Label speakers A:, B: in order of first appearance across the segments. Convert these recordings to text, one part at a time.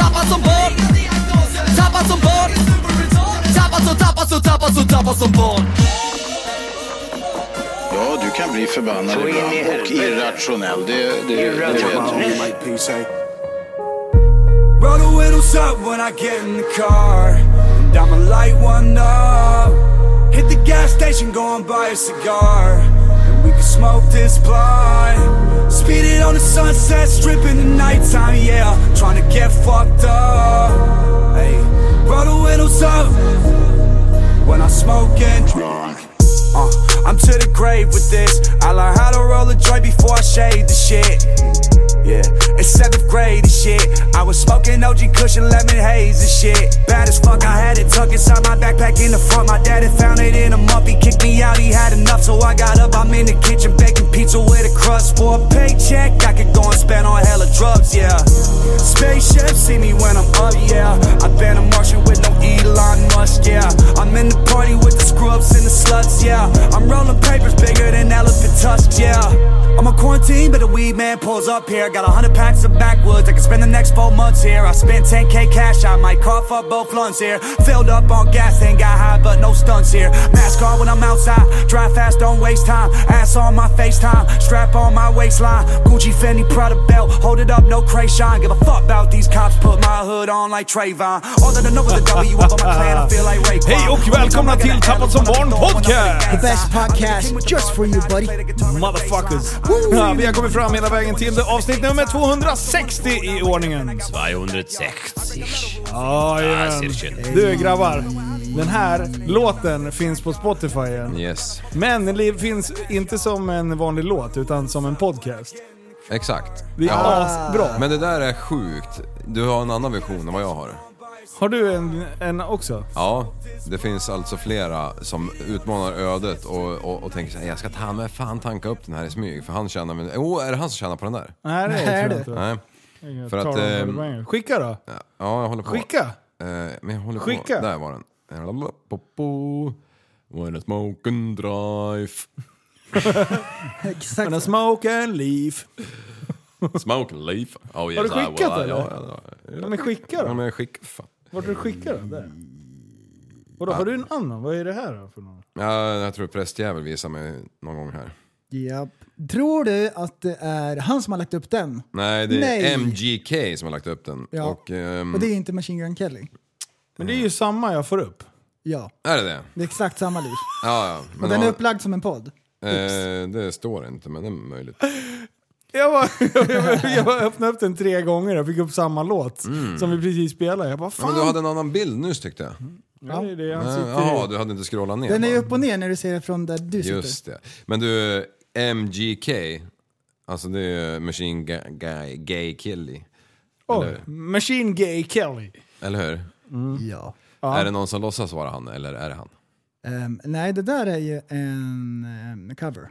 A: Tappad som barn Tappad som barn Tappad som, tappad som, tappad som, tappad som barn
B: Ja, du kan bli förbannad
C: Så in i
B: ibland och
C: helvete.
B: irrationell. Det, det, det vet
C: Irrationell.
B: jag.
D: Mike P say. eh? Roll the windows up when I get in the car. And I'ma light one up. Hit the gas station, go and buy a cigar. And we can smoke this blunt. Speed it on the sunset, strip in the nighttime, yeah. Tryna get fucked up. Hey, roll the windows up when I smoke and drink. Uh, I'm to the grave with this. I learned how to roll a joint before I shade the shit. Yeah, in seventh grade and shit. I was smoking OG cushion lemon haze and shit. Bad as fuck, I had it tucked inside my backpack in the front. My dad had found it in a mump. He kicked me out, he had enough. So I got up, I'm in the kitchen baking pizza with a crust for a paycheck. I could go and spend on hella drugs, yeah. Spaceship, see me when I'm up, yeah. I've been a Martian with no Elon Musk, yeah. I'm in the party with the screw ups and the sluts, yeah. I'm rolling papers bigger than elephant tusks, yeah. I'm on quarantine, but the weed man pulls up here. Got a hundred packs of backwoods, I can spend the next four months here. I spent 10k cash, I might cough up both lungs here. Filled up on gas, ain't got high, but no stunts here. Mask on when I'm outside, drive fast, don't waste time. Ass on my FaceTime, strap on my waistline. Gucci, Fendi, Prada belt, hold it up, no shine. Give a fuck about these cops, put my hood on like Trayvon. All that I know is the W up on my clan, I feel like Raekwon.
E: Hej och välkomna till Tappad som barn podcast!
F: The best podcast just for you buddy.
E: Motherfuckers! Ja, vi har kommit fram hela vägen till det avsnitt nummer 260 i ordningen.
G: 260. Ja,
E: Ja, igen.
G: cirkeln.
E: Du grabbar, den här låten finns på Spotify.
G: Mm.
E: igen.
G: Yes,
E: Men den li- finns inte som en vanlig låt, utan som en podcast.
G: exakt.
E: Det är
G: Ja.
E: asbra.
G: Men det där är sjukt. Du har en annan version än vad jag har.
E: Har du en, en också?
G: Ja, det finns alltså flera som utmanar ödet och, och, och tänker såhär, jag ska ta med fan tanka upp den här i smyg för han tjänar min... Åh, oh, är det han som tjänar på den där?
E: Nej, det
F: Nej,
E: är
F: det-
E: det tror jag
G: Nej.
E: inte. Jag
G: för
E: tar
G: att,
E: dem
G: ehm,
E: på vägen. Skicka då.
G: Ja, jag håller på.
E: Skicka.
G: Eh, men jag håller
E: Skicka.
G: på. Där var den. Lalalalapopo. When I smoke and drive.
F: Exakt.
E: And a smoke and leave.
G: Smoke and leave. Oh, yes,
E: Har du
G: I
E: skickat
G: will. Ja,
E: eller?
G: Ja, ja,
E: Men skicka
G: ja. ja
E: då.
G: men jag skickar fan.
E: Vart du skickar den? Där. Vadå, har du en annan? Vad är det här då för någon?
G: Ja, jag tror prästjävel visar mig någon gång här.
F: Japp. Tror du att det är han som har lagt upp den?
G: Nej, det är
F: Nej.
G: MGK som har lagt upp den.
F: Ja.
G: Och, ehm,
F: Och det är inte Machine Gun Kelly?
E: Men det är ju samma jag får upp.
F: Ja,
G: Är det det?
F: det är exakt samma liv.
G: Ja, ja. Men
F: Och den är
G: har-
F: upplagd som en podd.
G: Eh, det står inte, men det är möjligt.
E: Jag, bara, jag, jag bara öppnade upp den tre gånger och fick upp samma låt
G: Mm.
E: som vi precis spelade. Jag bara fan.
G: Men du hade en annan bild nyss tyckte jag.
E: ja. det är det han
G: Eh,
E: sitter
G: Jaha,
E: i.
G: du hade inte scrollat ner.
F: Den är ju
G: bara.
F: upp och ner när du ser det från där du sitter.
G: Just det. Men du, MGK, alltså det är Machine Ga- Guy, Gay Killy.
E: Oj, Machine Gay Kelly.
G: Eller hur?
F: Mm. Ja.
G: Är det någon som låtsas vara han, eller är det han?
F: Ehm, nej, det där är ju en ehm, cover.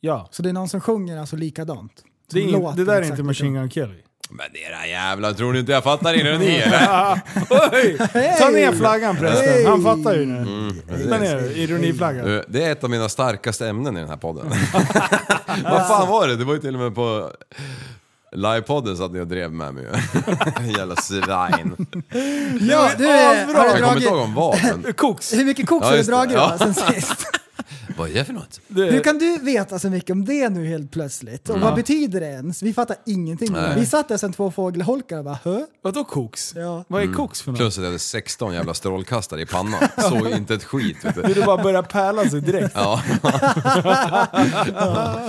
E: Ja.
F: Så det är någon som sjunger alltså likadant. Som
E: Det, är in,
F: låter
E: det där är
F: exakt
E: inte Machine
F: likadant.
E: Gun Kelly.
G: Men era jävlar, tror ni inte jag fattar ironi eller?
E: Oj! Ta ner flaggan förresten. Han fattar ju nu.
G: Mm,
E: Ta ner ironiflaggan.
G: Du, Eh, Det är ett av mina starkaste ämnen i den här podden. Vad fan var det? Det var ju till och med på livepodden så att jag drev med mig ju. Jävla svin.
F: Ja, du
E: Ja, bra.
F: har du
G: Jag kommer inte ihåg
F: dragit...
G: om vad, men...
E: Koks.
F: Hur mycket koks
G: Ja,
F: har du
G: just det.
F: dragit
G: Ja.
F: då, sen sist?
G: Vad är det för något?
F: Hur kan du veta så mycket om det nu helt plötsligt? Och vad betyder det ens? Vi fattar ingenting.
G: Nej.
F: Vi satt där sen två fågelholkar och bara hö?
E: Vadå koks?
F: Ja.
E: Vad är
G: Mm.
E: koks för något?
G: Plus att jag hade 16 jävla strålkastare i pannan. Såg inte ett skit. Vet
E: Vill
G: du.
E: du bara börja pärla sig direkt?
G: Ja.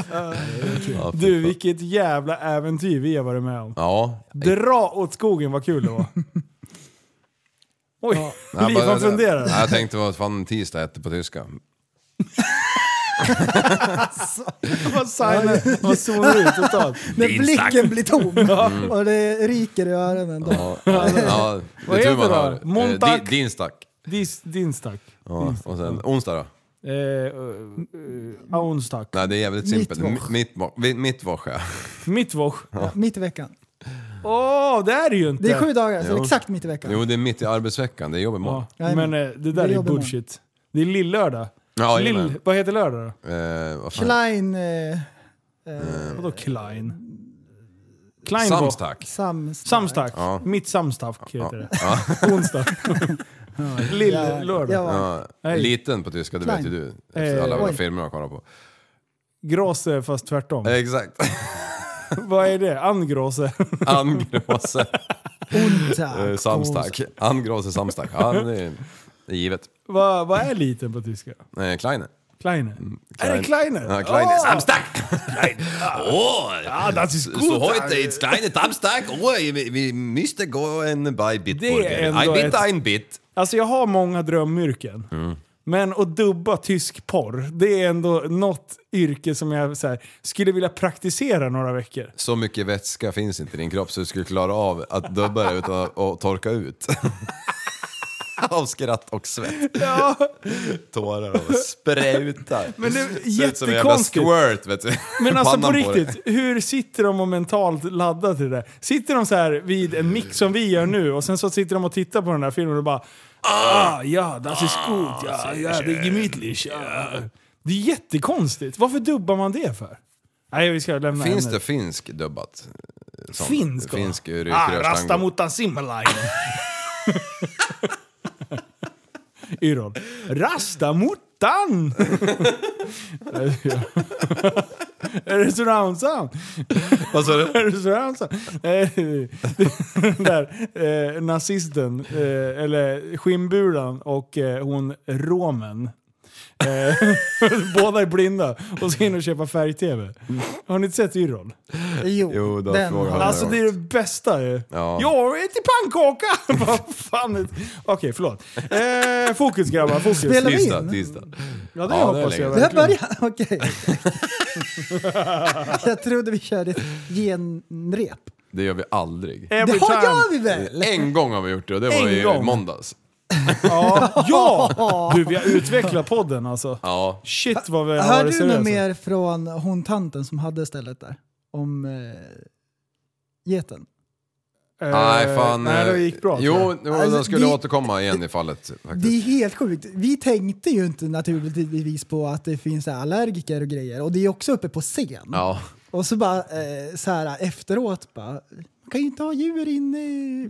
G: Ja, fy
E: Du,
G: fan.
E: vilket jävla äventyr vi har varit med om.
G: Ja.
E: Dra åt skogen, vad kul det var. Oj,
G: Nej,
E: Liv han
G: bara-
E: funderar.
G: Nej, Jag tänkte vad fan tisdag hette på tyska.
E: Vad signar, vad zonar ut totalt.
F: När
G: Din
F: blicken
G: stack.
F: blir tom och det ryker i öronen. Då.
G: Ja, ja,
E: Vad
G: det är tur
E: heter
G: man
E: det då?
G: hör. Eh,
E: Montauk.
G: din- Din stack.
E: Dis, din stack.
G: Ja, och sen onsdag då?
E: Eh, eh, eh, onsdag.
G: Nej, det är jävligt simpelt.
F: Mittwoch.
G: Mittwoch. Mittwoch, ja.
E: Mittwoch.
F: Ja, mitt i veckan.
E: Åh, det är det ju inte!
F: Det är sju dagar, så
G: Jo.
F: exakt mitt i veckan.
G: Jo, det är mitt i arbetsveckan. Det är jobb imorgon.
E: Ja, men eh, det där är ju
F: jobbar man.
E: bullshit. Det är lill-lördag.
G: Ja,
E: Lill,
G: Lill...
E: vad heter lördag då?
G: Eh, vad fan?
F: Klein... Eh,
E: Vadå Klein? Klein
G: Eh, Samstack.
F: samstack.
E: Samstack.
G: Ja.
E: Mitt samstack heter det.
G: Ja.
E: Onsdag. Lill-lördag.
F: Ja, ja.
G: Ja,
E: Nej.
G: liten på tyska, det vet ju
F: Klein.
G: du. Efter
E: Eh,
G: alla våra
F: oj.
G: filmer jag kollar på.
E: Gråse fast tvärtom.
G: Eh, Exakt.
E: Vad är det? Angråse?
G: Angråse. eh,
F: Onsdag.
G: samstack. Angråse samstack. Ja, men det är, det är givet.
E: Vad vad är liten på tyska?
G: Eh, Kleine.
E: Kleine? Är det
G: Mm, Klein-
E: Kleiner?
G: Ja, Kleine.
E: Åh!
G: Samstack! Åh!
E: Ja, das ist
G: Så
E: gut.
G: heute ist Kleine Samstag. Åh, vi, vi måste gå en by
E: Det är
G: Bitburger.
E: ändå
G: Ein bit,
E: ett-
G: ein bit.
E: Alltså jag har många drömyrken.
G: Mm.
E: Men att dubba tysk porr, det är ändå något yrke som jag så här, skulle vilja praktisera några veckor.
G: Så mycket vätska finns inte i din kropp så du skulle klara av att dubba det utan att och torka ut. av skratt och svett.
E: Ja,
G: Tårar och sprutar.
E: Men det är
G: Ser ut som en jävla
E: jättekonstigt.
G: squirt vet du.
E: men alltså på
G: Pannan dig.
E: riktigt, hur sitter de och mentalt laddar till det där? Sitter de så här vid en mick som vi gör nu och sen så sitter de och tittar på den här filmen och bara Ah, ja, das ist gut, ja, ja, det är gemütlich, ja. Det är jättekonstigt. Varför dubbar man det för? Nej, vi ska lämna
G: Finns det
E: ämnet.
G: finsk dubbat? Sån-
E: Finsk? va?
G: Finsk
E: ah,
G: rykrörstango.
E: Rastamutan Simmerlainen. Yrrol. Rastamutan! Är det surround sound?
G: Vad sa du?
E: Är det surround sound? Eh, Den där eh, nazisten, eh, eller skinnbulan och eh, hon romen. Eh, Båda är blinda och ska in och köpa färg-tv. Har ni inte sett Yrrol?
F: Jo,
G: Jo, då
F: den
G: frågar
F: har-
G: jag.
E: Alltså det är det bästa ju.
G: Ja.
E: Jag äter pannkaka! Vad fan är det? Okej, förlåt. Eh, fokus grabbar, fokus.
F: Spelar vi
G: Tisdag,
F: in?
G: tisdag.
E: Ja, det
G: Ja, det är
E: hoppas
G: länge
E: jag
G: sedan.
F: Det här
E: verkligen.
F: börjar... Okej. jag trodde vi körde ett genrep.
G: Det gör vi aldrig.
E: Every
F: Det har
E: time.
F: gör vi väl?
G: En gång har vi gjort det och det var
E: En
G: i
E: gång.
G: måndags.
E: Ja! ja! Du, vi har utvecklat podden alltså.
G: Ja.
E: Shit vad vi har
F: Hör
E: det alltså.
F: du något
E: seriöst.
F: mer från hon tanten som hade stället där? Om eh, geten?
E: Eh,
G: Nej fan.
E: Nej,
G: eh,
E: det gick bra. tror jag.
G: Jo, jo
F: Alltså,
G: jag skulle
F: det-
G: återkomma igen i fallet faktiskt.
F: Det är helt sjukt. Vi tänkte ju inte naturligtvis på att det finns så här allergiker och grejer och det är också uppe på scen.
G: Ja.
F: Och så bara eh, så här efteråt bara, man kan ju inte ha djur inne i-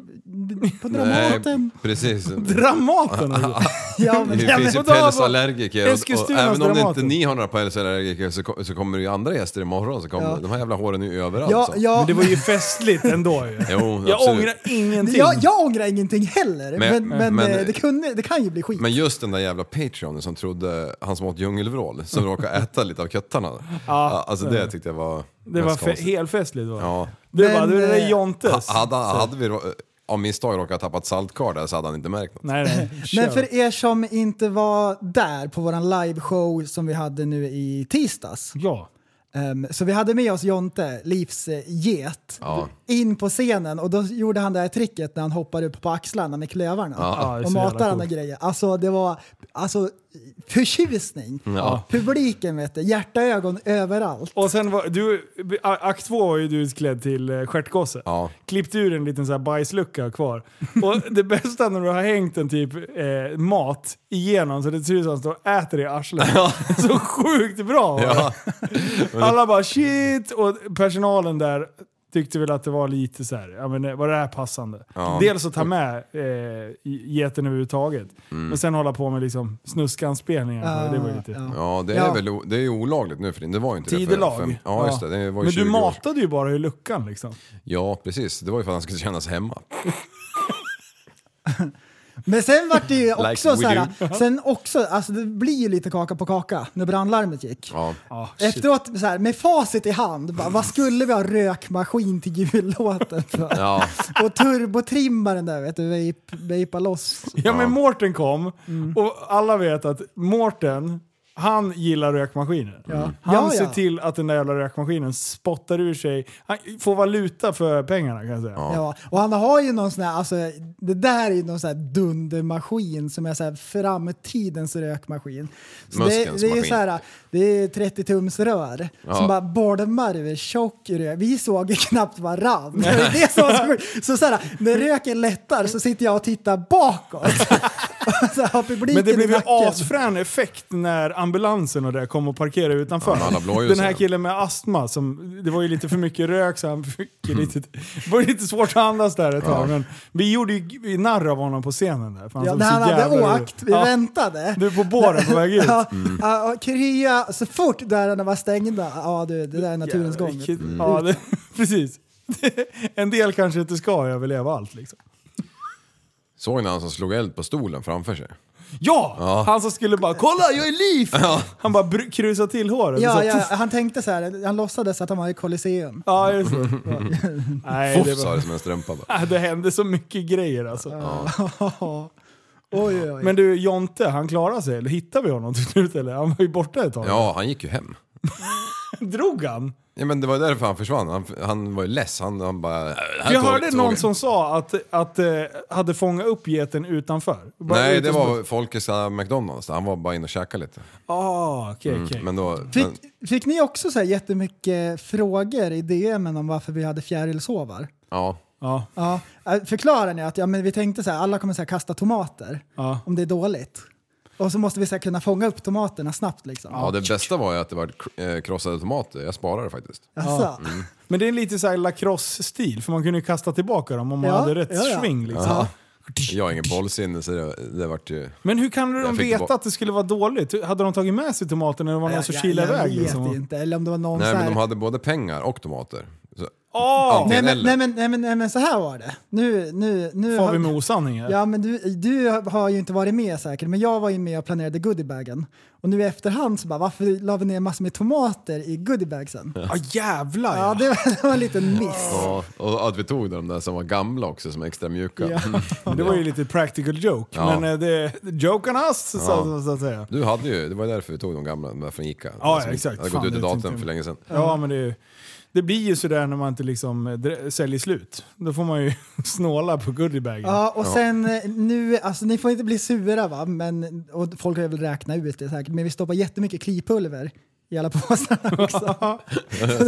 F: på Dramaten.
G: Nej, precis.
E: Dramaten alltså. har gjort.
F: Ja, men,
G: Det
F: ja, men,
G: finns ju
E: vadå, vad-
G: pälsallergiker och, och
E: Eskilstunas
G: även om det inte
E: Dramaten.
G: ni har några pälsallergiker så, ko- så kommer det ju andra gäster imorgon så kommer
F: Ja.
G: de här jävla håren är ju överallt.
F: ja,
G: så.
F: ja,
E: Men det var ju festligt ändå ju.
G: Jo,
E: jag
G: absolut.
E: ångrar ingenting.
F: jag, jag ångrar ingenting heller,
G: Men-
F: men, men,
G: men-
F: eh, det, kunde, det kan ju bli skit.
G: Men just den där jävla Patreonen som trodde, han som åt djungelvrål, som råkade äta lite av köttarna. Ja, alltså det tyckte jag var
E: det var
G: mest
E: fe-
G: konstigt.
E: helfestligt var det.
G: Ja.
E: Du
F: Men,
E: bara, du det där är
F: eh,
E: Jontes.
G: Ha- Hade, hade vi rå- av misstag råkat tappa ett saltkar där så hade han inte märkt något.
E: Nej, nej.
F: Men
E: Kör.
F: för er som inte var där på våran liveshow som vi hade nu i tisdags.
E: Ja.
F: Ehm, så vi hade med oss Jonte, Livs eh, get,
G: Ja.
F: in på scenen och då gjorde han det här tricket när han hoppar upp på axlarna med klövarna
E: Ja, det är
F: och
E: så jävla
F: matar andra
E: coolt.
F: grejer. Alltså det var alltså, förtjusning.
G: Ja.
F: Publiken vet du, hjärtaögon överallt.
E: Och sen var du, a- akt två var ju du utklädd till eh, stjärtgosse.
G: Ja.
E: Klippt ur en liten så här bajslucka kvar. Och det bästa när du har hängt en typ eh, mat igenom så det ser ut som att du äter i arslet. Så sjukt bra var det.
G: Ja.
E: Alla bara shit! Och personalen där tyckte väl att det var lite så här, ja men eh, var det här passande?
G: Ja.
E: Dels att ta med eh, geten överhuvudtaget.
G: Mm.
E: Men sen hålla på med liksom snuskanspelningar. det var ju lite...
G: Ja, det är
F: Ja.
G: väl o- det är ju olagligt nu för tiden. Det var ju inte det. för-
E: Tidelag.
G: för- Ja, just det. det var ju
E: Men
G: 20
E: du
G: år sedan.
E: matade ju bara i luckan liksom.
G: Ja, precis. Det var ju för att han skulle kännas hemma.
F: Men sen vart det ju också
G: we
F: så här, sen också, alltså det blir ju lite kaka på kaka när brandlarmet gick.
G: Ja.
E: Ah, shit.
F: Efteråt så här, med facit i hand, bara, vad skulle vi ha rökmaskin till jullåten för?
G: Ja.
F: Och turbotrimmaren där vet du, vape, vapea loss. Mm.
E: Ja men Mårten kom och alla vet att Mårten han gillar rökmaskiner.
F: Ja.
E: Han
F: Ja,
E: ser
F: ja.
E: till att den där jävla rökmaskinen spottar ur sig. Han får valuta för pengarna kan jag säga.
F: Ja, och han har ju någon sån här, alltså det där är ju någon sån här dundermaskin som är så här framtidens rökmaskin. Så det,
G: Muskens
F: det är ju
G: maskin.
F: så här, det är 30 tums rör
G: Ja.
F: som bara bolmar över tjock rök. Vi såg ju knappt varann. Det var ju det som var så sjukt. Så så här, när röken lättar så sitter jag och tittar bakåt. så har publiken
E: Men det blev
F: i
E: ju
F: nacken.
E: asfrän effekt när ambulansen och det kom och parkerade utanför.
G: Ja, med alla blåljus
E: Den här
G: igen.
E: killen med astma, som, det var ju lite för mycket rök så han fick
G: Mm.
E: ju lite, det var lite svårt att andas där ett tag. Men vi gjorde ju narr av honom på scenen där. för han
F: Ja,
E: såg
F: när
E: Alltså, så
F: han hade
E: jävla-
F: åkt, vi
E: Ja,
F: väntade.
E: Du är på båren på väg ut. Mm.
F: Ja, ja, och krya, så fort dörrarna var stängda, ja du, det där är naturens gång.
E: Vilket-
G: Mm.
E: Ja, det, precis. En del kanske inte ska överleva allt liksom.
G: Såg ni han som slog eld på stolen framför sig?
E: Ja! Han som skulle bara “Kolla, jag är liv!” Han bara br- krusade till håret.
F: Ja,
E: Så-
F: ja, han tänkte så här, han låtsades att han var i Colosseum.
E: ja, just det. Ja. Nej, det,
G: Poff sa
E: var,
G: det som en strumpa bara.
E: Ah, det hände så mycket grejer alltså.
F: Oj, oj, oj.
E: Men du, Jonte, han klarade sig? Eller hittade vi honom till slut? Eller? Han var ju borta ett tag.
G: Ja, han gick ju hem.
E: Drog han?
G: Ja, men det var därför han försvann. Han, han var ju less. Han, han bara... "Äh, "Här
E: Jag
G: tog-
E: hörde
G: tog
E: någon
G: jag."
E: som sa att, att eh, hade fångat upp geten utanför. Bara
G: Nej,
E: ut
G: det
E: och-
G: var Folkes äh, McDonalds. Han var bara inne och käkade lite.
E: Ah, okej, okej.
G: Men då... Men,
F: Fick, fick ni också så här jättemycket frågor i DMen om varför vi hade fjärilsovar?
G: ja.
E: Ja.
F: Ja, eh, förklarar ni att ja, men vi tänkte så här, alla kommer så här kasta tomater
E: Ja.
F: om det är dåligt. Och så måste vi så här kunna fånga upp tomaterna snabbt liksom.
G: ja, det bästa var ju att det var eh, krossade tomater. Jag sparade faktiskt.
F: Alltså,
E: Men det är lite så här lacrosse-stil, för man kunde ju kasta tillbaka dem om man
F: Ja,
E: hade rätt
F: ja, ja.
E: sving. Liksom.
F: Ja.
G: Jag har ingen bollsinne så det, det vart ju...
E: Men hur kan de
G: Jag fick
E: veta
G: bo-
E: att det skulle vara dåligt? Hade de tagit med sig tomaterna eller var det någon som kilade
F: jag
E: iväg?
F: vet
E: Liksom?
F: inte. Eller om det var någon
G: Nej,
F: så
G: men
F: här,
G: de hade både pengar och tomater. Så,
E: Åh!
F: nej,
G: antingen
F: men,
G: eller.
F: nej, men, nej, men, nej men så här var det. Nu, nu, nu
E: Far
F: har-
E: vi med osanning här?
F: Ja, men du, du har ju inte varit med säkert, men jag var ju med och planerade goodiebagen. Och nu i efterhand så bara, varför la vi ner massor med tomater i goodiebagsen? Ja,
E: Ah, jävlar ja.
F: det, var, det var en liten miss.
G: Ja, och att vi tog de där som var gamla också, som är extra mjuka.
E: Det var ju lite practical joke.
G: Ja.
E: Men eh, det, joke on us, så, så att säga.
G: Du hade ju, det var ju därför vi tog de gamla, de där från Ica.
E: ja,
G: Som
E: exakt.
G: Hade
E: Fan,
G: gått ut i
E: det tänkte
G: datum
E: jag.
G: för länge sedan.
E: Ja, men det, det blir ju sådär när man inte liksom eh, dre- säljer slut. Då får man ju snåla på goodiebagen.
F: Ja, och sen eh, nu, alltså ni får inte bli sura va, men, och folk har väl räknat ut det säkert, men vi stoppar jättemycket klipulver i alla påsarna också.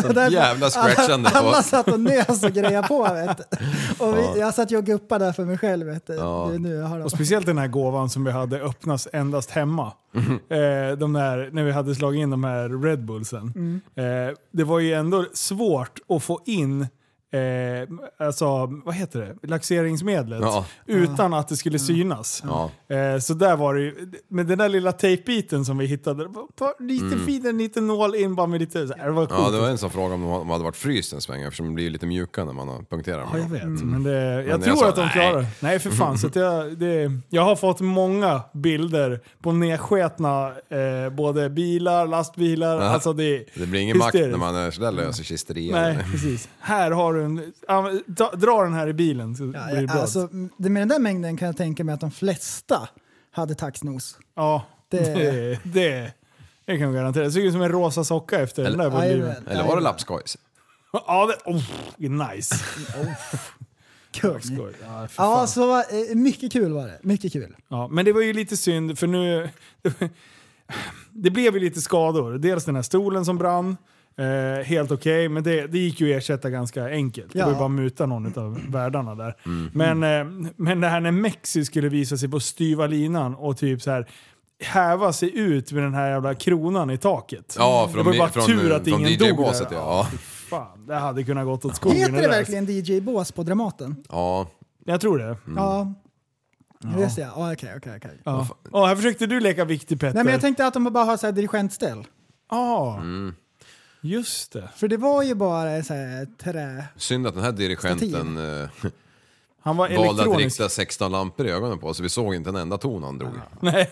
F: Så därför-
G: jävla scratchande på-
F: Alla, alla satt och nös och grejade på vet du. Och vi, jag satt ju och guppade där för mig själv vet du. Det är Nu, jag har
E: Och speciellt den här gåvan som vi hade öppnas endast hemma.
G: Mm-hmm.
E: Eh, de där, när vi hade slagit in de här Red Bullsen. Eh, det var ju ändå svårt att få in eh, alltså, vad heter det? laxeringsmedlet
G: Ja.
E: utan att det skulle synas. Eh, så där var det ju, men den där lilla tejpbiten som vi hittade, det var bara lite fin, en liten nål in bara med lite, så här, det var coolt.
G: Mm. Ja, det var en som frågade om de ha- om de hade varit fryst en sväng eftersom de blir lite mjuka när man har punkterat
E: Ja, jag
G: dem.
E: vet, Mm, men det, jag
G: Mm. jag
E: tror
G: sa
E: att de
G: nej. Mm.
E: klarar det. Nej, för fan. Så att jag, det, jag har fått många bilder på nedsketna eh, både bilar, lastbilar.
G: Ja.
E: Alltså det,
G: Det blir ingen makt
E: hysteriskt.
G: när man är sådär lös i kisterier.
E: Nej, precis. Här har du en... ja, men ta- Dra den här i bilen så
F: Ja,
E: blir det bra.
F: Alltså, det- med den där mängden kan jag tänka mig att de flesta hade taxnos.
E: ja, det,
F: det-
E: det, det, kan jag garantera. Det ser ut som en rosa socka efter den där volymen.
F: Jajamän.
G: Eller var det lappskojs?
E: Ja, det, oh, nice.
F: Kung.
E: Skoj. Ja, fy fan.
F: Ja, så eh, mycket kul var det. Mycket kul.
E: Ja, men det var ju lite synd för nu... Det blev ju lite skador. Dels den här stolen som brann. Eh, helt okej, men det, det gick ju att ersätta ganska enkelt. Det var ju
F: Ja. Mm.
E: bara att muta någon av värdarna där.
G: Mm.
E: Men, eh, men det här när Mexi skulle visa sig på styva linan och typ så här häva sig ut med den här jävla kronan i taket.
G: Ja, från,
E: det var ju bara
G: från,
E: tur att
G: från
E: ingen dog där.
G: DJ-båset ja. ja.
E: Fan, det hade kunnat gått åt skogen.
F: Heter det
E: där.
F: verkligen DJ-bås på Dramaten?
G: ja.
E: Jag tror
G: Mm.
E: det.
F: Ja. Just det, ja. Okej, okej, okej.
E: Ja. Ja, här försökte du leka viktig Petter.
F: Nej, men jag tänkte att de bara har så här dirigentställ.
E: ah.
G: Mm.
E: Just det.
F: För det var ju bara så här trä...
G: Synd att den här dirigenten eh,
E: Han var
G: valde att
E: elektronisk.
G: rikta 16 lampor i ögonen på oss så vi såg inte en enda ton han drog.
E: Nej,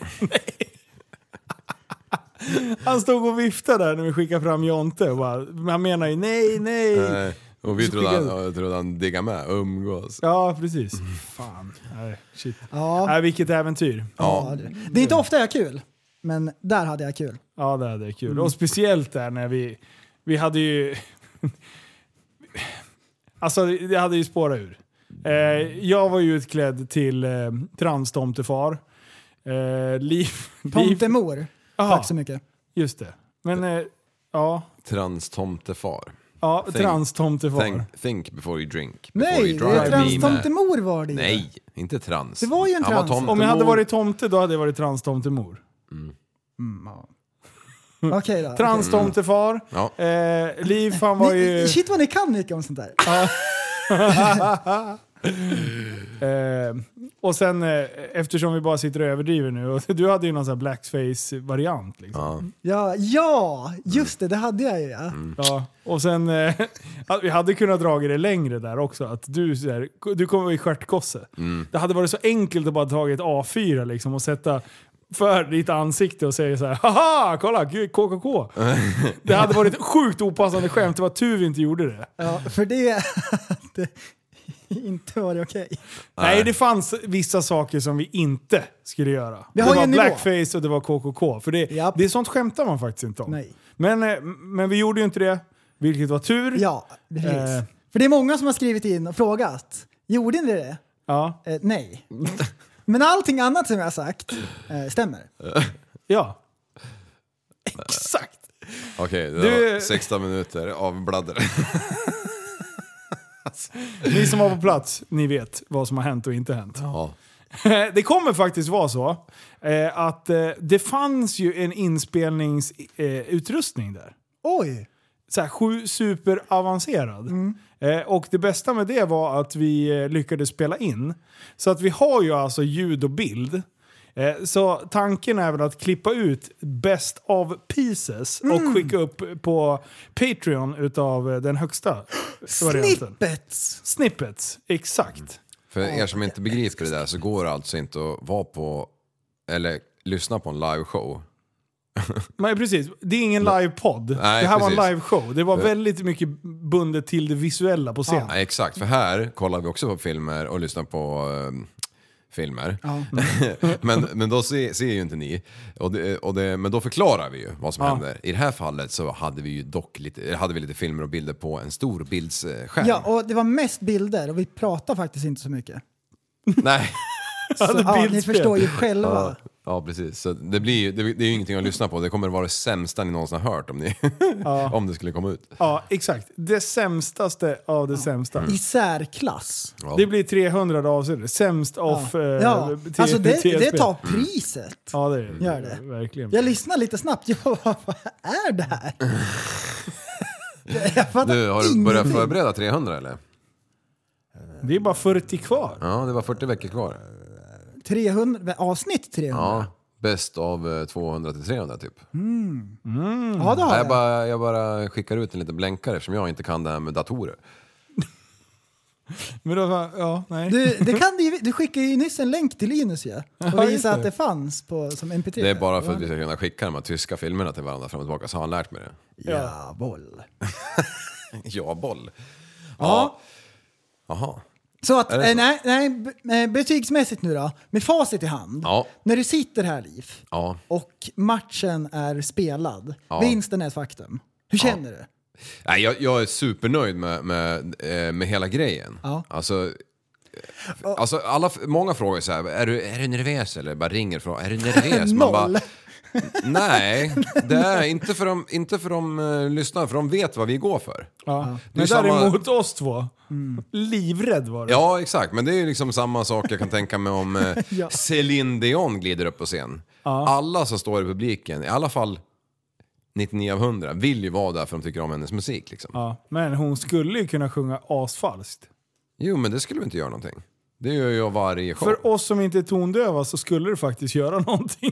E: nej. Han stod och viftade där när vi skickade fram Jonte och bara, men han menar ju nej, nej.
G: Nej. Och vi
E: Så
G: trodde
E: skickade-
G: han, jag trodde han diggade med, umgås.
E: Ja, precis. Fan. Nej, shit.
F: Ja.
E: Nej, vilket äventyr.
F: Ja. du. Det är inte ofta jag har kul. Men där hade jag kul.
E: Ja, det hade varit kul. Och speciellt där när vi... Vi hade ju... alltså, det hade ju spårat ur. Eh, jag var ju utklädd till eh, transtomtefar. Eh, liv... liv
F: Tomtemor.
E: Aha,
F: Tack så mycket.
E: just det. Men, eh, ja.
G: Transtomtefar.
E: Ja,
G: Tänk-
E: transtomtefar.
G: Think, think before you drink. Before
F: Nej,
G: you
F: det är
G: drive me.
F: transtomtemor var det ju.
G: Nej, inte trans.
F: Det var ju en
G: Han var
F: trans.
G: tomtemor.
E: Om jag hade varit tomte, då hade jag varit transtomtemor. Mm,
F: Okej då.
E: Transtomtefar.
G: Ja.
E: Eh, liv, han var
F: Ni-
E: ju...
F: Shit vad ni kan mycket om sånt där.
E: Eh, och sen eh, eftersom vi bara sitter och överdriver nu. Och du hade ju någon sån här blackface-variant. Liksom. Ja.
F: Ja, ja
E: Mm.
F: just det, det hade jag ju. Ja.
E: Och sen, eh, att vi hade kunnat dra det längre där också. Att du, så här, du kommer i stjärtkosse. Det hade varit så enkelt att bara ta ett A4 liksom, och sätta för ditt ansikte och säga så här haha, kolla gud, KKK. Det hade varit ett sjukt opassande skämt, det var tur vi inte gjorde det.
F: Ja, för det... det inte var det okej.
E: Nej, det fanns vissa saker som vi inte skulle göra.
F: Vi har
E: det
F: ju
E: var
F: en nivå.
E: blackface och det var KKK. För det,
F: Japp.
E: det är sånt skämtar man faktiskt inte om.
F: Nej.
E: Men, eh, men vi gjorde ju inte det, vilket var tur.
F: Ja, precis.
E: Eh.
F: För det är många som har skrivit in och frågat. Gjorde ni det?
E: Ja.
F: Eh, nej. Men allting annat som jag har sagt eh, stämmer.
E: ja. Exakt.
G: Okej, det
E: Du-
G: var 16 minuter av bladder.
E: Ni som var på plats, ni vet vad som har hänt och inte hänt.
G: Ja.
E: Eh, Det kommer faktiskt vara så eh, att eh, det fanns ju en inspelningsutrustning där.
F: Oj!
E: så här, sju superavancerad. Eh, och det bästa med det var att vi eh, lyckades spela in. Så att vi har ju alltså ljud och bild. Eh, så tanken är väl att klippa ut best of pieces och skicka upp på Patreon utav eh, den högsta varianten.
F: Snippets!
E: Snippets, exakt.
G: För er som inte begriper det där så går det alltså inte att vara på, eller lyssna på en liveshow.
E: Men precis, det är ingen livepodd. Det
G: Nej,
E: här var
G: precis.
E: en liveshow. Det var väldigt mycket bundet till det visuella på scenen.
G: Ja, exakt, för här kollar vi också på filmer och lyssnar på ehm, filmer. men, men då ser, ser ju inte ni. Och det, och det, men då förklarar vi ju vad som händer. I det här fallet så hade vi ju dock lite, eller hade vi lite filmer och bilder på en stor bildsskärm.
F: Ja, och det var mest bilder och vi pratade faktiskt inte så mycket.
G: Nej.
F: Så, ja, ni
E: bildspel.
F: förstår ju själva.
G: Ja, precis. Så det, blir, ju- det, det är ju ingenting att lyssna på. Det kommer vara det sämsta ni någonsin har hört om, ni, om det skulle komma ut.
E: Ja, exakt. Det sämstaste av det sämsta.
G: Mm.
F: I särklass.
G: Ja.
E: Det blir 300 avsnitt. Sämst off eh,
F: ja.
E: T-
F: Alltså det,
E: TSB.
F: det tar priset.
E: Ja, det är,
F: Gör det.
E: Verkligen.
F: Jag lyssnar lite snabbt. Jag bara, vad är det här? Jag fattar
G: Du, har du börjat
F: ingenting.
G: förbereda 300 eller?
E: Det är bara 40 kvar.
G: Ja, det var 40 veckor kvar.
F: 300, avsnitt 300? Ja,
G: Ja, bäst av eh, 200 till 300 typ.
F: det har
G: Jag
F: jag.
G: bara, jag bara skickar ut en liten blänkare eftersom jag inte kan det här med datorer.
E: Men då, ja, nej.
F: Du, det kan du, ju- du skickade ju nyss en länk till Linus ju.
E: Ja,
F: Och
E: just
F: visade
E: det.
F: att det fanns på, som mp3.
G: Det är bara för att vi ska kunna skicka de här tyska filmerna till varandra fram och tillbaka så har han lärt mig det.
F: Ja, boll.
G: Ja, boll. Ja. Jaha.
F: Så att,
G: Är det så?
F: eh, nej, nej, be- eh, betygsmässigt nu då. Med facit i hand.
G: Ja.
F: När du sitter här, Liv,
G: Ja.
F: och matchen är spelad.
G: Ja.
F: Vinsten är ett faktum. Hur känner du?
G: Nej, jag, jag är supernöjd med, med, eh, med hela grejen.
F: Ja.
G: Alltså, eh, alltså alla, f- många frågar så här, är du, är du nervös? Eller bara ringer från, är du nervös?
F: Noll.
G: bara, nej, det är jag inte för de, inte för de eh, lyssnar, för de vet vad vi går för.
E: ja.
G: Det är
E: Men
G: samma-
E: däremot oss två.
F: Mm.
E: Livrädd var du.
G: Ja, exakt. Men det är ju liksom samma sak jag kan tänka mig om eh, Céline Dion glider upp på scen. Alla som står i publiken, i alla fall 99 av 100, vill ju vara där för de tycker om hennes musik. Liksom.
E: Ja, Men hon skulle ju kunna sjunga asfalskt.
G: Jo, men det skulle vi inte göra någonting. Det gör jag varje show.
E: För oss som inte är tondöva så skulle det faktiskt göra någonting.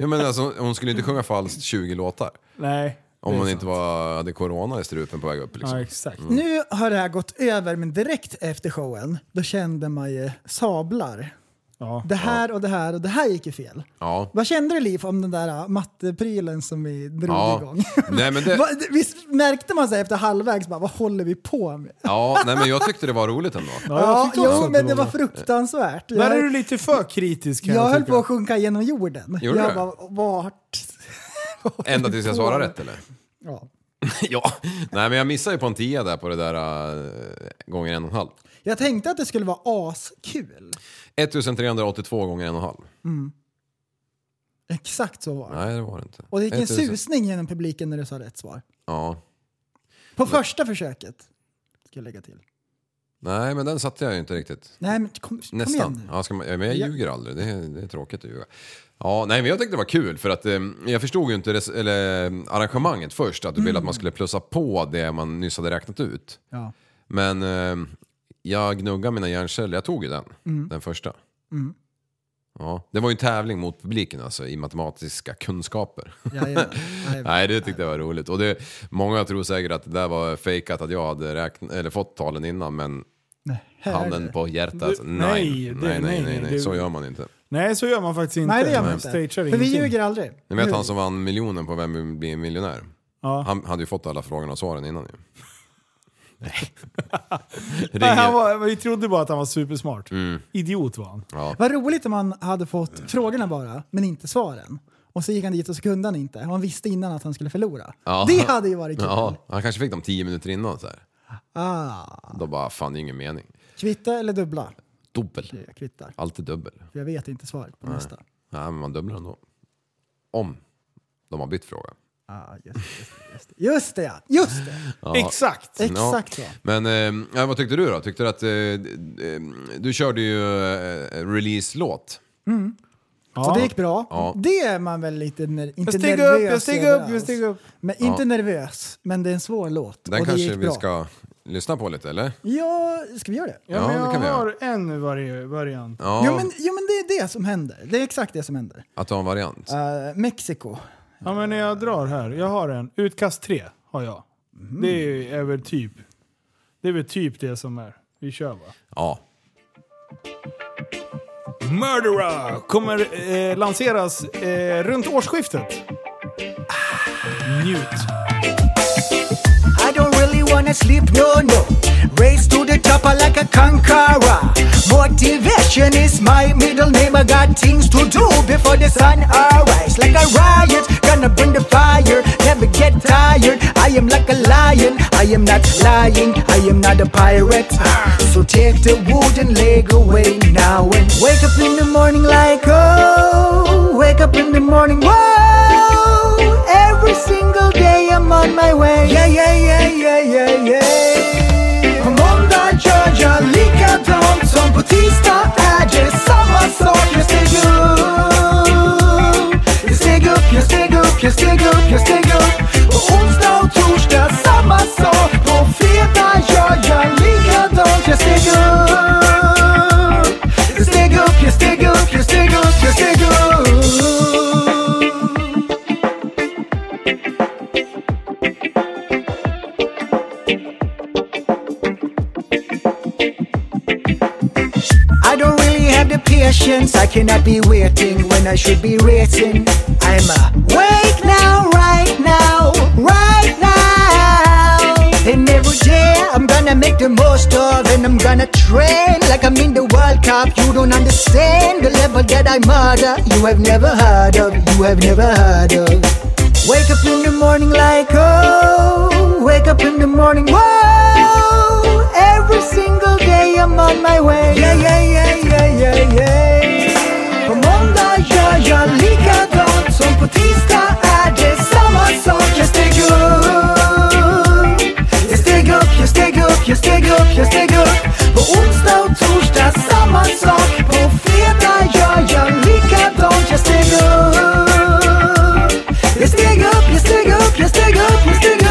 G: Ja, men alltså, hon skulle inte sjunga falskt 20 låtar.
E: nej.
G: Om
E: det är
G: hon
E: sant.
G: inte var, hade corona i strupen på väg upp. Liksom.
E: Ja, exakt.
F: Nu har det här gått över, men direkt efter showen, då kände man ju sablar
E: Ja.
F: Det här och det här och det här gick ju fel.
G: Ja.
F: Vad kände du Liv om den där äh, matteprylen som vi drog
G: Ja.
F: igång?
G: Nej, men det-
F: Vad- Visst märkte man sig efter halvvägs bara, vad håller vi på med?
G: Ja, nej men jag tyckte det var roligt ändå.
E: Ja, jag tyckte också
F: jo,
E: att
F: men det var
E: bra.
F: fruktansvärt.
E: Där är
F: Jag-
E: du lite för kritisk kan
F: jag höll
E: tycka.
F: på att sjunka genom jorden.
G: Gjorde
F: jag
G: du?
F: bara, vart?
G: Ända tills jag svarade rätt eller?
F: Ja.
G: ja. Nej men jag missade ju på en tia där på det där äh, gånger en och en halv.
F: Jag tänkte att det skulle vara askul.
G: 1382 gånger en och en halv.
F: Exakt så var det.
G: Nej det var det inte.
F: Och det gick en
G: 1000
F: susning genom publiken när du sa rätt svar.
G: Ja.
F: På första försöket. Ska jag lägga till.
G: Nej men den satte jag ju inte riktigt.
F: Nej, men kom, kom igen
G: Nästan.
F: nu.
G: Ja, ska man, ja, men jag
F: Ja.
G: ljuger aldrig, det är, det är tråkigt att ljuga. Ja, nej men jag tyckte det var kul för att eh, jag förstod ju inte res- eller, eh, arrangemanget först, att du ville att man skulle plussa på det man nyss hade räknat ut.
F: Mm. Ja.
G: Men eh, jag gnuggade mina hjärnceller, jag tog ju den,
F: Mm.
G: den första. Ja, det var ju en tävling mot publiken alltså i matematiska kunskaper.
F: Ja, ja, ja.
G: Nej, det tyckte jag var roligt. Och det, många tror säkert att det där var fejkat, att jag hade räkn- eller fått talen innan, men
F: Här är
G: handen
F: det.
G: på hjärtat. Nej,
E: Du- nej,
G: nej,
E: det-
G: nej, nej,
E: nej,
G: nej,
E: du-
G: så gör man inte.
E: Nej, så gör man faktiskt inte.
F: Nej, det gör man
E: Man
F: inte.
E: stagear
F: För vi
E: ingenting.
F: ljuger aldrig.
G: Ni vet han som vann miljonen på Vem vill bli miljonär?
E: Ja.
G: Han hade ju fått alla frågorna och svaren innan ju. Nej.
E: Nej,
G: Ringer.
E: han var, vi trodde bara att han var supersmart.
G: Mm.
E: Idiot var han.
F: Vad roligt om han hade fått frågorna bara, men inte svaren. Och så gick han dit och så kunde han inte. Och han visste innan att han skulle förlora.
G: Ja.
F: Det hade ju varit kul.
G: Ja, han kanske fick dem tio minuter innan så här.
F: Ah,
G: Då bara, fan det är ingen mening.
F: kvitta eller dubbla?
G: Dubbel.
F: Jag kvittar.
G: Alltid dubbel.
F: För jag vet inte svaret på nästa.
G: Nej, men man dubblar ändå. Om de har bytt fråga.
F: Ah, just, det, just, det, just, det. just det ja! Just det!
E: Exakt!
F: Exakt så.
G: Men eh, ja, vad tyckte du då? Tyckte du att... Eh, eh, du körde ju eh, release-låt.
E: Ja.
F: Och det gick bra.
G: Ja.
F: Det är man väl lite ner- inte
E: Jag stiger
F: nervös
E: upp, jag stiger upp,
F: över
E: jag stiger upp.
F: Men inte nervös, men det är en svår låt.
G: Den
F: och det
G: kanske
F: gick
G: vi
F: bra.
G: ska lyssna på lite, eller?
F: Ja, ska vi göra det?
E: Ja, men
G: det
E: jag
G: kan vi göra.
E: har en i varje variant.
G: Ja,
F: Jo, men, jo men det är det som händer. Det är exakt det som händer.
G: att du har en variant.
F: Eh, Mexiko.
E: Ja, men när jag drar här. Jag har en. Utkast 3 har jag.
F: Mm.
E: Det är, är väl typ... Det är väl typ det som är. Vi kör va?
G: Ja.
E: Murderer kommer eh, lanseras eh, runt årsskiftet.
G: Ah.
E: Njut.
H: I don't really wanna sleep, no, no. Race to the top I like a conqueror. Motivation is my middle name. I got things to do before the sun arise. Like a riot, gonna bring the fire. Never get tired. I am like a lion. I am not lying. I am not a pirate. So take the wooden leg away now and wake up in the morning like oh, wake up in the morning. Whoa, every single day I'm on my way. Yeah, yeah, yeah, yeah, yeah, yeah. Måndag kör jag likadant som på tisdag är det samma sak. Jag steg upp, jag steg upp, jag steg upp, jag steg upp, jag steg upp. På onsdag och torsdag samma sak. På fredag gör jag likadant. Jag steg upp, jag steg upp, jag steg upp, jag steg upp, jag steg upp. I don't really have the patience. I cannot be waiting when I should be racing. I'm awake now, right now, right now. And every day I'm gonna make the most of, and I'm gonna train like I'm in the World Cup. You don't understand the level that I murder. You have never heard of. You have never heard of. Wake up in the morning like oh, wake up in the morning whoa. Every single day I'm on my way. Yeah yeah yeah yeah yeah yeah. På måndag gör jag likadant som på tisdag är det samma sak. Jag steg upp, jag steg upp, jag steg upp, jag steg upp, jag steg upp. På onsdag och torsdag samma sak. På fredag gör jag likadant. Jag steg upp. Jag steg upp, jag steg upp, jag steg upp, jag steg upp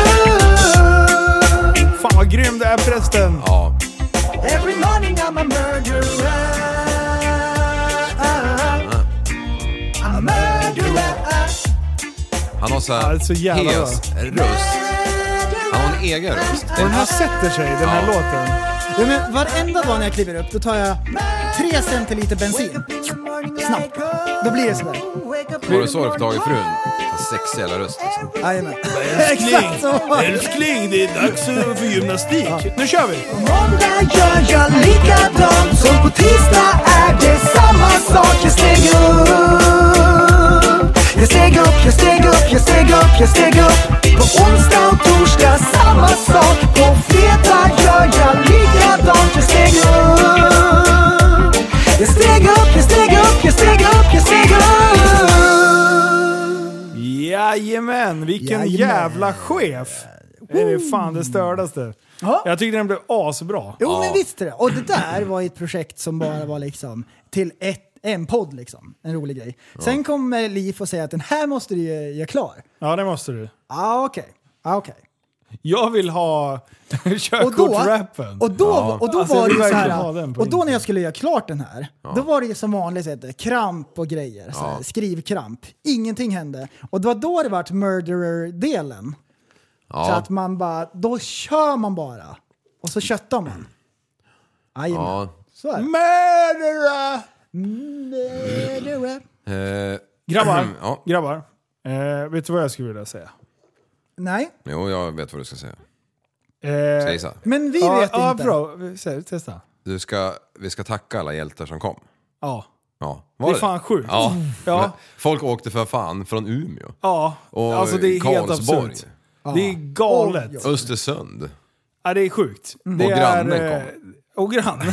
E: Fan vad grym det är förresten.
G: ja.
H: Every morning I'm a murderer I'm a murderer
G: Han har så här
E: Ja, det är så jävla bra.
G: hes röst. Han har en egen röst.
E: Och den här sätter sig, den här
G: Ja.
E: låten.
F: Ja, men varenda dag när jag kliver upp, då tar jag 3 centiliter bensin. Snabbt. Då blir det sådär.
G: Var det så du fick tag i frun? Så Sexig jävla röst. liksom.
F: Jajamän. Exakt så var det.
E: Älskling, det är dags för gymnastik. Nu kör vi!
H: Måndag gör jag likadant Som på tisdag är det samma sak Jag steg upp Jag steg upp, jag steg upp, jag steg upp, jag steg upp På onsdag och torsdag samma sak På fredag gör jag likadant Jag steg upp Jag steg upp, jag steg upp, jag steg upp, jag steg upp
E: Jajamän, vilken
F: Jajamän.
E: jävla chef! Det är fan det stördaste.
F: Ja.
E: Jag tyckte den blev asbra.
F: Jo men visst är det. Och det där var ju ett projekt som bara var liksom till ett, en podd liksom. En rolig grej. Sen kommer Liv och säger att den här måste du ju göra klar.
E: Ja, det måste du.
F: Ah, okej. Ah, okej.
E: Jag vill ha
F: Och då,
E: körkortsrappen.
F: och då, och då
E: Alltså, jag
F: var det
E: vill
F: ju så
E: verkligen ha den
F: här,
E: på
F: och då när
E: internet.
F: jag skulle göra klart den här, då var det ju som vanligt så här, kramp och grejer. Så här, Skrivkramp. Ingenting hände. Och det var då det vart murderer-delen. Så
G: Ja.
F: att man bara, då kör man bara. Och så köttar man. Jajamän.
G: ja.
F: Så är det.
E: Murderer!
F: Murderer.
G: Eh,
E: Grabbar,
G: Ja.
E: grabbar. Eh, vet du vad jag skulle vilja säga?
F: Nej,
G: jo, jag vet vad du ska säga.
E: Eh,
G: Säg så. här.
F: men vi
E: ja,
F: vet
E: ja,
F: inte.
E: Bra. Vi- säg, Testa.
G: Du ska, vi ska tacka alla hjältar som kom.
E: Ja.
G: Ja.
E: Det
G: Var
E: är fan sjukt.
G: Ja.
E: Ja.
G: Men Folk åkte för fan från Umeå.
E: Ja,
G: Och
E: alltså det är helt
G: Karlsborg.
E: absurt. Det är galet.
F: Oj, oj.
G: Östersund.
E: Ja, det är sjukt. Det
G: Mm. Och grannen
E: är, eh, Och grannen.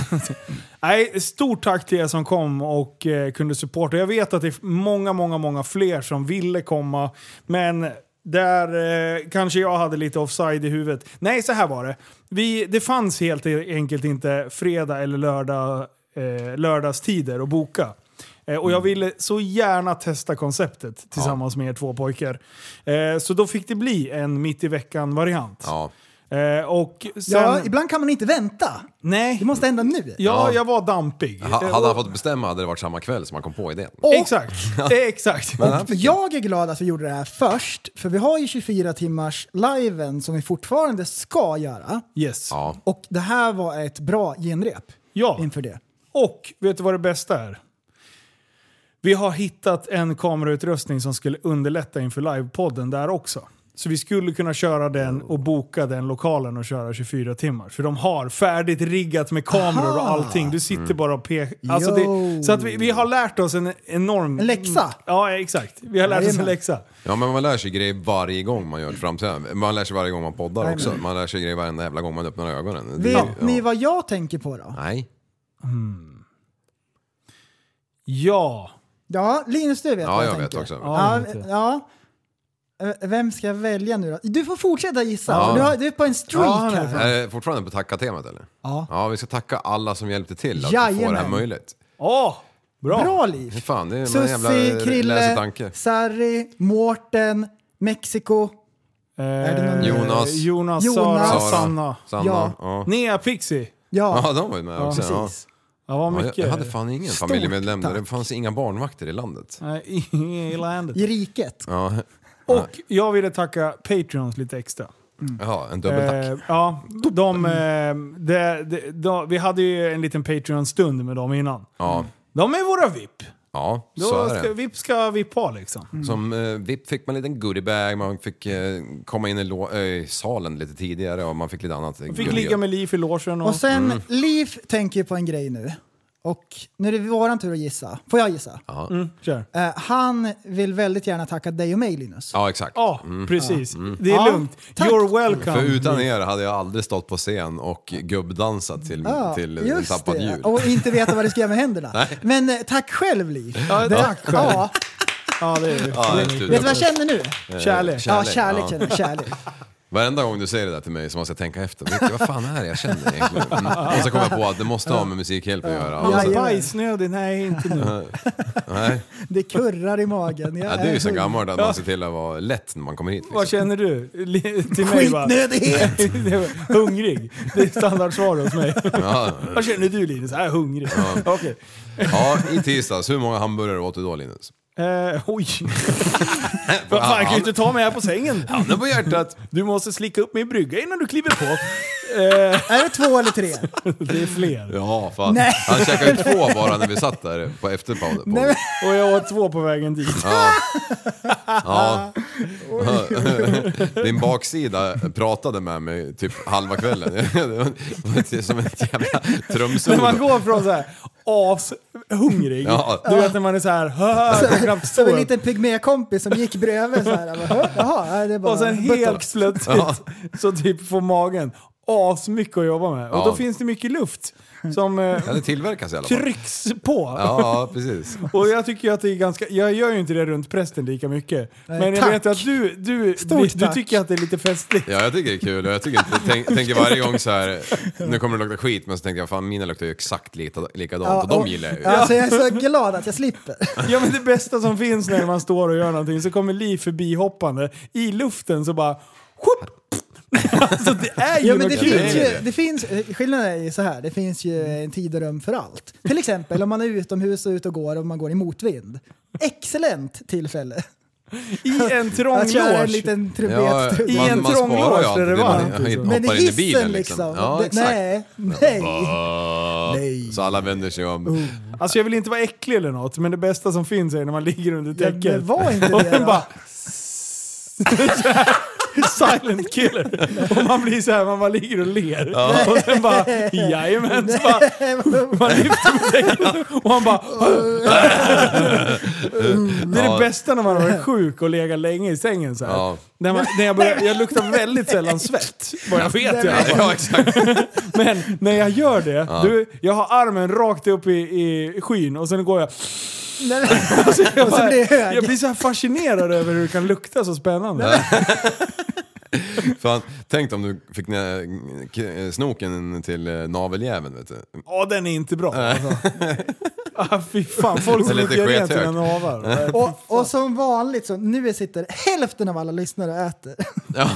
E: Nej, stort tack till er som kom och eh, kunde supporta. Jag vet att det är många, många, många fler som ville komma, men där eh, kanske jag hade lite offside i huvudet. Nej, så här var det. Vi, det fanns helt e-, enkelt inte fredag eller lördag, eh, lördagstider att boka. Eh, Och
G: Mm.
E: jag ville så gärna testa konceptet tillsammans med er två pojkar. Eh, Så då fick det bli en mitt i veckan-variant.
G: Ja.
E: Eh, och sen...
F: Ja, ibland kan man inte vänta.
E: nej.
F: Det måste hända nu.
E: Ja, jag var dampig.
G: Ha,
E: Eh,
G: hade han
E: och-
G: fått bestämma hade det varit samma kväll som han kom på idén.
F: Och
E: Exakt. Eh, Exakt.
F: jag är glad att vi gjorde det här först, för vi har ju 24 timmars liven som vi fortfarande ska göra.
E: Yes.
G: Ja.
F: Och det här var ett bra genrep
E: Ja.
F: inför det.
E: Och vet du vad det bästa är? Vi har hittat en kamerautrustning som skulle underlätta inför livepodden där också. Så vi skulle kunna köra den och boka den lokalen och köra 24 timmar. För de har färdigt riggat med kameror och allting. Du sitter bara och pekar. Alltså det,
F: Yo.
E: så att vi, vi har lärt oss en enorm...
F: En
G: Mm.
F: läxa.
E: Ja, exakt. Vi har lärt oss en
F: Jajamän.
E: läxa.
G: Ja men man lär sig grejer varje gång man gör ett framträdande. Man lär sig varje gång man poddar också. Man lär sig grejer varenda jävla gång man öppnar ögonen. Det-
F: Vet
G: ja.
F: ni vad jag tänker på då?
G: Nej.
E: Ja.
F: Ja, Linus du vet
G: Ja,
F: vad
G: jag
F: jag,
G: vet
F: tänker.
G: också.
E: Ja,
F: Ja,
E: det vet jag.
F: ja. Eh, Vem ska jag välja nu då? Du får fortsätta gissa.
G: Ja.
F: Du, har, du är på en streak
E: Ja,
F: här.
G: Är det fortfarande på tacka-temat eller?
F: Ja.
G: Ja, vi ska tacka alla som hjälpte till att få
F: Jajamän.
G: det här möjligt.
E: Åh! bra.
F: Bra liv!
G: Hur fan, det är en jävla
F: Sussi, Krille,
G: läsetanke.
F: Sarri, Mårten, Mexiko. Eh,
E: Är
F: det någon-
G: Jonas.
E: Eh, Jonas, Sara,
F: Jonas.
G: Sara,
E: Sanna.
G: Sanna. Ja.
F: Ja.
G: Ja.
E: Nea Pixie.
F: Ja,
G: de var ju med också. Ja.
F: precis.
E: Ja, vad
G: Ja, jag,
E: mycket.
G: jag hade fan ingen
F: Stort
G: familjemedlem där.
F: tack.
G: Det fanns inga barnvakter i landet.
E: Nej, i landet.
F: I riket.
G: Ja,
E: Och jag ville tacka Patreons lite extra.
G: ja en dubbeltack.
E: Eh, ja, de, eh, de, de, de, vi hade ju en liten Patreon-stund med dem innan.
G: Ja,
E: De är våra VIP.
G: ja
E: Då
G: så är
E: ska,
G: det.
E: VIP ska vippa liksom.
G: Som eh, VIP fick man en liten goodiebag, man fick eh, komma in i lo- eh, i salen lite tidigare och man fick lite annat.
E: Vi fick ligga med Liv i logen och...
F: Och sen,
G: Mm.
F: Liv tänker ju på en grej nu. Och nu är det våran tur att gissa. Får jag gissa?
E: Kör.
F: Eh, han vill väldigt gärna tacka dig och mig Linus.
G: Ja, exakt.
E: Ja, precis.
G: Mm.
E: Det är
F: Ja,
E: lugnt.
F: tack.
E: You're welcome.
G: För utan er hade jag aldrig stått på scen och gubbdansat till,
E: Ah,
F: Ja,
G: till en
F: just
G: tappad
F: det.
G: jul.
F: Och inte veta vad det ska göra med händerna. Men eh, tack själv Liv.
E: Ja, tack själv.
F: Ja,
E: Ja, det är
G: Ja, det är
E: det.
G: tur.
F: vet du vad jag känner nu?
E: Kärlek.
F: Ja,
G: Eh, Kärlek,
F: kärlek
G: ja.
F: känner jag, kärlek.
G: Varenda gång du säger det där till mig så måste jag tänka efter. Vilket- Vad fan är det jag känner egentligen? Mm. Och så kommer jag på att det måste ha med musikhjälpen att göra. Och
E: Alltså,
G: så,
F: Jajamän.
E: bajsnödig? Nej, inte nu.
G: nej,
F: Det kurrar i magen. Jag
G: ja, du är ju så
F: hungrig.
G: gammal att man ser till att vara lätt när man kommer hit.
E: Vad
G: Liksom.
E: känner du? Li- Till mig va?
F: Skitnödighet!
E: Det var hungrig. Det är standardsvar hos mig.
G: Ja.
E: Vad känner du Linus? Jag är hungrig. Okej.
G: ja, i tisdags. Hur många hamburgare åt du då Linus?
E: Eh, oj. Vad fan, kan ju inte ta mig här på sängen.
G: Handen på hjärtat.
E: Du måste slicka upp min brygga innan du kliver på. Eh,
F: Är det två eller tre?
E: Det är fler.
G: Ja, fan.
F: Nej.
G: Han käkade ju två bara när vi satt där på efterpodden.
F: Nej, men-
E: Och jag åt två på vägen dit.
G: Ja. ja. Din baksida pratade med mig typ halva kvällen. Det var som ett jävla
E: Så man
G: trumsolo.
E: går från såhär ashungrig,
G: Ja.
E: du vet när man är såhär hö, kan knappt
F: Som
E: stå
F: en
E: upp.
F: liten pygmékompis som gick bredvid så här. Jag bara, "Hö? Jaha, nej, det är bara
E: Och sen helt plötsligt
G: Ja.
E: så typ får magen asmycket att jobba med. Och
G: Ja.
E: då finns det mycket luft som eh,
G: Ja, det tillverkas i alla fall.
E: trycks på.
G: Ja, precis.
E: Och jag tycker ju att det är ganska, jag gör ju inte det runt prästen lika mycket. Men jag
F: tack.
E: vet att du, du,
F: Stort
E: du, du
F: tack.
E: tycker att det är lite festligt.
G: Ja, jag tycker det är kul och jag tycker inte, tänk, tänker varje gång så här. nu kommer det lukta skit, men så tänker jag fan mina luktar ju exakt lika- likadant och de gillar jag ju.
F: Ja, alltså, jag är så glad att jag slipper.
E: Ja men det bästa som finns när man står och gör någonting så kommer Li förbihoppande i luften så bara Whoop! Alltså det är ju
F: Ja, men det
E: något
F: finns
E: kul.
F: ju, det finns, eh, skillnaden är ju så här, det finns ju en tid och rum för allt. Till exempel om man är utomhus och ute och går och man går i motvind. Excellent tillfälle
E: I en trång
F: att köra Alltså, en
E: loge.
F: liten
G: Ja,
F: trumpet.
E: I
G: man-
E: en
G: man
E: trång
G: sparar ju
E: loge
G: alltid
E: där det
G: det
E: var
G: man
E: varmt, liksom.
F: Men
G: hoppar
F: i
G: in i
F: hissen
G: bilen
F: liksom.
G: liksom. Ja,
F: det-
G: exakt.
F: nej, nej.
G: Nej. Så alla vänder sig om.
E: Alltså jag vill inte vara äcklig eller något, men det bästa som finns är när man ligger under
F: Ja,
E: täcket.
F: det var inte
E: och
F: det
E: den
F: då.
E: bara... Silent killer. Och man blir så här, man bara ligger och ler. Och sen bara, jajamän. Så bara, man lyfter på täcket och han bara... Det är det
G: Mm. Ja.
E: bästa när man har varit sjuk och legat länge i sängen så här.
G: Ja.
E: När man, när jag, börjar, jag luktar väldigt sällan svett, vad jag vet. Jag.
G: Ja, exakt.
E: Men när jag gör det, du, jag har armen rakt upp i, i skyn och sen går jag...
F: Nej, men-
E: Jag,
F: Och så
E: bara-
F: blir det hög.
E: jag blir så här fascinerad över hur det kan lukta så spännande.
G: Fan, tänk om du fick ner k- snoken till eh, naveljäveln vet du.
E: Ja, den är inte bra. Alltså. Ah, fy fan, folk som
G: Eller
E: inte
G: lite
E: gör rent
G: skethög.
E: sina navar.
F: Och, och som vanligt så, nu sitter hälften av alla lyssnare och äter.
G: Ja.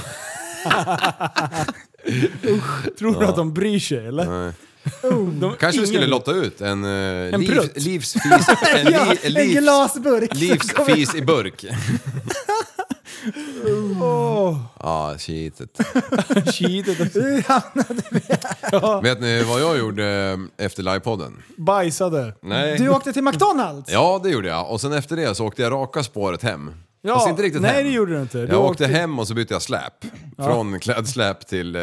E: Tror du att de bryr sig eller? De,
G: Kanske vi
E: ingen-
G: skulle lotta ut en, eh,
E: En
G: livs-
E: prutt.
G: livsfis en,
F: Ja,
G: li,
F: en
G: livs,
F: glasburk. som kommer-
G: livsfis i burk. Oh.
E: Åh,
G: Ja, shitet.
E: shitet.
G: Vet ni vad jag gjorde eh, efter livepodden?
E: Bajsade.
G: Nej.
F: Du åkte till McDonalds!
G: Ja, det gjorde jag. Och sen efter det så åkte jag raka spåret hem.
E: Ja,
G: Fast inte riktigt
E: nej,
G: hem.
E: det gjorde du inte. Du
G: jag åkte
E: åkte-
G: hem och så bytte jag släp. Från klädsläp till eh,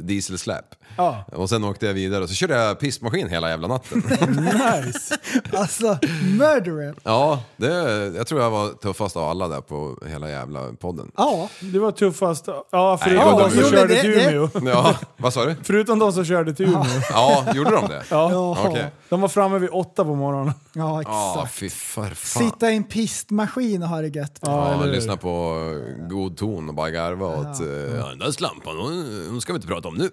G: dieselsläp.
E: Ja.
G: Och sen åkte jag vidare och så körde jag pissmaskin hela jävla natten.
E: Nice.
F: Alltså, murderer.
G: ja, det, jag tror jag var tuffast av alla där på hela jävla podden.
F: Ja.
E: Du var tuffast. Ja,
G: Nej,
E: förutom
G: jag
E: de
G: var
E: som
G: dum.
E: körde
F: Jo,
E: till
F: men det-
E: Umeå.
G: Ja, vad sa du?
E: Förutom de som körde till Umeå.
G: Ja, gjorde de det?
E: Ja.
G: Okej.
E: De var framme vid åtta på morgonen.
F: Ja,
G: Ja,
F: exakt.
G: fy för fan.
F: Sitta i en pistmaskin och ha det gött.
G: Ja,
E: eller hur?
G: lyssna på eh, god ton och bara garva åt... eh, Ja. Den där slampan, hon, hon ska vi inte prata om nu.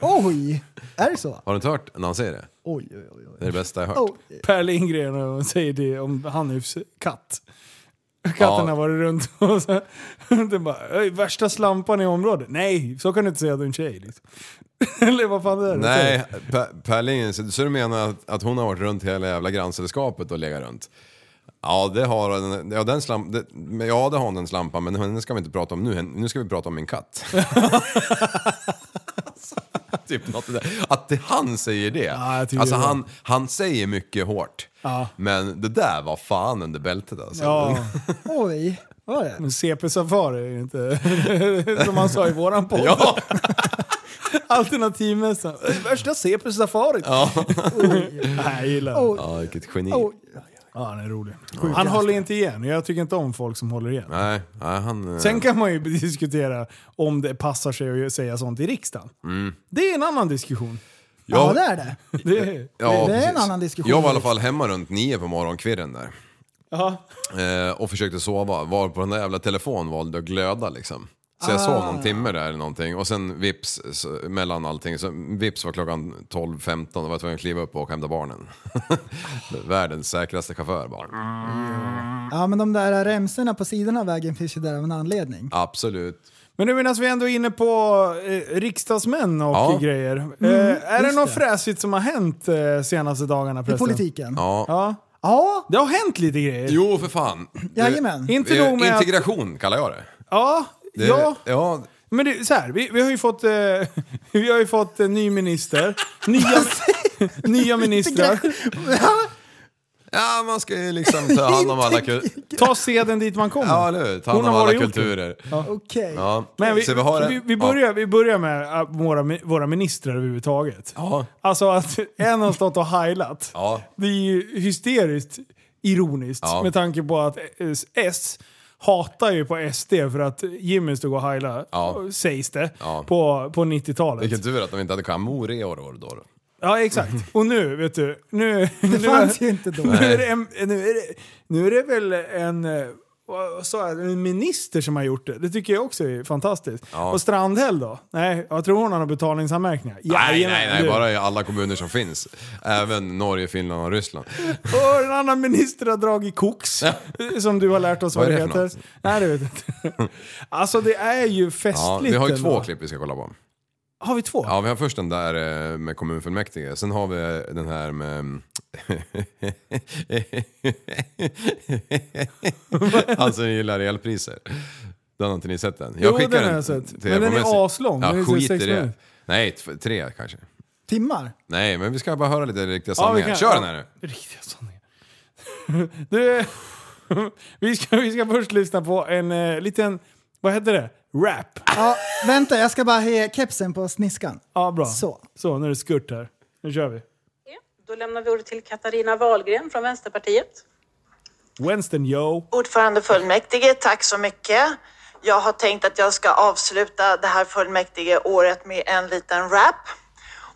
F: Oj! Är det så?
G: Har du inte hört när han säger det?
F: Oj, oj, oj. oj.
G: Det är det bästa jag har hört.
F: Oh.
E: Per Lindgren och säger det om Hanifs katt.
G: Ja.
E: Katten har varit runt och så, den bara "Oj, “Värsta slampan i området”. Nej, så kan du inte säga att du är en tjej. Liksom. Eller vad fan det är.
G: Nej, Per- Per Lindgren, så, så du menar att, att hon har varit runt hela jävla grannsällskapet och legat runt? Ja, det har den, ja, den slamp, det, men ja, det har den slampan, men henne ska vi inte prata om nu. Hen- Nu ska vi prata om min katt. Alltså, typ något där. Att det, han säger det.
E: Ja, jag tycker
G: alltså
E: det var-
G: han, han säger mycket hårt.
E: Ja.
G: Men det där var fan under bältet alltså.
E: Ja,
F: Oj, vad var det?
E: men CP Safari är ju inte som han sa i våran podd.
G: Ja.
E: Alternativmässan. "Oj, Värsta CP Safari.
G: Ja.
E: Nej, jag gillar den.
F: Oj,
G: ja, vilket geni.
E: Oh.
F: oj.
E: Ja, han är rolig. Han håller inte igen. Jag tycker inte om folk som håller igen.
G: Nej, nej, han... eh,
E: Sen kan man ju diskutera om det passar sig att säga sånt i riksdagen.
G: Mm.
E: Det är en annan diskussion.
F: Ja, det är det.
E: Det är,
G: Ja,
F: Det är en
G: precis.
F: annan diskussion.
G: Jag var i alla fall hemma runt nio på morgonkvirren där.
E: ja.
G: Eh, och försökte sova. Var på den där jävla telefonen valde att glöda liksom. Så jag sov
E: Ah.
G: någon timme där eller någonting och sen vips så, mellan allting. Så vips var klockan 12.15 och var jag tvungen att kliva upp och åka och hämta barnen. Världens säkraste chaufför bara.
E: Mm.
F: Ja, men de där remsorna på sidan av vägen finns ju där av en anledning.
G: Absolut.
E: Men nu medan vi ändå är inne på eh, riksdagsmän och
G: Ja.
E: grejer. eh, är det något fräsigt som har hänt eh, senaste dagarna?
F: I
E: förresten?
F: politiken.
G: Ja.
E: Ja.
F: Ja,
E: Det har hänt lite grejer.
G: Jo för fan.
F: jajamän.
E: Inte nog
G: Eh,
E: med att...
G: Integration kallar jag det.
E: Ja,
G: det
E: ja.
G: ja.
E: Men det, är så här, vi, vi har ju fått, eh, vi har ju fått en ny minister, nya, nya ministrar.
G: Ja, man ska ju liksom ta hand om alla kulturer.
E: Ta seden dit man kommer.
G: Ja, eller hur? Ta
E: Hon
G: hand om
E: har
G: alla
E: varit gjort det.
G: kulturer.
F: Okej.
G: Ja.
E: Men vi,
G: Så vi har
E: vi,
G: en-
E: vi, börjar, vi börjar med eh, våra, våra ministrar överhuvudtaget.
G: Ja.
E: Alltså att en har stått och heilat.
G: Ja.
E: Det är ju hysteriskt ironiskt
G: Ja.
E: med tanke på att S- S hatar ju på SD för att Jimmy stod och heilade,
G: Ja.
E: sägs det,
G: Ja.
E: på, på 90-talet.
G: Vilken tur att de inte hade kamoreor då. då.
E: Ja, exakt. Och nu, vet du. Nu,
F: Det
E: nu,
F: fanns ju inte då.
E: nu, är det en, nu, är det, nu är det väl en... eh, Vad sa jag? En minister som har gjort det. Det tycker jag också är fantastiskt.
G: Ja.
E: Och Strandhäll då? Nej, jag tror hon har några betalningsanmärkningar.
G: Nej,
E: Jajamän,
G: nej, nej,
E: du.
G: bara i alla kommuner som finns. Även Norge, Finland och Ryssland.
E: Och en annan minister har dragit koks. Som du har lärt oss vad,
G: Vad är
E: det
G: det för
E: heter.
G: något?
E: Nej, det vet jag inte. Alltså det är ju festligt.
G: Ja, vi har ju
E: ändå.
G: två klipp vi ska kolla på.
E: Har vi två?
G: Ja, vi har först den där eh, med kommunfullmäktige, sen har vi eh, den här med... Han som Alltså, gillar elpriser. Den har inte ni sett än?
E: Jo, den har jag sett.
G: till
E: Men
G: er på
E: den är
G: messenger.
E: aslång. Den är
G: Ja,
E: så
G: skit i
E: sex
G: det.
E: minuter.
G: Nej, t- tre kanske.
F: Timmar?
G: Nej, men vi ska bara höra lite riktiga
E: Ja, vi
G: sanningar.
E: kan-
G: Kör den här nu!
E: Riktiga sanningar. Du, vi, ska, vi ska först lyssna på en eh, liten, vad heter det? Rap.
F: Ja, vänta, jag ska bara ha kepsen på sniskan.
E: Ja, bra.
F: Så.
E: Så, nu är det skurt här. Nu kör vi.
I: Då lämnar vi ordet till Katarina Wahlgren från Vänsterpartiet.
E: Winston, yo.
J: Ordförande fullmäktige, tack så mycket. Jag har tänkt att jag ska avsluta det här fullmäktige året med en liten rap.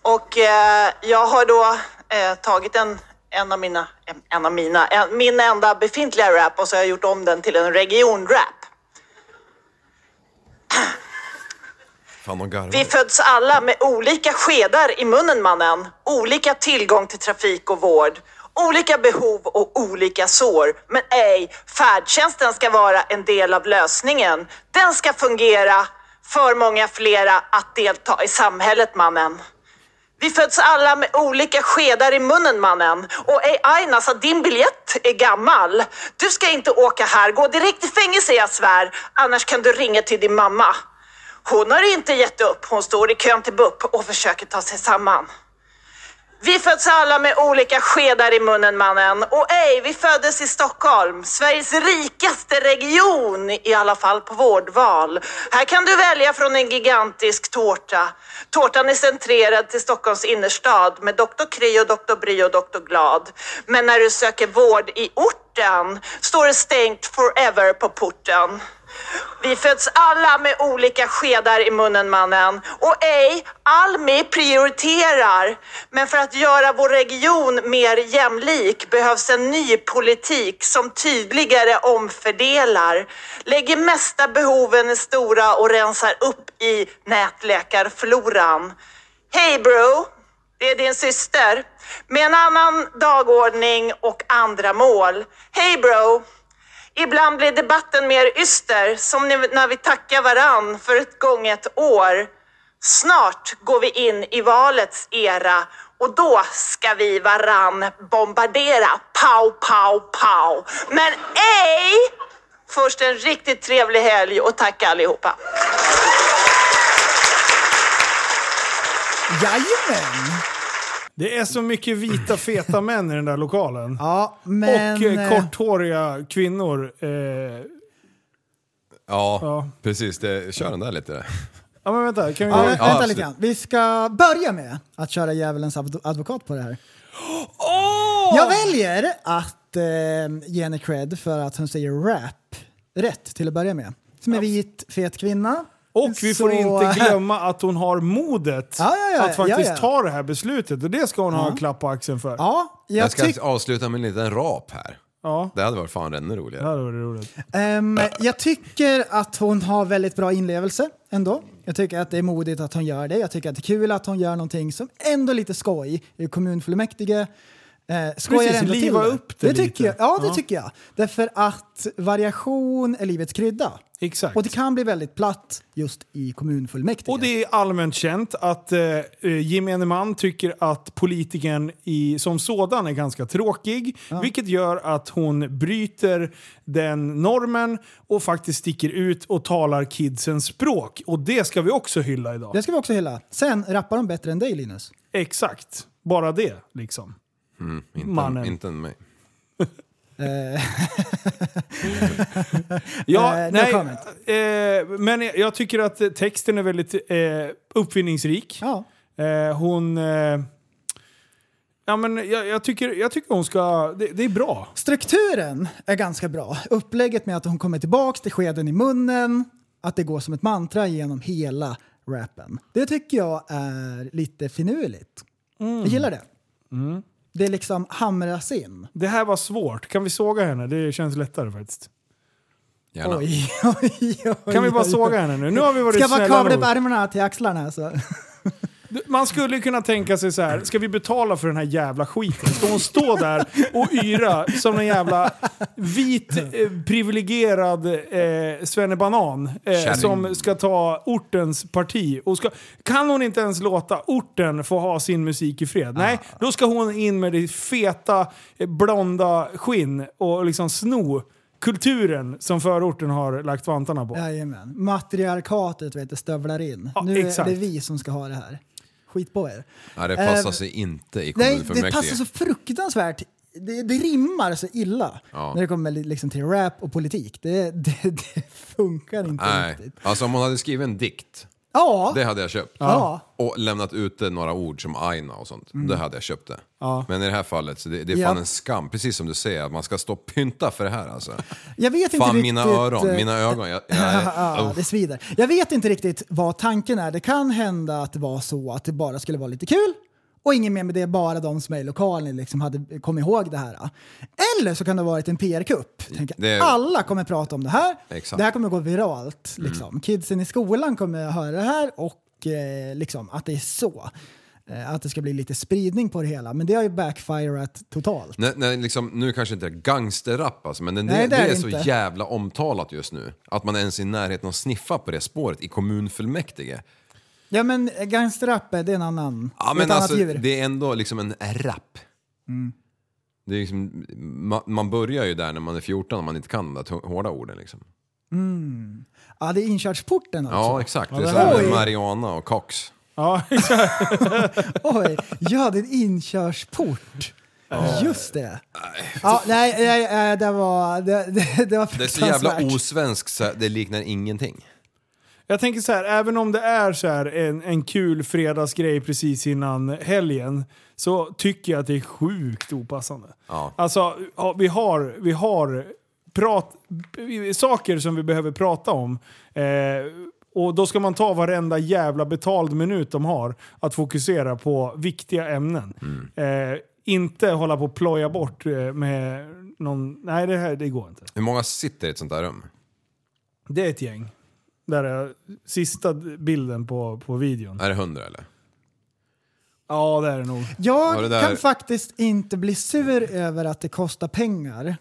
J: Och eh, jag har då eh, tagit en, en av mina, en, en av mina, en, min enda befintliga rap och så har jag gjort om den till en regionrap.
G: Fan, de garvar.
J: Vi föds alla med olika skedar i munnen mannen. Olika tillgång till trafik och vård. Olika behov och olika sår. Men ej, färdtjänsten ska vara en del av lösningen. Den ska fungera för många flera att delta i samhället mannen. Vi föds alla med olika skedar i munnen mannen. Och ej Aina, så din biljett är gammal. Du ska inte åka här, gå direkt i fängelse jag svär. Annars kan du ringa till din mamma. Hon har inte gett upp, hon står i kön till BUP och försöker ta sig samman. Vi föds alla med olika skedar i munnen mannen. Och ej, vi föddes i Stockholm, Sveriges rikaste region, i alla fall på vårdval. Här kan du välja från en gigantisk tårta. Tårtan är centrerad till Stockholms innerstad med Dr. Kry och Dr. Bry och Dr. Glad. Men när du söker vård i orten står det stängt forever på porten. Vi föds alla med olika skedar i munnen mannen och ej, Almi prioriterar. Men för att göra vår region mer jämlik behövs en ny politik som tydligare omfördelar, lägger mesta behoven i stora och rensar upp i nätläkarfloran. Hej bro! Det är din syster. Med en annan dagordning och andra mål. Hej bro! Ibland blir debatten mer yster, som ni- när vi tackar varann för ett gånget år. Snart går vi in i valets era och då ska vi varann bombardera. Pow, pow, pow. Men ej! Först en riktigt trevlig helg och tack allihopa.
F: Jajamän!
E: Det är så mycket vita feta män i den där lokalen.
F: Ja, men...
E: Och eh,
F: eh,
E: korthåriga kvinnor. Eh,
G: Ja,
E: Ja.
G: precis. Det, kör den där lite.
E: ja men vänta, kan vi...
F: Ja,
E: gå-
F: vänta
G: absolut.
F: lite grann. Vi ska börja med att köra djävulens adv- advokat på det här. Jag väljer att eh, ge henne cred för att hon säger rap rätt till att börja med. Som en vit, fet kvinna.
E: Och vi får
F: Så-
E: inte glömma att hon har modet
F: Ja, ja, ja,
E: att faktiskt
F: ja, ja.
E: ta det här beslutet. Och det ska hon ha en klapp på axeln för.
F: Ja, jag,
G: Jag ska
F: tyck-
G: avsluta med en liten rap här.
E: Ja.
G: Det hade varit fan ännu roligare.
E: Det här var det roligt.
F: Ehm, jag tycker att hon har väldigt bra inlevelse ändå. Jag tycker att det är modigt att hon gör det. Jag tycker att det är kul att hon gör någonting som ändå är lite skoj i kommunfullmäktige. Eh, skojar
E: Precis,
F: ändå
E: liva
F: till
E: upp det
F: tycker
E: lite.
F: jag, Ja, det
E: Ja.
F: tycker jag. Därför att variation är livets krydda.
E: Exakt.
F: Och det kan bli väldigt platt just i kommunfullmäktige.
E: Och det är allmänt känt att eh, eh, gemene man tycker att politikern i, som sådan är ganska tråkig. Vilket gör att hon bryter den normen och faktiskt sticker ut och talar kidsens språk. Och det ska vi också hylla idag.
F: Det ska vi också hylla. Sen rappar de bättre än dig Linus.
E: Exakt. Bara det, liksom.
G: Mm, Inte,
E: Mannen.
G: Inte en mig.
E: Ja,
F: Eh, no
E: nej,
F: comment.
E: eh, men jag- jag tycker att eh, texten är väldigt eh, uppfinningsrik.
F: Ja.
E: Eh, hon... Eh, ja, men jag, jag, tycker, jag tycker hon ska... Det, det är bra.
F: Strukturen är ganska bra. Upplägget med att hon kommer tillbaks till skeden i munnen, att det går som ett mantra genom hela rappen. Det tycker jag är lite finurligt.
E: Mm.
F: Jag gillar det. Det liksom hamras in.
E: Det här var svårt. Kan vi såga henne? Det känns lättare faktiskt.
G: Gärna.
F: Oj, oj, oj,
E: Kan vi bara
F: oj.
E: såga henne nu? Nu har vi varit
F: Ska bara
E: snälla
F: kavla upp
E: nog.
F: armarna till axlarna. Så.
E: Man skulle ju kunna tänka sig så här. ska vi betala för den här jävla skiten? Ska hon stå där och yra som en jävla vit eh, privilegierad eh, svennebanan eh,
G: Kärring.
E: som ska ta ortens parti? Och ska, kan hon inte ens låta orten få ha sin musik i fred? Nej, då ska hon in med det feta, eh, blonda skinn och liksom sno kulturen som förorten har lagt vantarna på.
F: Jajamän. Matriarkatet vet du, stövlar in.
E: Ja,
F: nu
E: exakt.
F: är det vi som ska ha det här. Skit på er.
G: Nej, det passar
F: Eh,
G: sig inte i
F: Nej,
G: kommunfullmäktige.
F: det passar så fruktansvärt. Det, det rimmar så illa
G: Ja.
F: när det kommer liksom till rap och politik. Det, det, det funkar inte
G: Nej,
F: riktigt.
G: alltså om hon hade skrivit en dikt,
F: Ja,
G: det hade jag köpt.
F: Ja. Mm.
G: Och lämnat ute några ord som aina och sånt, det hade jag köpt det. Men i det här fallet, så det, det är fan
F: Ja.
G: en skam, precis som du säger, att man ska stå och pynta för det här alltså.
F: jag vet inte
G: Fan
F: riktigt.
G: mina öron,
F: eh,
G: mina ögon. Jag, jag,
F: Ja, det svider. Jag vet inte riktigt vad tanken är. Det kan hända att det var så att det bara skulle vara lite kul och ingen mer med det, bara de som är i lokalen liksom hade kommit ihåg det här. Eller så kan det ha varit en PR-kupp. Tänk,
G: Det-
F: Alla kommer prata om det här.
G: Exakt. Mm.
F: Det här kommer gå viralt. Liksom. Kidsen i skolan kommer höra det här och eh, liksom, att det är så. Eh, att det ska bli lite spridning på det hela. Men det har ju backfirat totalt.
G: Nej, nej, liksom, nu kanske inte gangsterrap alltså, men det,
F: Nej,
G: det,
F: det är
G: är
F: det
G: så
F: inte.
G: jävla omtalat just nu. Att man ens är i närheten av att sniffa på det spåret i kommunfullmäktige.
F: Ja men gangsterrap, det är en annan.
G: Ja,
F: ett
G: men alltså,
F: annat djur. Mm.
G: det är ändå liksom en rap. Det är liksom, man, man börjar ju där när man är 14 och man inte kan de där hårda orden liksom.
F: Ja, det är inkörsporten också.
G: Ja, exakt. Det är
E: det
G: som
E: här
F: är-
G: med Mariana och Cox.
E: Ja,
F: Oj, ja det är en inkörsport.
G: Eh,
F: Just det. Ja, nej, nej, nej, eh, det var det, det, det var
G: Det är så jävla
F: fruktansvärt.
G: osvenskt så det liknar ingenting.
E: Jag tänker så här, även om det är så här en, en kul fredagsgrej precis innan helgen så tycker jag att det är sjukt opassande.
G: Ja.
E: Alltså, ja, vi har, vi har prat, b- saker som vi behöver prata om. Eh, och då ska man ta varenda jävla betald minut de har att fokusera på viktiga ämnen. Eh, inte hålla på och ploja bort eh, med någon... Nej, det här det går inte.
G: Hur många sitter i ett sånt där rum?
E: Det är ett gäng. Där är sista bilden på, på videon.
G: Är det hundra eller?
E: Ja, det är det nog.
G: Ja, det
F: Jag
G: där-
F: kan faktiskt inte bli sur över att det kostar pengar.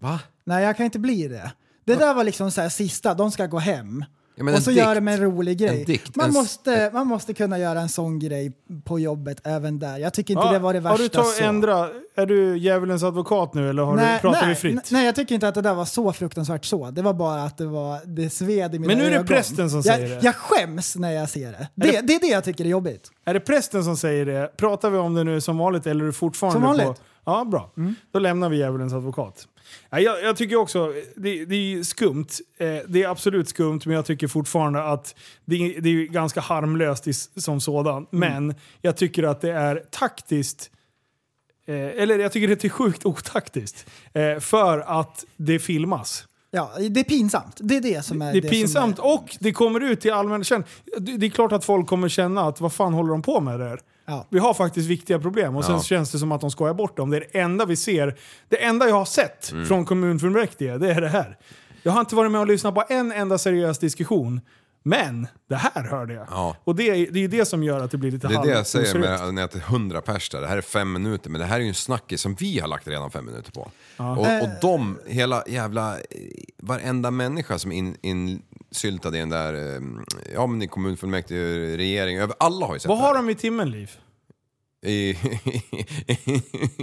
G: Va?
F: Nej, jag kan inte bli det. Det där var liksom så här sista, de ska gå hem.
G: Ja, men
F: och
G: en
F: så
G: dikt.
F: gör de en rolig grej.
G: En dikt,
F: man,
G: en s-
F: måste, man måste kunna göra en sån grej på jobbet även där. Jag tycker inte
E: Ja,
F: det var det värsta.
E: har du tagit
F: så.
E: ändra, är du djävulens advokat nu eller har du, pratar
F: nej,
E: vi fritt?
F: Nej, jag tycker inte att det där var så fruktansvärt så. Det var bara att det, var, det sved i mina
E: Men nu är det
F: ögon.
E: prästen som
F: jag,
E: säger det.
F: Jag skäms när jag ser det. Det, det...
E: det-
F: är det jag tycker är jobbigt.
E: Är det prästen som säger det? Pratar vi om det nu som vanligt eller är du fortfarande
F: Som vanligt. Mm.
E: på... Ja, bra. Då lämnar vi djävulens advokat. Ja, jag, jag tycker också, det, det är skumt. Eh, det är absolut skumt, men jag tycker fortfarande att det, det är ju ganska harmlöst i, s- som
F: Mm.
E: sådan. Men jag tycker att det är taktiskt Eh, eller jag tycker det är sjukt otaktiskt. Eh, för att det filmas.
F: Ja, det är pinsamt. Det är det som är
E: Det är
F: som
E: pinsamt
F: är-
E: och det kommer ut i allmän känn. Det det är klart att folk kommer känna att vad fan håller de på med där?
F: Ja.
E: Vi har faktiskt viktiga problem och sen
G: Ja.
E: känns det som att de skojar bort dem. Det är det enda vi ser. Det enda jag har sett
G: Mm.
E: från kommunfullmäktige, det är det här. Jag har inte varit med och lyssnat på en enda seriös diskussion. Men det här hörde jag.
G: Ja.
E: Och det, är- det är ju det som gör att det blir lite
G: Det är det jag säger
E: halvoseriöst.
G: med, när jag är 100 pers där. Det här är fem minuter, men det här är ju en snackis som vi har lagt redan fem minuter på. Och, och de, hela jävla, eh, varenda människa som är in, insyltad i den där, eh, ja men i kommunfullmäktige, regering, över alla har ju sett
E: Vad
G: det här.
E: har de i timmen, Liv?
G: I,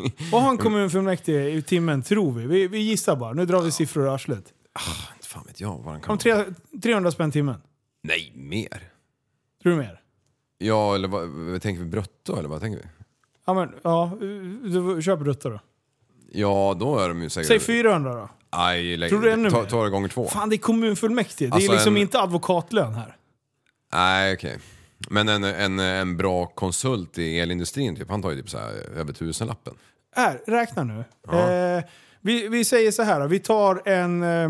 E: Vad har en kommunfullmäktige i timmen, tror vi? Vi, vi gissar bara. Nu drar vi siffror ur arslet.
G: fan vet jag vad den kan
E: Om tre, 300 spänn timmen.
G: Nej, mer.
E: Tror du mer?
G: Ja, eller vad, vad tänker vi? Brutto, eller vad tänker vi?
E: Ja, men, ja, du, köp brutto då.
G: Ja, då är de ju säkert...
E: Säg 400 då.
G: Aj, lägg,
E: Tror du ännu
G: ta,
E: mer?
G: ta det gånger två.
E: Fan, det är kommunfullmäktige. Det
G: Alltså,
E: är liksom
G: en-
E: inte advokatlön här.
G: Nej, okej. Men en, en, en bra konsult i elindustrin, typ, han tar ju typ så här över tusenlappen.
E: Här, räkna nu. Eh, vi, vi säger så här då. Vi tar en, eh,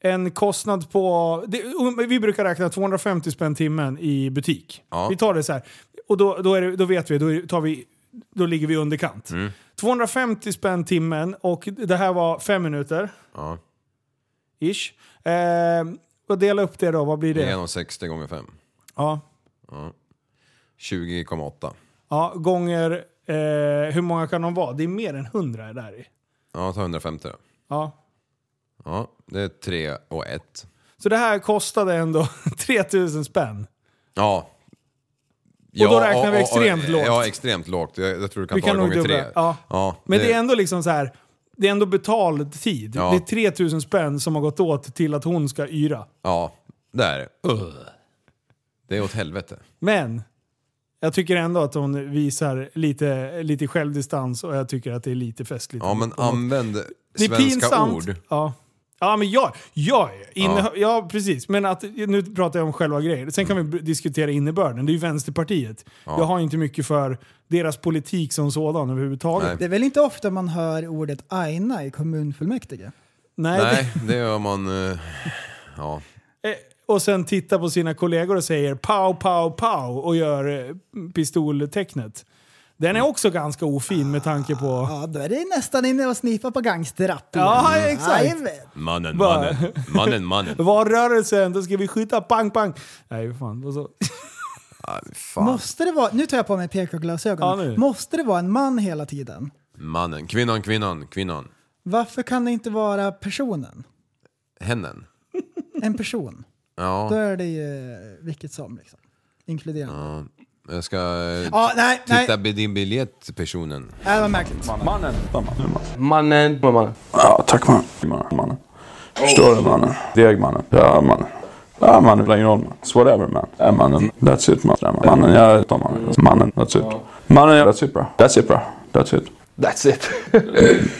E: en kostnad på... Det, um, vi brukar räkna 250 spänn timmen i butik.
G: Ja.
E: Vi tar det så här. Och då, då, är det, då vet vi, då, är- tar vi, då ligger vi underkant.
G: Mm.
E: 250 spänn timmen och det här var fem minuter.
G: Ja.
E: Ish. Eh, och dela upp det då, vad blir
G: Det
E: det?
G: är nog 60 gånger 5.
E: Ja.
G: 20,8.
E: ja, gånger... Eh, hur många kan de vara? Det är mer än 100 där i.
G: Ja, ta 150 då.
E: Ja.
G: Ja, det är 3 och 1.
E: Så det här kostade ändå 3000 spänn.
G: Ja.
E: då räknar vi extremt lågt.
G: Ja, extremt lågt. Jag, jag tror du kan
E: Vi
G: ta
E: kan
G: det
E: nog
G: gånger
E: dubbla.
G: 3.
E: Ja. Men det... är ändå liksom så här. Det är ändå betald tid.
G: Ja.
E: Det är 3000 spänn som har gått åt till att hon ska yra.
G: Ja, det är det. Ugh. Det är åt helvete.
E: Men jag tycker ändå att hon visar lite, lite självdistans och jag tycker att det är lite festligt.
G: Ja, men
E: På något-
G: använd
E: det är
G: svenska
E: pinsamt.
G: ord.
E: Ja. Ja men jag, jag är inne, ja. precis. Men att, nu pratar jag om själva grejer. Sen kan vi b- diskutera innebörden. Det är ju Vänsterpartiet. Jag har inte mycket för deras politik som sådan överhuvudtaget.
F: Det är väl inte ofta man hör ordet aina i kommunfullmäktige?
E: Nej. det-
G: Nej, det gör man... eh, Ja.
E: Eh, och sen tittar på sina kollegor och säger pow, pow, pow och gör eh, pistoltecknet. Den är också ganska ofin med tanke på...
F: Ja, då är det nästan inne och sniffa på gangsterrapp igen.
E: Ja, exakt.
F: Jajamän.
G: Mannen,
E: Va?
G: mannen, mannen, mannen.
E: Var rörelsen, då ska vi skjuta pang, pang. Nej, fan. vad så.
G: Ah, fan.
F: Måste det vara, nu tar jag på mig
E: Ja,
F: PK-glasögonen.
E: nu.
F: Måste det vara en man hela tiden?
G: Mannen, kvinnan, kvinnan, kvinnan.
F: Varför kan det inte vara personen?
G: Hennen.
F: En person. Då
G: Ja,
F: är det ju vilket som liksom. Inkluderande. Ja,
G: jag ska eh,
F: nej, nej.
G: titta på din biljett personen.
F: Nej, Det var märkligt.
K: Mannen. Mannen.
L: Ja, tack mannen. Mannen, mannen. Förstår du mannen? Deg mannen. Ja mannen. Ja mannen, spelar ingen roll man. It's whatever man. Ja mannen, that's it man. Ja, Mannen, jag tar mannen. Mannen, that's it. Mannen, jag- that's it bra. That's it bra. That's it.
K: That's it.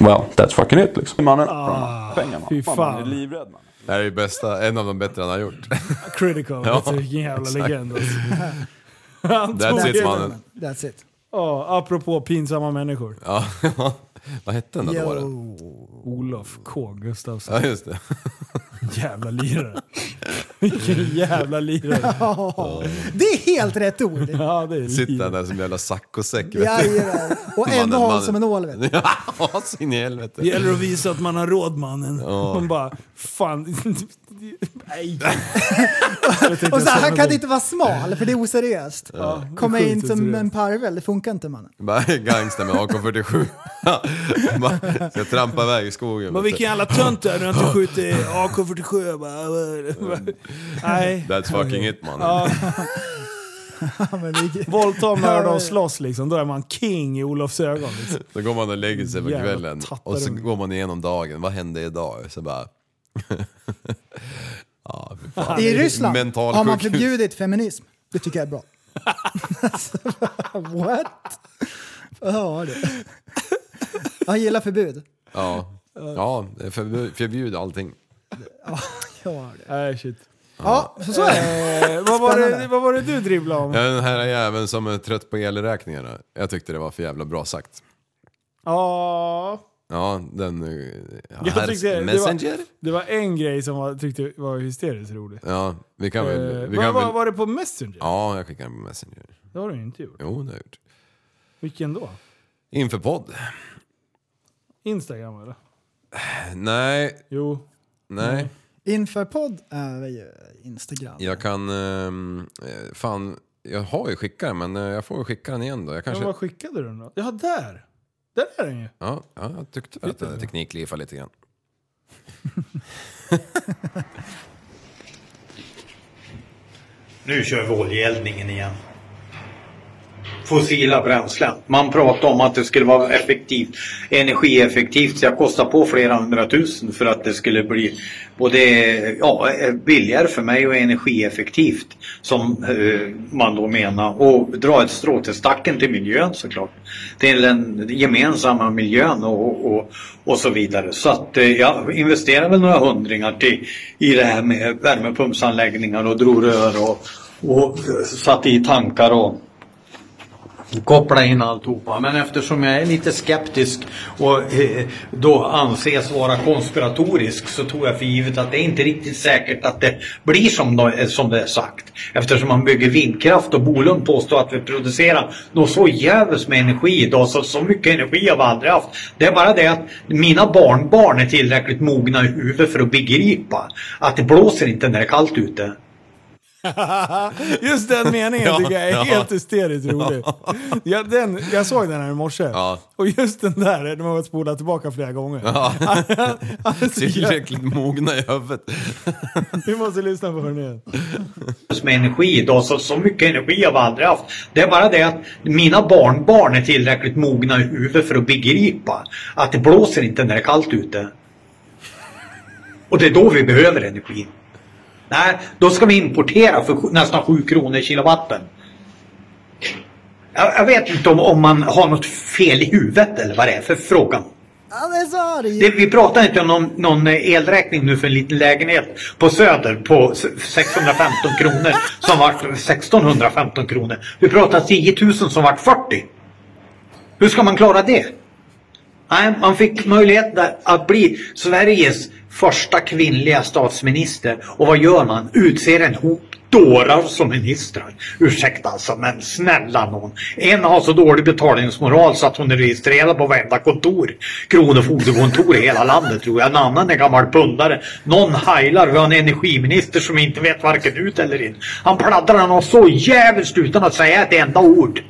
L: Well, that's fucking it liksom. Mannen, ah, pengar
E: Fy
L: man. Man är
E: fan.
L: livrädd man.
G: Det här är ju bästa, en av de bättre han har gjort.
E: Critical.
G: Ja,
E: alltså, vilken jävla legend. Alltså. Han tog
G: That's it,
E: det.
G: mannen.
F: That's it.
E: Ja, apropå pinsamma människor.
G: Ja, vad hette den där dåren?
E: Olof K Gustafsson.
G: Ja, just det.
E: Jävla lirare. Vilken jävla lirare.
F: Ja, det är helt rätt ord.
E: Ja, det är
G: Sitter han
E: lirare.
G: där som en jävla saccosäck. vet du.
F: Jajamän. Och ändå
G: Mannen,
F: håll
G: mannen.
F: som en ål. vet du.
G: Ja, så in i helvete.
E: Det gäller att visa att man har råd mannen. Man bara, fan. Nej.
F: Och så, här, han kan inte vara smal för det är oseriöst. Komma
E: sjukt
F: in som
E: oseriöst.
F: en parvel, det funkar inte mannen.
G: Bara Gangster med AK47. Bara, Ska trampa iväg i skogen.
E: Men
G: vet
E: vilken
G: du.
E: jävla tönt du är, du har inte skjutit AK47. Jag bara, Nej.
G: That's fucking it mannen.
F: Ja, men det-
E: Våldta, mörda och slåss liksom. Då är man king i Olofs ögon. Liksom.
G: Så går man och lägger sig på
E: Jävla
G: kvällen
E: tattare
G: och så
E: unge.
G: går man igenom dagen. Vad hände idag? Så bara... ja, fy fan.
F: I Ryssland
G: mental
F: har man
G: sjukhus.
F: förbjudit feminism. Det tycker jag är bra. Alltså, What? Ja, det. Han gillar förbud.
G: Ja, ja förbjud, förbjud allting.
F: Ja, det.
E: Nej, shit.
F: ja så, så är det.
E: Eh, vad, var det, vad var det du dribblade om?
G: Ja, Den här jäveln som är trött på elräkningarna. Jag tyckte det var för jävla bra sagt.
E: Ja.
G: Ja, den... eh,
E: Jag
G: här-
E: tyckte det var-
G: messenger?
E: Det var en grej som jag tyckte var hysteriskt rolig.
G: Ja, vi kan väl...
E: Eh,
G: Vi
E: vad
G: kan
E: var,
G: väl
E: var det på Messenger?
G: ja, jag skickar den på Messenger.
E: Det har du ju inte gjort.
G: Jo, det har jag gjort.
E: Vilken då?
G: Inför podd?
E: Instagram eller?
G: Nej,
E: Jo.
G: nej.
F: Inför podd är ju Instagram.
G: Jag kan... ehm, eh, fan, jag har ju skickat den men eh, jag får väl skicka den igen då. Jag kanske...
E: Men vad skickade du den då? Ja, där! Där är den ju.
G: Ja, ja jag tyckte väl att jag tekniklifade lite grann.
M: Nu kör vi oljeeldningen igen. Fossila bränslen. Man pratar om att det skulle vara effektivt, energieffektivt. Så jag kostar på flera hundratusen för att det skulle bli både ja, billigare för mig och energieffektivt. Som eh, man då menar. Och dra ett strå till stacken till miljön såklart. Till den gemensamma miljön och, och, och så vidare. Så att eh, jag investerade väl några hundringar till, i det här med värmepumpsanläggningar och drog rör och, och eh, satte i tankar och koppla in alltihopa. Men eftersom jag är lite skeptisk och eh, då anses vara konspiratorisk så tror jag för givet att det är inte riktigt säkert att det blir som, de, som det är sagt. Eftersom man bygger vindkraft och Bolund påstår att vi producerar något så jävligt med energi idag så, så mycket energi har vi aldrig haft. Det är bara det att mina barnbarn är tillräckligt mogna i huvudet för att begripa att det blåser inte när det är kallt ute.
E: Just den meningen
M: Ja,
E: tycker jag är
M: ja.
E: helt hysteriskt rolig. Ja, den, jag såg den här i morse. Och just den där, de har spolat tillbaka flera gånger.
G: Ja.
E: Alltså, jag,
G: Tillräckligt mogna i huvudet.
E: vi måste lyssna på den igen.
M: med energi idag så, så mycket energi har vi aldrig haft. Det är bara det att mina barnbarn är tillräckligt mogna i huvudet för att begripa att det blåser inte när det är kallt ute. Och det är då vi behöver energin. Nej, då ska vi importera för sju- nästan 7 kronor kilowatten. Jag, jag vet inte om, om man har något fel i huvudet eller vad det är för frågan.
F: Han är så arg!
M: Det, vi pratar inte om någon, någon elräkning nu för en liten lägenhet på Söder på s- 615 kronor som vart 1615 kronor. Vi pratar 10 000 som vart 40. Hur ska man klara det? Nej, man fick möjlighet att bli Sveriges första kvinnliga statsminister. Och vad gör man? Utser en hop dårar som ministrar. Ursäkta alltså, men snälla någon. En har så dålig betalningsmoral så att hon är registrerad på varenda kontor. Kronofogdekontor i hela landet tror jag. En annan är gammal pundare. Någon heilar. Vi har en energiminister som inte vet varken ut eller in. Han pladdrar något så jävligt utan att säga ett enda ord.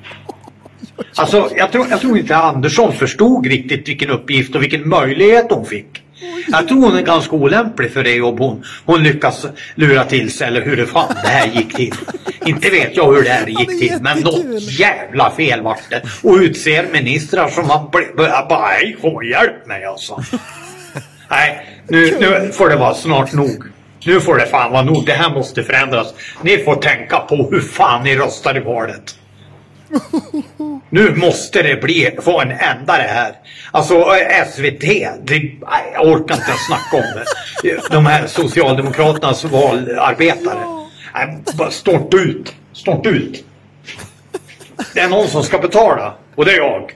M: Alltså, jag tror, jag tror inte Andersson förstod riktigt vilken uppgift och vilken möjlighet hon fick. Jag tror hon är ganska olämplig för det jobb hon, hon lyckas lura till sig eller hur det fan det här gick till. Inte vet jag hur det här gick till men något jävla fel vart det. Och utser ministrar som man blir... Bara hej, kom och hjälp mig alltså. Nej, nu, nu får det vara snart nog. Nu får det fan vara nog. Det här måste förändras. Ni får tänka på hur fan ni röstar i valet. Nu måste det bli, få en ändare här. Alltså eh, SVT, det, nej, jag orkar inte ens snacka om det. De här Socialdemokraternas valarbetare. Nej, bara Stort ut, stort ut. Det är någon som ska betala och det är jag.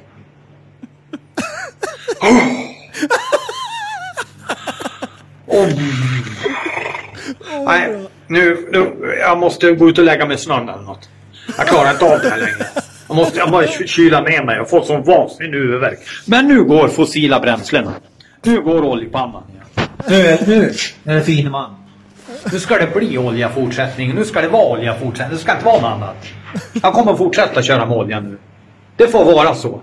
M: Oh. Nej, nu, nu, jag måste gå ut och lägga mig i snön eller något. Jag klarar inte av det här längre. Jag måste jag måste kyla ner mig. Jag får sån vansinnig huvudvärk. Men nu går fossila bränslen. Nu går oljepannan igen. Nu, är- nu är det fin man. Nu ska det bli olja i fortsättningen. Nu ska det vara olja i fortsättningen. Det ska inte vara något annat. Jag kommer fortsätta köra med olja nu. Det får vara så.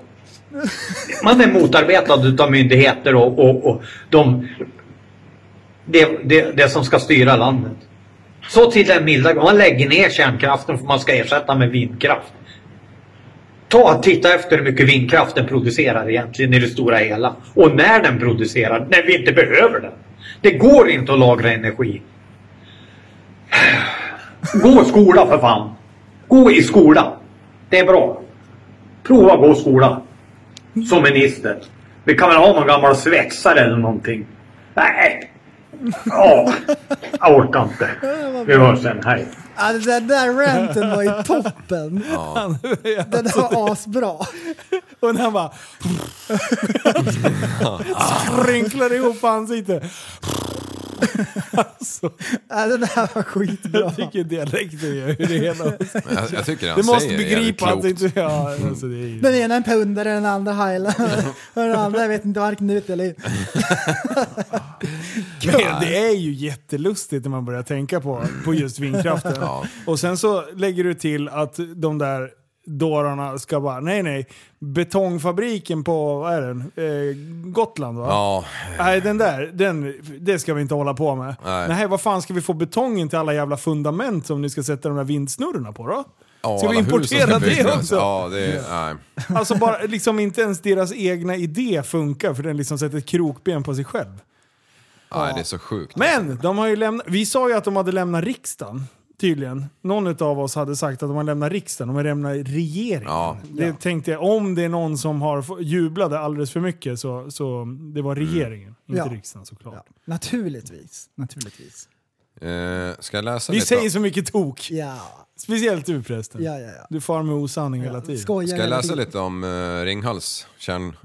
M: Man är motarbetad utav myndigheter och, och, och de det, det, det som ska styra landet. Så till den milda grad. Man lägger ner kärnkraften för man ska ersätta med vindkraft. Ta och titta efter hur mycket vindkraften producerar egentligen i det stora hela. Och när den producerar, när vi inte behöver den. Det går inte att lagra energi. Gå i skola för fan. Gå i skola. Det är bra. Prova gå i skola. Som minister. Vi kan väl ha någon gammal svetsare eller någonting. Nej, Ja, jag orkar inte. Vi hörs sen, hej.
F: Ja, den där ranten var ju toppen.
E: Ja.
F: Den där var asbra.
E: Och när han bara... Sprinklar ihop ansiktet.
F: Ja, det där var skitbra.
E: Alltså, Jag tycker dialekten gör hur det hela...
G: jag, jag tycker han
E: Du måste
G: säger
E: begripa att
G: jävligt
E: det
G: klokt.
E: inte... Ja, alltså, det är ju...
F: Den ena är en pundare, den andra highlander. Och den andra vet inte varken ut eller in.
E: Men det är ju jättelustigt när man börjar tänka på, på just vindkraften.
G: Ja.
E: Och sen så lägger du till att de där dårarna ska bara, nej nej, betongfabriken på, vad är den? Eh, Gotland va?
G: Ja.
E: Nej den där, den, det ska vi inte hålla på med.
G: Nej.
E: Nej, vad fan ska vi få betongen till alla jävla fundament som ni ska sätta de där vindsnurrorna på då?
G: Ja,
E: ska vi
G: alla hus som ska
E: importera det
G: byggas.
E: också?
G: Ja, det är... Nej.
E: Alltså bara, liksom inte ens deras egna idé funkar för den liksom sätter ett krokben på sig själv.
G: nej, det är så sjukt.
E: Men de har ju lämnat, vi sa ju att de hade lämnat riksdagen. Tydligen. Någon av oss hade sagt att de har lämnat riksdagen, de har lämnat regeringen. Det tänkte jag, om det är någon som har f- jublade alldeles för mycket så, så det
G: Mm.
E: var regeringen, inte
F: Ja.
E: riksdagen såklart.
F: Naturligtvis. Naturligtvis.
G: Eh, ska jag läsa
E: Vi
G: lite?
E: säger så mycket tok.
F: Ja.
E: Speciellt du förresten.
F: Ja, ja, ja.
E: Du far med osanning hela tiden.
G: Ska jag läsa lite om eh, Ringhals kärn...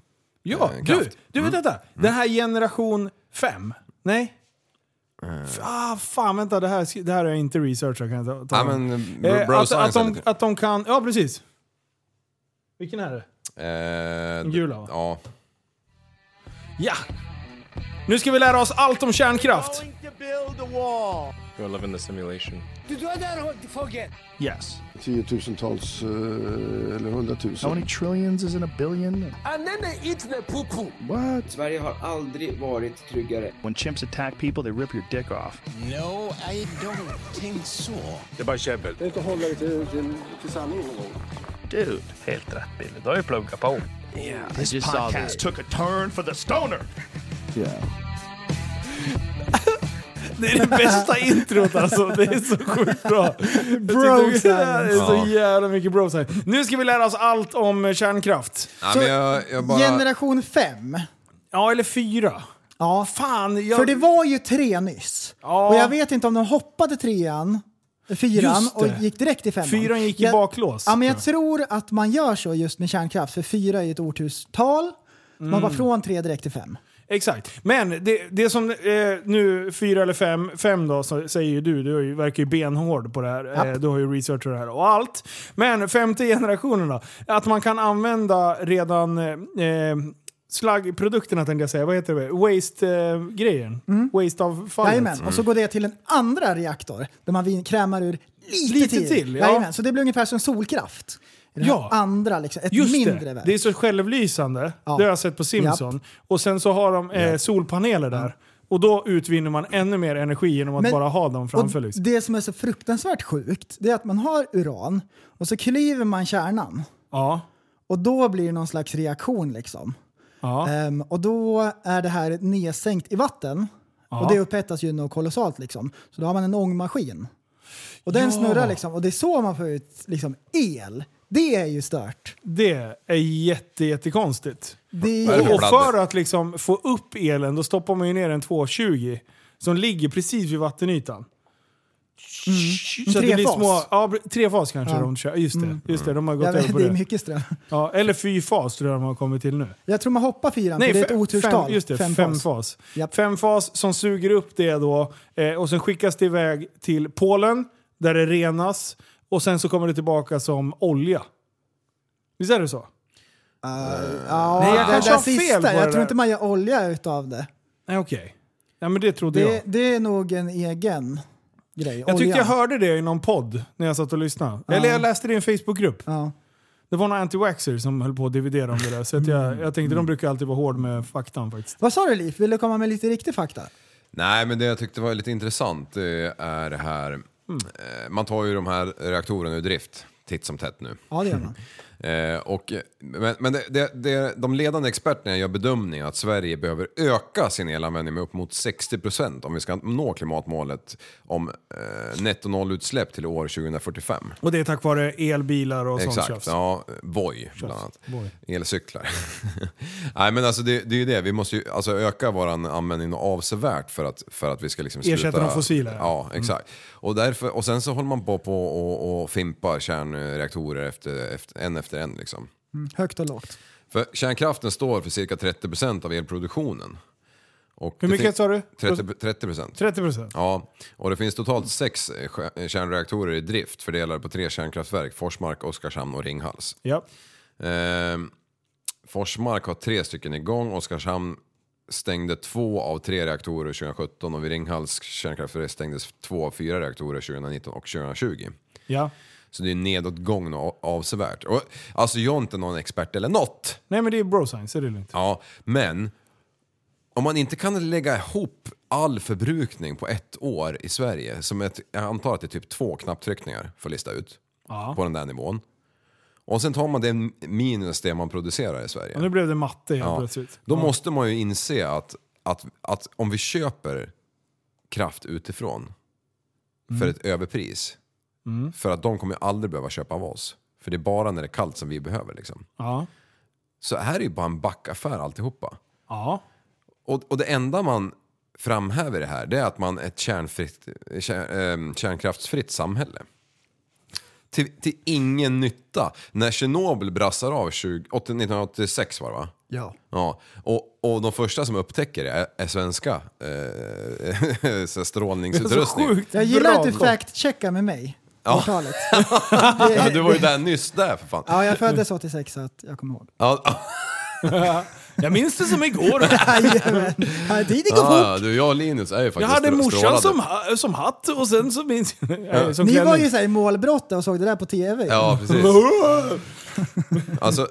E: Ja,
G: eh,
E: du,
G: kraft?
E: du vet detta. Den här generation 5. Nej?
G: Eh.
E: F- Ah, fan vänta, det här, det här är inte researchat kan jag ta, ta
G: Ja,
E: om.
G: men, bro- bro
E: Eh, att, att,
G: science är
E: de,
G: lite-
E: att de kan... Ja, precis. Vilken är det?
G: Eh,
E: gula, va?
G: Ja.
E: Ja! Nu ska vi lära oss allt om kärnkraft.
N: You're living the simulation.
O: Du dödar fågeln!
E: Yes.
P: Tiotusentals eh, eller hundratusen.
Q: How many trillions is in a billion?
O: Använder inte popo!
Q: What?
O: Sverige har aldrig varit tryggare.
Q: When chimps attack people, they rip your dick off.
O: No, I don't think so.
Q: Det är bara käbbel.
P: Det är inte att hålla det till, till, till sanningen någon gång.
Q: Dude, helt rätt Billy. Du har ju pluggat på. Yeah, this
O: just saw
Q: podcast
O: that.
Q: took a turn for the stoner.
E: Det är det bästa introt alltså. Det är så sjukt bra.
F: Bro
E: Jag tyckte- Det är så
G: Ja.
E: jävla mycket bro science. Nu ska vi lära oss allt om eh, kärnkraft.
G: Nej, men jag, jag bara...
F: Generation 5.
E: Ja, eller 4.
F: Ja.
E: Fan,
F: För det var ju tre nyss. Och jag vet inte om de hoppade trean, fyran
E: Just det.
F: och gick direkt till femman.
E: Fyran gick i
F: jag,
E: baklås.
F: Ja, men jag tror att man gör så just med kärnkraft, för fyra är ju ett årtustal. Man
E: Mm.
F: var från tre direkt till fem.
E: Exakt. Men det, det som eh, nu, fyra eller fem, fem då, så säger ju du, du är ju- verkar ju benhård på det här. Eh,
F: Japp.
E: du har ju researchat det här och allt. Men femte generationen då? Att man kan använda redan eh, eh, slaggprodukterna tänkte jag säga, vad heter det? eh, Waste-grejen? Waste-avfallet?
F: Mm. Jajamän, och så går det till en andra reaktor där man vin- krämar ur lite,
E: Lite till, ja.
F: Jajamän, så det blir ungefär som solkraft. I den här
E: Ja.
F: Andra liksom, ett
E: Just
F: mindre
E: det.
F: verk.
E: det är så självlysande. Det har jag sett på Simpson. Och sen så har de eh, solpaneler där. Och då utvinner man ännu mer energi genom att
F: Men-
E: bara ha dem framför.
F: och
E: Liksom.
F: Det som är så fruktansvärt sjukt, det är att man har uran och så klyver man kärnan.
E: Ja.
F: Och då blir det någon slags reaktion liksom.
E: Ja.
F: Ehm, och då är det här nedsänkt i vatten.
E: Ja.
F: Och det upphettas ju något kolossalt liksom. Så då har man en ångmaskin. Och den
E: Ja.
F: snurrar liksom. Och det är så man får ut liksom el. Det är ju stört.
E: Det är jätte, jättekonstigt.
F: Det
G: är-
E: Och för att liksom få upp elen, då stoppar man ju ner en 220 som ligger precis vid vattenytan. Så att det blir
F: Mm. Trefas.
E: små, ja, br- trefas kanske
F: Ja.
E: de kör. Just det,
F: Mm.
E: just det de har gått
F: Jag
E: över
F: vet,
E: på
F: det
E: det.
F: är mycket ström.
E: Ja, eller fyrfas tror jag de har kommit till nu.
F: Jag tror man hoppar fyran, för det är ett
E: fe-
F: oturstal.
E: Fem, just det,
F: Femfas.
E: femfas. Femfas som suger upp det då eh, och sen skickas det iväg till Polen där det renas och sen så kommer det tillbaka som olja. Visst är det så?
F: Ja,
E: Nej, jag
F: det
E: kanske
F: där
E: har fel
F: sista.
E: på det
F: Jag
E: där.
F: tror inte man gör olja utav det.
E: Nej, okej. Ja, men det trodde
F: Det,
E: jag.
F: det är nog en egen grej.
E: Jag tyckte jag
F: Oljan.
E: hörde det i någon podd när jag satt och lyssnade.
F: Ja.
E: Eller jag läste det i en Facebookgrupp.
F: Ja.
E: Det var någon anti-waxer som höll på att dividera om det där. Så att
F: Mm.
E: jag, jag tänkte de brukar alltid vara hård med faktan faktiskt.
F: Vad sa du Liv? Vill du komma med lite riktig fakta?
G: Nej, men det jag tyckte var lite intressant det är det här...
E: Mm.
G: Eh, man tar ju de här reaktorerna ur drift titt som tätt nu.
F: Ja, det gör man.
G: Eh, och, men men det, det, det, de ledande experterna gör bedömningen att Sverige behöver öka sin elanvändning med upp mot 60% om vi ska nå klimatmålet om eh, netto nollutsläpp till år 2045.
E: Och det är tack vare elbilar och sånt
G: Exakt,
E: tjafs.
G: ja. Voi bland annat.
E: Voi.
G: Elcyklar. Nej men alltså det, det är ju det, vi måste ju alltså, öka vår användning avsevärt för att, för att vi ska liksom
E: Ersätta
G: sluta-
E: de fossila, ja. Mm.
G: Ja, exakt. Och, därför, och sen så håller man på, på och, och fimpar kärnreaktorer efter, efter, en efter en liksom.
F: Mm, högt och lågt.
G: För kärnkraften står för cirka 30% av elproduktionen. Och
E: Hur
G: det
E: mycket
G: fin-
E: sa du?
G: 30 30 procent.
E: 30%.
G: Ja, och det finns totalt sex eh, skär- kärnreaktorer i drift fördelade på tre kärnkraftverk, Forsmark, Oskarshamn och Ringhals.
E: Ja.
G: Ehm, Forsmark har tre stycken igång, Oskarshamn stängde två av tre reaktorer 2017 och vid Ringhals kärnkraftverk stängdes två av fyra reaktorer 2019 och 2020.
E: Ja.
G: Så det är nedåtgång nå- avsevärt. Och, alltså jag är inte någon expert eller något.
E: Nej men det är bro science, är det lugnt.
G: Ja, men om man inte kan lägga ihop all förbrukning på ett år i Sverige, som ett, jag antar att det är typ två knapptryckningar för att lista ut
E: Ja.
G: på den där nivån. Och sen tar man det minus det man producerar i Sverige.
E: Och nu blev det matte helt
G: Ja.
E: plötsligt.
G: Då
E: Ja.
G: måste man ju inse att, att, att om vi köper kraft utifrån för
E: Mm.
G: ett överpris,
E: Mm.
G: för att de kommer ju aldrig behöva köpa av oss. För det är bara när det är kallt som vi behöver liksom.
E: Ja.
G: Så här är ju bara en backaffär alltihopa.
E: Ja.
G: Och, och det enda man framhäver i det här, det är att man är ett kärnfritt, kär, ehm, kärnkraftsfritt samhälle. Till, till ingen nytta. När Tjernobyl brassar av 20, 80, 1986 var det va?
R: Ja.
G: Ja, och, och de första som upptäcker det är, är svenska eh, så här strålningsutrustning.
F: Jag gillar att du fact-checkar med mig.
G: Ja.
F: Årtalet.
G: ja, du var ju där nyss där för fan.
F: Ja, jag föddes 86 så att jag kommer ihåg.
G: Ja.
E: Jag minns det som igår.
F: Jajamän. Ja, Tiden går fort.
G: Ja, du, jag och Linus är ju
E: Jag
G: faktiskt
E: hade
G: strå-
E: morsan
G: strålade.
E: som, ha- som hatt och sen så minns jag...
G: Ja.
E: som
F: Ni var
E: klänning.
F: ju såhär i målbrotta och såg det där på tv.
G: Ja, precis. Alltså,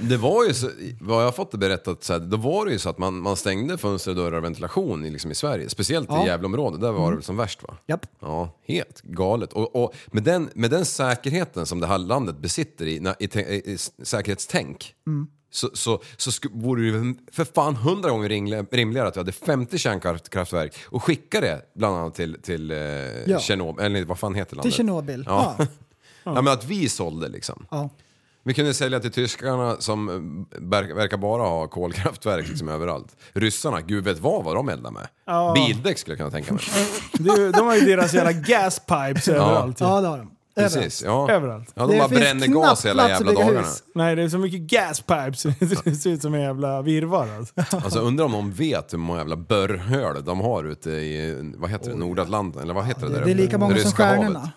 G: det var ju så, vad jag har fått det berättat, så här, då var det ju så att man, man stängde fönster, dörrar och ventilation i, liksom, i Sverige. Speciellt
F: Ja. Mm.
G: i Gävleområdet, där var det väl som värst va?
F: Japp.
G: Ja, helt galet. Och, och med, den, med den säkerheten som det här landet besitter i, na- i, te- i, i s- säkerhetstänk
F: Mm.
G: så, så, så sku, vore det ju för fan hundra gånger ringle- rimligare att vi hade 50 kärnkraftverk och skicka det bland annat till, till eh,
F: Ja.
G: Tjernobyl, eller vad fan heter landet?
F: Till Tjernobyl.
G: Ja.
F: Ja.
G: Ja. men att vi sålde liksom.
F: Ja.
G: Vi kunde sälja till tyskarna som eh, verk- verkar bara ha kolkraftverk liksom överallt. Ryssarna, gud vet vad vad de eldar med.
E: Ja.
G: Bildäck skulle jag kunna tänka mig.
E: Det är ju- De har ju deras jävla gaspipes överallt.
F: Ja, det har de.
G: Precis, ja.
E: Överallt.
G: Ja, de Det bara finns bränner knappt gas hela plats jävla att bygga dagarna. hus.
E: Nej, det är så mycket gaspipes. Det ser ut som en jävla virrvarr alltså.
G: Alltså undrar om de vet hur många jävla börrhöl de har ute i, vad heter det, Nordatlanten? Eller vad heter det där
F: Det är
G: uppe?
F: lika många som
G: Ryska havet.
F: stjärnorna.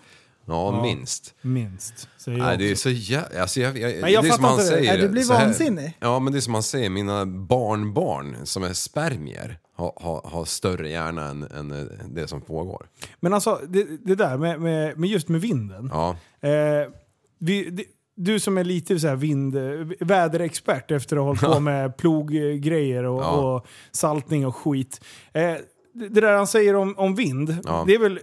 G: Ja,
E: Ja.
G: minst.
E: Minst. Säger jag
G: Nej, det är
E: också.
G: så jävla... Alltså, jag, jag,
E: Men jag
G: det är som
E: fattar
G: han
E: inte det.
G: säger.
E: Nej, du blir
G: så här-
E: vansinnig.
G: Ja, men det är som han säger, mina barnbarn som är spermier har, har, har större hjärna än, än eh, det som pågår.
E: Men alltså, det, det där med, med, med just med vinden.
G: Ja.
E: Eh, vi, det, du som är lite så här vind, väderexpert efter att ha hållit på med ploggrejer och,
G: Ja.
E: och saltning och skit. Eh, det det där han säger om, om vind,
G: Ja.
E: det är väl...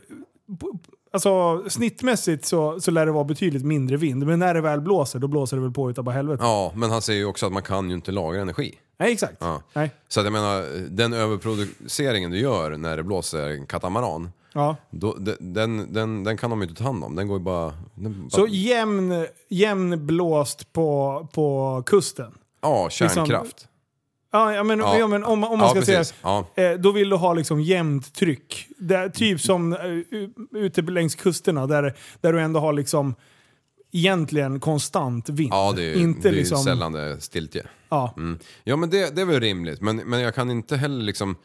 E: Alltså snittmässigt så, så lär det vara betydligt mindre vind, men när det väl blåser då blåser det väl på utav bara helvete.
G: Ja, men han säger ju också att man kan ju inte lagra energi.
E: Nej, exakt.
G: Ja.
E: Nej.
G: Så att jag menar, den överproduceringen du gör när det blåser en katamaran,
E: Ja.
G: då, de- den, den, den kan de ju inte ta hand om. Den går ju bara... Den bara
E: Så jämn, jämn blåst på, på kusten.
G: ja, kärnkraft.
E: Liksom, ja, ja, men, ja. men om, om man
G: Ja,
E: ska
G: precis.
E: säga...
G: Ja.
E: Eh, då vill du ha liksom jämnt tryck. Där, typ som eh, u- ute längs kusterna där, där du ändå har liksom egentligen konstant vind.
G: Ja, det är ju,
E: Inte
G: det är ju
E: liksom,
G: sällan det är stiltje.
E: Ja.
G: Mm. ja, men det, det är väl rimligt. Men, men jag kan inte heller liksom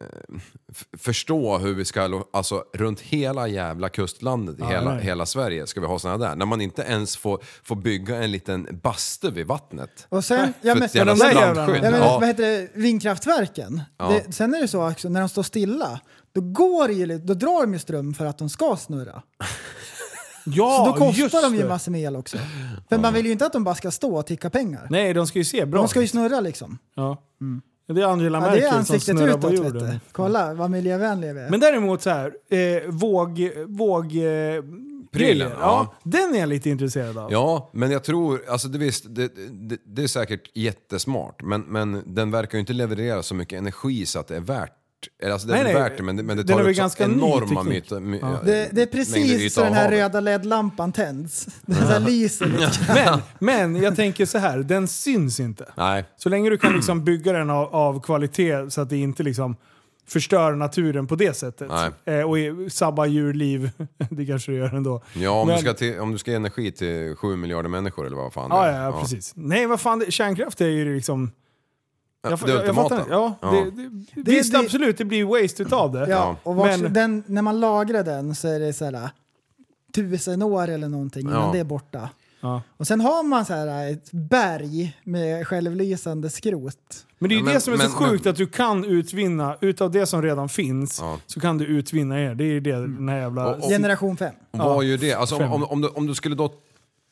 G: eh, f- förstå hur vi ska, lo- alltså runt hela jävla kustlandet i
E: Ja,
G: hela,
E: nej.
G: hela Sverige ska vi ha sådana där. När man inte ens får, får bygga en liten bastu vid vattnet.
F: Och sen, ja,
G: För
F: men,
G: ett jävla
F: men-
G: strandskydd.
F: Ja, men,
G: Ja.
F: Vad heter det? Vindkraftverken.
G: Ja.
F: Det, sen är det så också, när de står stilla, då, går det ju, lite- då drar de ju ström för att de ska snurra.
E: Ja,
F: så då
E: just
F: kostar de ju
E: det.
F: massor med el också. För man vill ju inte att de bara ska stå och ticka pengar.
E: Nej, de ska ju se bra
F: De ska ju snurra liksom.
E: Ja. Det är Angela
F: Ja, det
E: Merkel
F: är
E: som
F: ansiktet
E: snurrar på
F: utåt vet
E: jorden.
F: du. Kolla vad miljövänliga vi är.
E: Men däremot så här, eh, våg... våg eh, grejer. ja.
G: ja.
E: Den är jag lite intresserad av.
G: Ja, men jag tror, alltså det, visst, det, det, det är säkert jättesmart, men, men den verkar ju inte leverera så mycket energi så att det är värt eller, alltså det
F: Nej,
G: är
F: nej.
G: värt det, men det, men det
E: Den är
G: tar
E: väl
G: ju också
E: ganska ny
G: enorma
E: teknik.
G: myta, my,
E: Ja.
F: Det, det är
G: mängder yta
F: precis så den
G: av
F: här
G: havet.
F: röda LED-lampan tänds. Den här lyser lite.
E: Men, men jag tänker så här, den syns inte.
G: Nej.
E: Så länge du kan liksom bygga den av, av kvalitet så att det inte liksom förstör naturen på det sättet. Eh, och i- sabbar djurliv, det kanske det gör ändå.
G: Ja, om,
E: Men-
G: du ska till, om du ska ge energi till sju miljarder människor eller vad fan det
E: Ja,
G: är.
E: ja, ja, precis. Nej, vad fan, det, kärnkraft är ju liksom... Jag, fa-
G: det
E: jag, jag
G: ultimata.
E: fattar inte. Ja,
G: Ja.
E: Det, det,
F: Det-
E: visst,
F: det-
E: absolut, det blir waste utav det.
F: Ja, och vart,
E: men,
F: den, när man lagrar den så är det så här äh, tusen år eller någonting innan
E: Ja.
F: det är borta.
E: ja.
F: Och sen har man så här äh, ett berg med självlysande skrot.
E: men det är ju
F: Ja, men-
E: det som är så
F: men-
E: sjukt, att du kan utvinna, utav det som redan finns, så kan du utvinna er. Det är ju det den här jävla...
G: Mm. Och- och-
F: Generation 5.
G: Och Vad gör det? Alltså, om,
E: Fem.
G: om, om, du, om du skulle då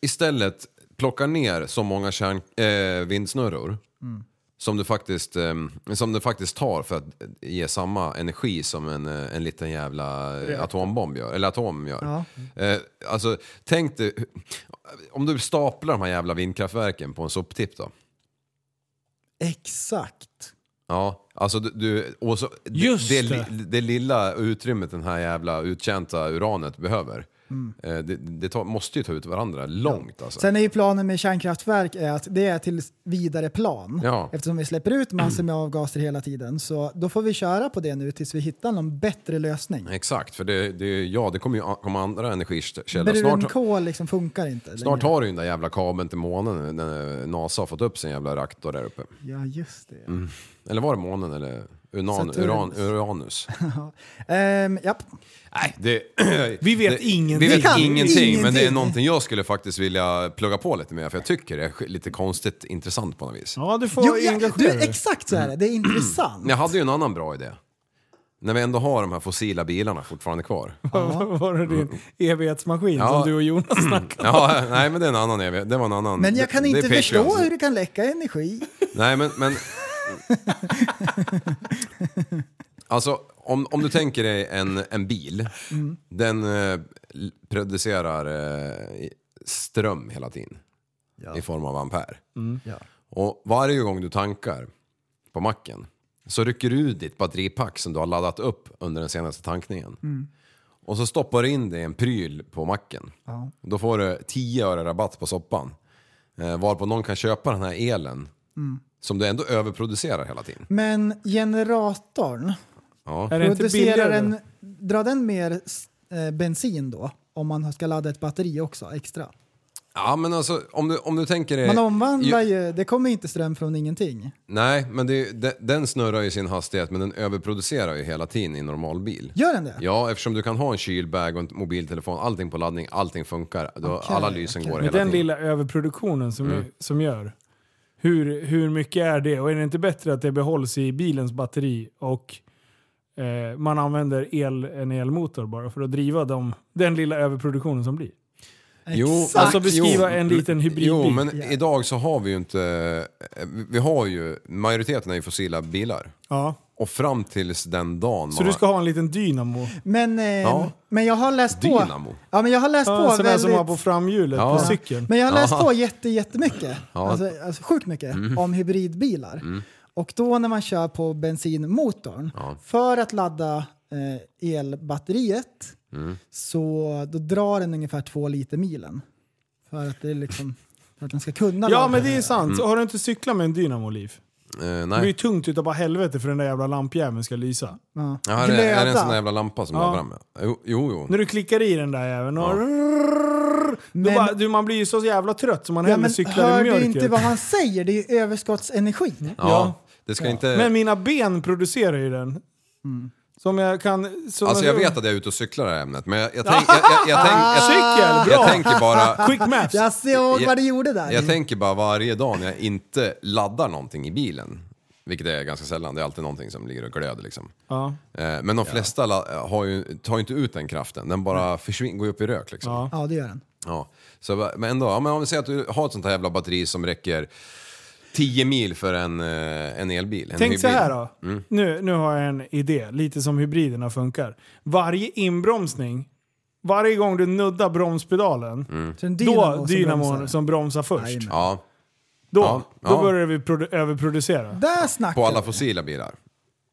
G: istället plocka ner så många kärn, eh, vindsnurror
F: Mm.
G: som du, faktiskt, ehm, som du faktiskt tar för att ge samma energi som en, eh, en liten jävla eh,
R: Reaktor.
G: atombomb gör. Eller atom gör.
R: Ja.
G: Eh, alltså, tänk dig, om du staplar de här jävla vindkraftverken på en soptipp då.
F: Exakt.
G: Ja, alltså du, du och så,
F: Just
G: det,
F: det.
G: det. li- det lilla utrymmet den här jävla uttjänta uranet behöver.
F: Mm.
G: eh, Det, det tar, måste ju ta ut varandra långt alltså.
F: Sen är ju planen med kärnkraftverk är att det är till vidare plan.
G: Ja.
F: Eftersom vi släpper ut massor med avgaser hela tiden. Så då får vi köra på det nu tills vi hittar någon bättre lösning.
G: Exakt, för det, det, ja, det kommer ju a- komma andra energikällor. Snart,
F: Brunkol liksom funkar inte.
G: snart
F: längre.
G: har du ju den där jävla kabeln till månen när NASA har fått upp sin jävla reaktor där uppe.
F: Ja, just det.
G: Mm. Eller var det månen eller unan,
F: Saturnus.
G: uran, Uranus?
F: Ehm, japp.
G: Nej, det,
E: Vi vet
G: det,
E: ingenting.
G: Vi
E: Vi
G: vet
E: kan
G: ingenting, men det är
E: ingenting.
G: någonting jag skulle faktiskt vilja plugga på lite mer för jag tycker det är lite konstigt intressant på något vis.
E: Ja, du får
F: Jo, ja,
E: engagera
F: du,
E: dig.
F: exakt så är det. Det
G: Mm.
F: är intressant.
G: Men Jag hade ju en annan bra idé. När vi ändå har de här fossila bilarna fortfarande kvar.
E: Vad var det din evighetsmaskin
G: Ja.
E: som du och Jonas snackade om?
G: Ja, nej men det är en annan evighet. Det var en annan.
F: Men jag
G: Det-
F: kan
G: det är
F: inte förstå
G: Patreons.
F: hur det kan läcka energi.
G: Nej men... men... alltså om, om du tänker dig en, en bil.
F: Mm.
G: Den eh, l- producerar eh, ström hela tiden. I form av ampere.
R: Mm.
G: Och varje gång du tankar på macken så rycker du ut ditt batteripack som du har laddat upp under den senaste tankningen.
R: Mm.
G: Och så stoppar du in det i en pryl på macken.
R: Ja.
G: Då får du 10 öre rabatt på soppan. Eh, varpå någon kan köpa den här elen
F: Mm.
G: som du ändå överproducerar hela tiden.
F: Men generatorn,
G: Ja.
F: producerar den, drar den mer s- eh, bensin då? Om man ska ladda ett batteri också extra.
G: Ja men alltså om du, om du tänker dig...
F: Man omvandlar
G: ju-
F: ju, det kommer inte ström från ingenting.
G: Nej men det, är ju- de, den snurrar ju sin hastighet men den överproducerar ju hela tiden i en normalbil.
F: Gör den det?
G: Ja eftersom du kan ha en kylbag och en mobiltelefon, allting på laddning, allting funkar. Då, alla lysen går
E: Med
G: hela
E: den
G: tiden.
E: lilla överproduktionen som,
G: Mm.
E: som gör. Hur, hur mycket är det? Och är det inte bättre att det behålls i bilens batteri och eh, man använder el, en elmotor bara för att driva dem, den lilla överproduktionen som blir? alltså beskriva
G: jo,
E: en liten hybridbil.
G: Jo, men idag så har vi ju inte... eh, Vi har ju... Majoriteten är ju fossila bilar.
E: ja.
G: Och fram tills den dagen...
E: Så du ska ha en liten dynamo?
F: Men, eh,
G: Ja.
F: men jag har läst på.
G: Dynamo?
F: Ja, men jag har läst
E: Ja, en
F: på
E: sån där som
F: väldigt...
E: var på framhjulet
G: Ja.
E: på cykeln.
F: Men jag har läst
G: Ja.
F: på jätte, jättemycket.
G: Ja.
F: Alltså, alltså sjukt mycket
G: Mm.
F: om hybridbilar.
G: Mm.
F: Och då när man kör på bensinmotorn,
G: Ja.
F: för att ladda eh, elbatteriet
G: Mm.
F: så då drar den ungefär två liter milen. För att det är liksom... För att den ska kunna
E: Ja
F: laga
E: men det är sant.
G: Mm.
E: Så har du inte cyklat med en dynamo, Liv?
G: Eh,
E: Det blir ju
G: nej.
E: tungt utav bara helvete för den där jävla lampjäveln ska lysa.
F: Ja.
G: Ja, är, det, är det en sån där
E: Glöda.
G: jävla lampa som
E: Ja.
G: du har framme? Jo, jo. jo.
E: När du klickar i den där jäveln och... Du
F: Men-
E: bara, du, man blir ju så jävla trött så man
F: Ja,
E: hellre
F: men
E: cyklar
F: hör
E: i typ.
F: du
E: mjölken.
F: inte vad han säger? Det är ju överskottsenergi.
G: Ja, det ska inte...
E: Men mina ben producerar ju den.
F: Mm.
E: Som jag kan... Som
G: Alltså jag vet att jag är ute och cyklar i det här ämnet, men jag, jag, tänk, jag, jag, jag, tänk, jag,
E: Ah, Cykel, bra!
G: jag tänker bara...
E: Quick maps!
F: Jag såg vad du gjorde där.
G: Jag tänker bara varje dag när jag inte laddar någonting i bilen, vilket är ganska sällan, det är alltid någonting som ligger och glöder liksom.
E: Ja.
G: Eh, Men de flesta la- har ju, tar ju inte ut den kraften, den bara försvinner, går ju upp i rök liksom.
E: Ja.
F: ja, det gör den.
G: Ja. Så, va- men ändå, ja, men om vi säger att du har ett sånt här jävla batteri som räcker 10 mil för en, eh, en elbil. En
E: Tänk
G: hybrid.
E: så här då.
G: Mm.
E: Nu, nu har jag en idé, lite som hybriderna funkar. Varje inbromsning, varje gång du nuddar bromspedalen,
G: Mm.
F: Så en dynamo
E: då
F: som bromsar.
E: dynamon som bromsar först.
G: Ja.
E: Då,
G: Ja,
E: då
G: ja.
E: börjar vi produ- överproducera.
F: Där snackar
G: På alla fossila bilar.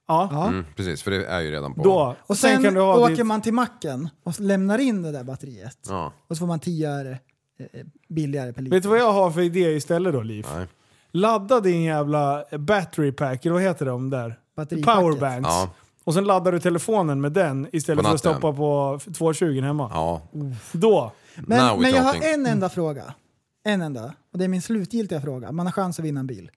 E: Ja.
G: Mm, precis, för det är ju redan på.
E: Då.
F: Och sen,
E: kan du ha
F: åker
E: ditt-
F: man till macken och lämnar in det där batteriet.
G: Ja.
F: Och så får man 10 öre eh, billigare per liter.
E: Vet du vad jag har för idé istället då, Liv? Ladda din jävla battery pack, eller vad heter de där?
F: Batteripacket.
E: Powerbanks.
G: Ja.
E: Och sen laddar du telefonen med den istället
G: På
E: för att
G: natten.
E: stoppa på f- 220 hemma.
G: Ja.
E: Då.
F: Men, men jag
E: Mm.
F: har en enda fråga. En enda. Och det är min slutgiltiga fråga. Man har chans att vinna en bil.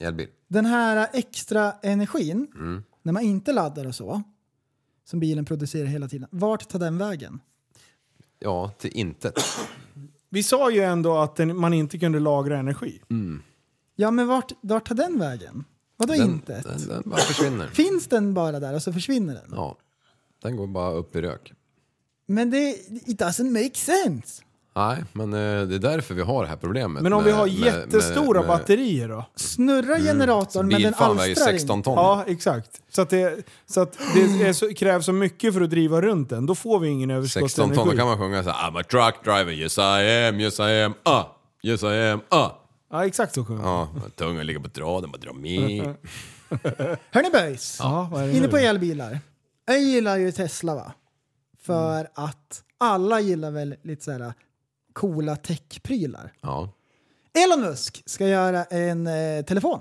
G: Elbil.
F: Den här extra energin,
G: Mm.
F: när man inte laddar och så, som bilen producerar hela tiden, vart tar den vägen?
G: Ja, till intet.
E: Vi sa ju ändå att den, man inte kunde lagra energi.
G: Mm.
F: Ja, men vart, vart tar den vägen? Vadå
G: Den-
F: inte?
G: Den, den bara försvinner.
F: Finns den bara där och så försvinner den?
G: Ja. Den går bara upp i rök.
F: Men det it doesn't make sense.
G: Nej, men eh, det är därför vi har det här problemet.
E: Men om
G: med-
E: vi har
G: med-
E: jättestora
G: med- med-
E: batterier då?
F: Snurrar
G: Mm.
F: generatorn
G: men den Bilfan väger alstrar 16 ton. inte.
E: Ja, exakt. Så att det, så att det är så, krävs så mycket för att driva runt den. Då får vi ingen
G: 16 ton, då
E: överskottsenergi.
G: kan man sjunga så här I'm a truck driver, yes I am, yes I am, ah, yes I am, ah.
E: Ja, exakt så sjunger
G: Ja, tungan ligger på draden, bara dra med.
F: Hörni boys,
G: Ja, vad är det
F: inne
G: nu?
F: på elbilar. Jag gillar ju Tesla va? För
G: Mm.
F: att alla gillar väl lite så här coola techprylar.
G: Ja.
F: Elon Musk ska göra en eh, telefon.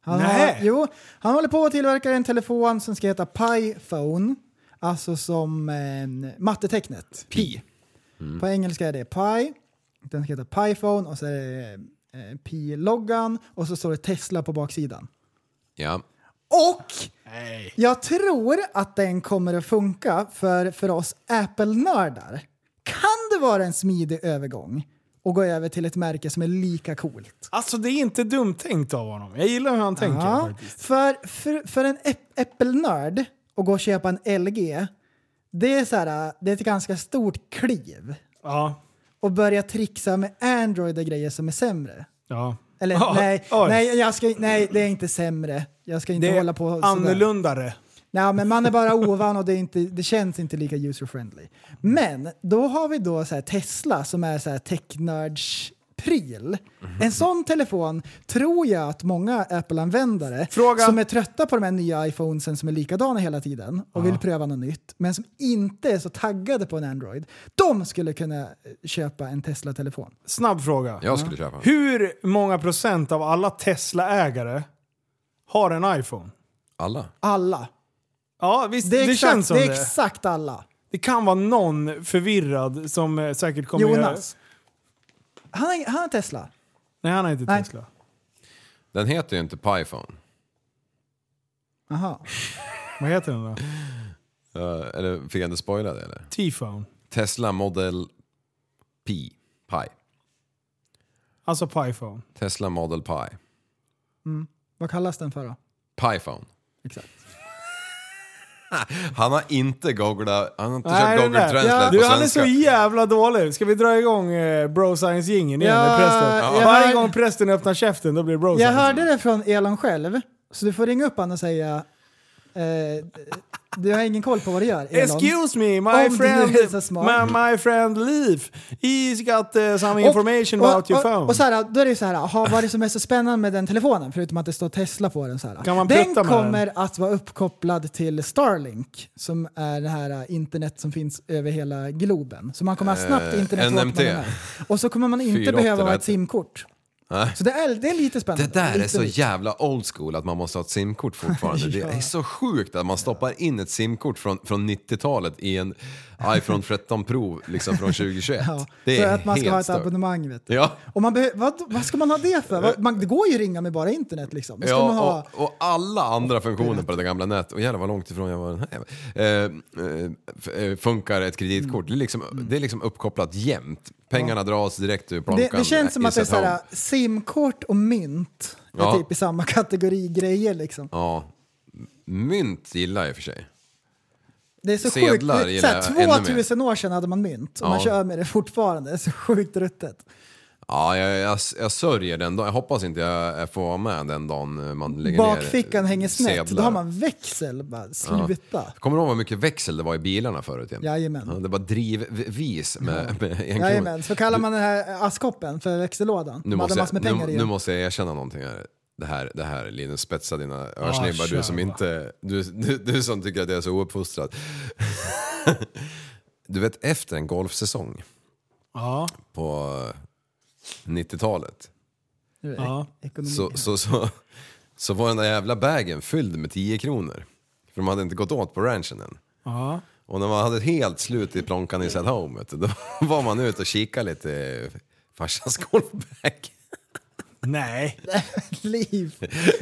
F: Han,
E: Nej.
F: har, jo, han håller på att tillverka en telefon som ska heta Pi-phone. Alltså som eh, mattetecknet. Pi. På engelska är det Pi. Den ska heta Pi-phone och så är det eh, Pi-loggan och så står det Tesla på baksidan.
G: Ja.
F: Och jag tror att den kommer att funka för, för oss Apple-nördar. Kan det vara en smidig övergång och gå över till ett märke som är lika coolt?
E: Alltså det är inte dumt tänkt av honom. Jag gillar hur han tänker.
F: Ja,
E: faktiskt.
F: för, för, för en äpp- Apple-nörd att gå och köpa en LG, det är, så här, det är ett ganska stort kliv.
E: Ja.
F: Och börja trixa med Android och grejer som är sämre.
E: Ja.
F: Eller
E: Ja,
F: nej,
E: oj.
F: nej, jag ska, nej, det är inte sämre. Jag ska inte
E: Det är
F: hålla på sådär.
E: annorlundare.
F: Nej, men man är bara ovan och det, är inte, det känns inte lika user-friendly. Men då har vi då så här Tesla som är så här technörds pryl.
E: Mhm.
F: En sån telefon tror jag att många Apple-användare som är trötta på de här nya iPhonesen som är likadana hela tiden och vill pröva något nytt men som inte är så taggade på en Android. De skulle kunna eh, köpa en Tesla-telefon.
E: Snabb fråga.
G: Jag skulle köpa.
E: Hur många procent av alla Tesla-ägare har en iPhone?
G: Alla.
F: Alla.
E: Ja, visst.
F: Det
E: Det,
F: är exakt-
E: känns som
F: det
E: det.
F: är exakt alla.
E: Det kan vara någon förvirrad som eh, säkert kommer
F: Jonas. Han har, han har Tesla.
E: Nej, han har inte
F: Nej.
E: Tesla.
G: Den heter ju inte Pyphone.
F: Aha.
E: Vad heter den då?
G: Eh, eller fick jag inte spoila det eller?
E: T-phone.
G: Tesla Model P. Pi.
E: Alltså Pyphone.
G: Tesla Model Pi.
F: Mm. Vad kallas den för då?
G: Pyphone.
F: Exakt.
G: han har inte googlat, han har inte
E: Nej,
G: kört
E: den
G: Google
E: där.
G: Translate på
E: Du,
G: svenska.
E: han är så jävla dålig. Ska vi dra igång eh, Bro Science-jingeln igen?
F: Ja,
E: med prästen?
F: jag
E: Varje
F: hör-
E: gång prästen öppnar käften då blir det Bro
F: Jag
E: Science.
F: hörde det från Elon själv, så du får ringa upp honom och säga eh, du har ingen koll på vad du gör, Elon.
E: Excuse me,
F: Om
E: my
F: du nu
E: friend,
F: är så smart.
E: my, my friend Leif. He's got eh, some information
F: och,
E: about your
F: och,
E: phone.
F: Och, och så här, då är det så här, aha, vad är det som är så spännande med den telefonen? Förutom att det står Tesla på den. Så här.
E: Kan man
F: den
E: prutta med
F: kommer att vara uppkopplad till Starlink, som är det här eh, internet som finns över hela globen. Så man kommer ha snabbt
G: Eh,
F: internet vart man
G: NMT.
F: än är. Och så kommer man inte
G: 480
F: behöva ha
G: där.
F: ett simkort.
G: Nej.
F: Så det är, det är lite spännande.
G: Det där är
F: lite
G: så
F: nytt.
G: jävla old school att man måste ha ett simkort fortfarande. Det
F: Ja.
G: är så sjukt att man stoppar in ett simkort från, från 90-talet i en iPhone 13 Pro liksom från 2021.
F: Ja,
G: Det
F: för
G: är
F: att man ska ha ett
G: helt stört.
F: abonnemang, vet
G: Ja,
F: Och man behö- vad, vad ska man ha det för? Vad- Man, det går ju att ringa med bara internet liksom. Då ska man ha,
G: ja och, och alla andra funktioner på det där gamla nätet, och jävlar vad långt ifrån jag var den här jäveln. eh, eh, f- eh, Funkar ett kreditkort, det, är liksom, det är liksom uppkopplat jämt. Pengarna dras direkt ur
F: Mm. det,
G: plånboken.
F: det känns som att det är
G: Is at
F: såhär,
G: home.
F: simkort och mynt är
G: Ja.
F: typ i samma kategori grejer liksom.
G: Ja. Mynt gillar jag i och för sig.
F: Det är så
G: Sedlar
F: sjukt.
G: gillar
F: Det,
G: jag
F: såhär,
G: ännu mer.
F: 2000 år sedan hade man mynt och
G: Ja.
F: man kör med det fortfarande. Det är så sjukt ruttet.
G: Ja, jag, jag, jag sörjer den dagen. Jag hoppas inte jag jag får vara med den dagen man lägger
F: Bakfickan
G: ner
F: hänger snett,
G: sedlar.
F: då har man växel. Bara, sluta.
G: Kommer du ihåg hur mycket växel det var i bilarna förut? Jim?
F: Jajamän.
G: Ja, det var drivvis med, med en krona.
F: Jajamän, så kallar man den här askkoppen för växellådan.
G: Nu
F: Man hade
G: måste,
F: massor med
G: jag,
F: pengar
G: nu,
F: i
G: nu
F: den.
G: måste jag erkänna någonting här. Det här, det här Linus, spetsa dina örsnibbar.
F: Ah, kör
G: du som inte... Du, du, du som tycker att jag är så ouppfostrad. du vet, efter en golfsäsong
E: Ja.
G: på 90-talet
F: Nu är det
E: Ja.
F: ekonomi.
G: så, så, så, så var den där jävla bagen fylld med 10 kronor. För de hade inte gått åt på ranchen än.
E: Ja.
G: Och när man hade helt slut i plånkan i sitt home, vet du, då var man ute och kikade lite i farsans golfbag.
E: Nej.
F: Liv.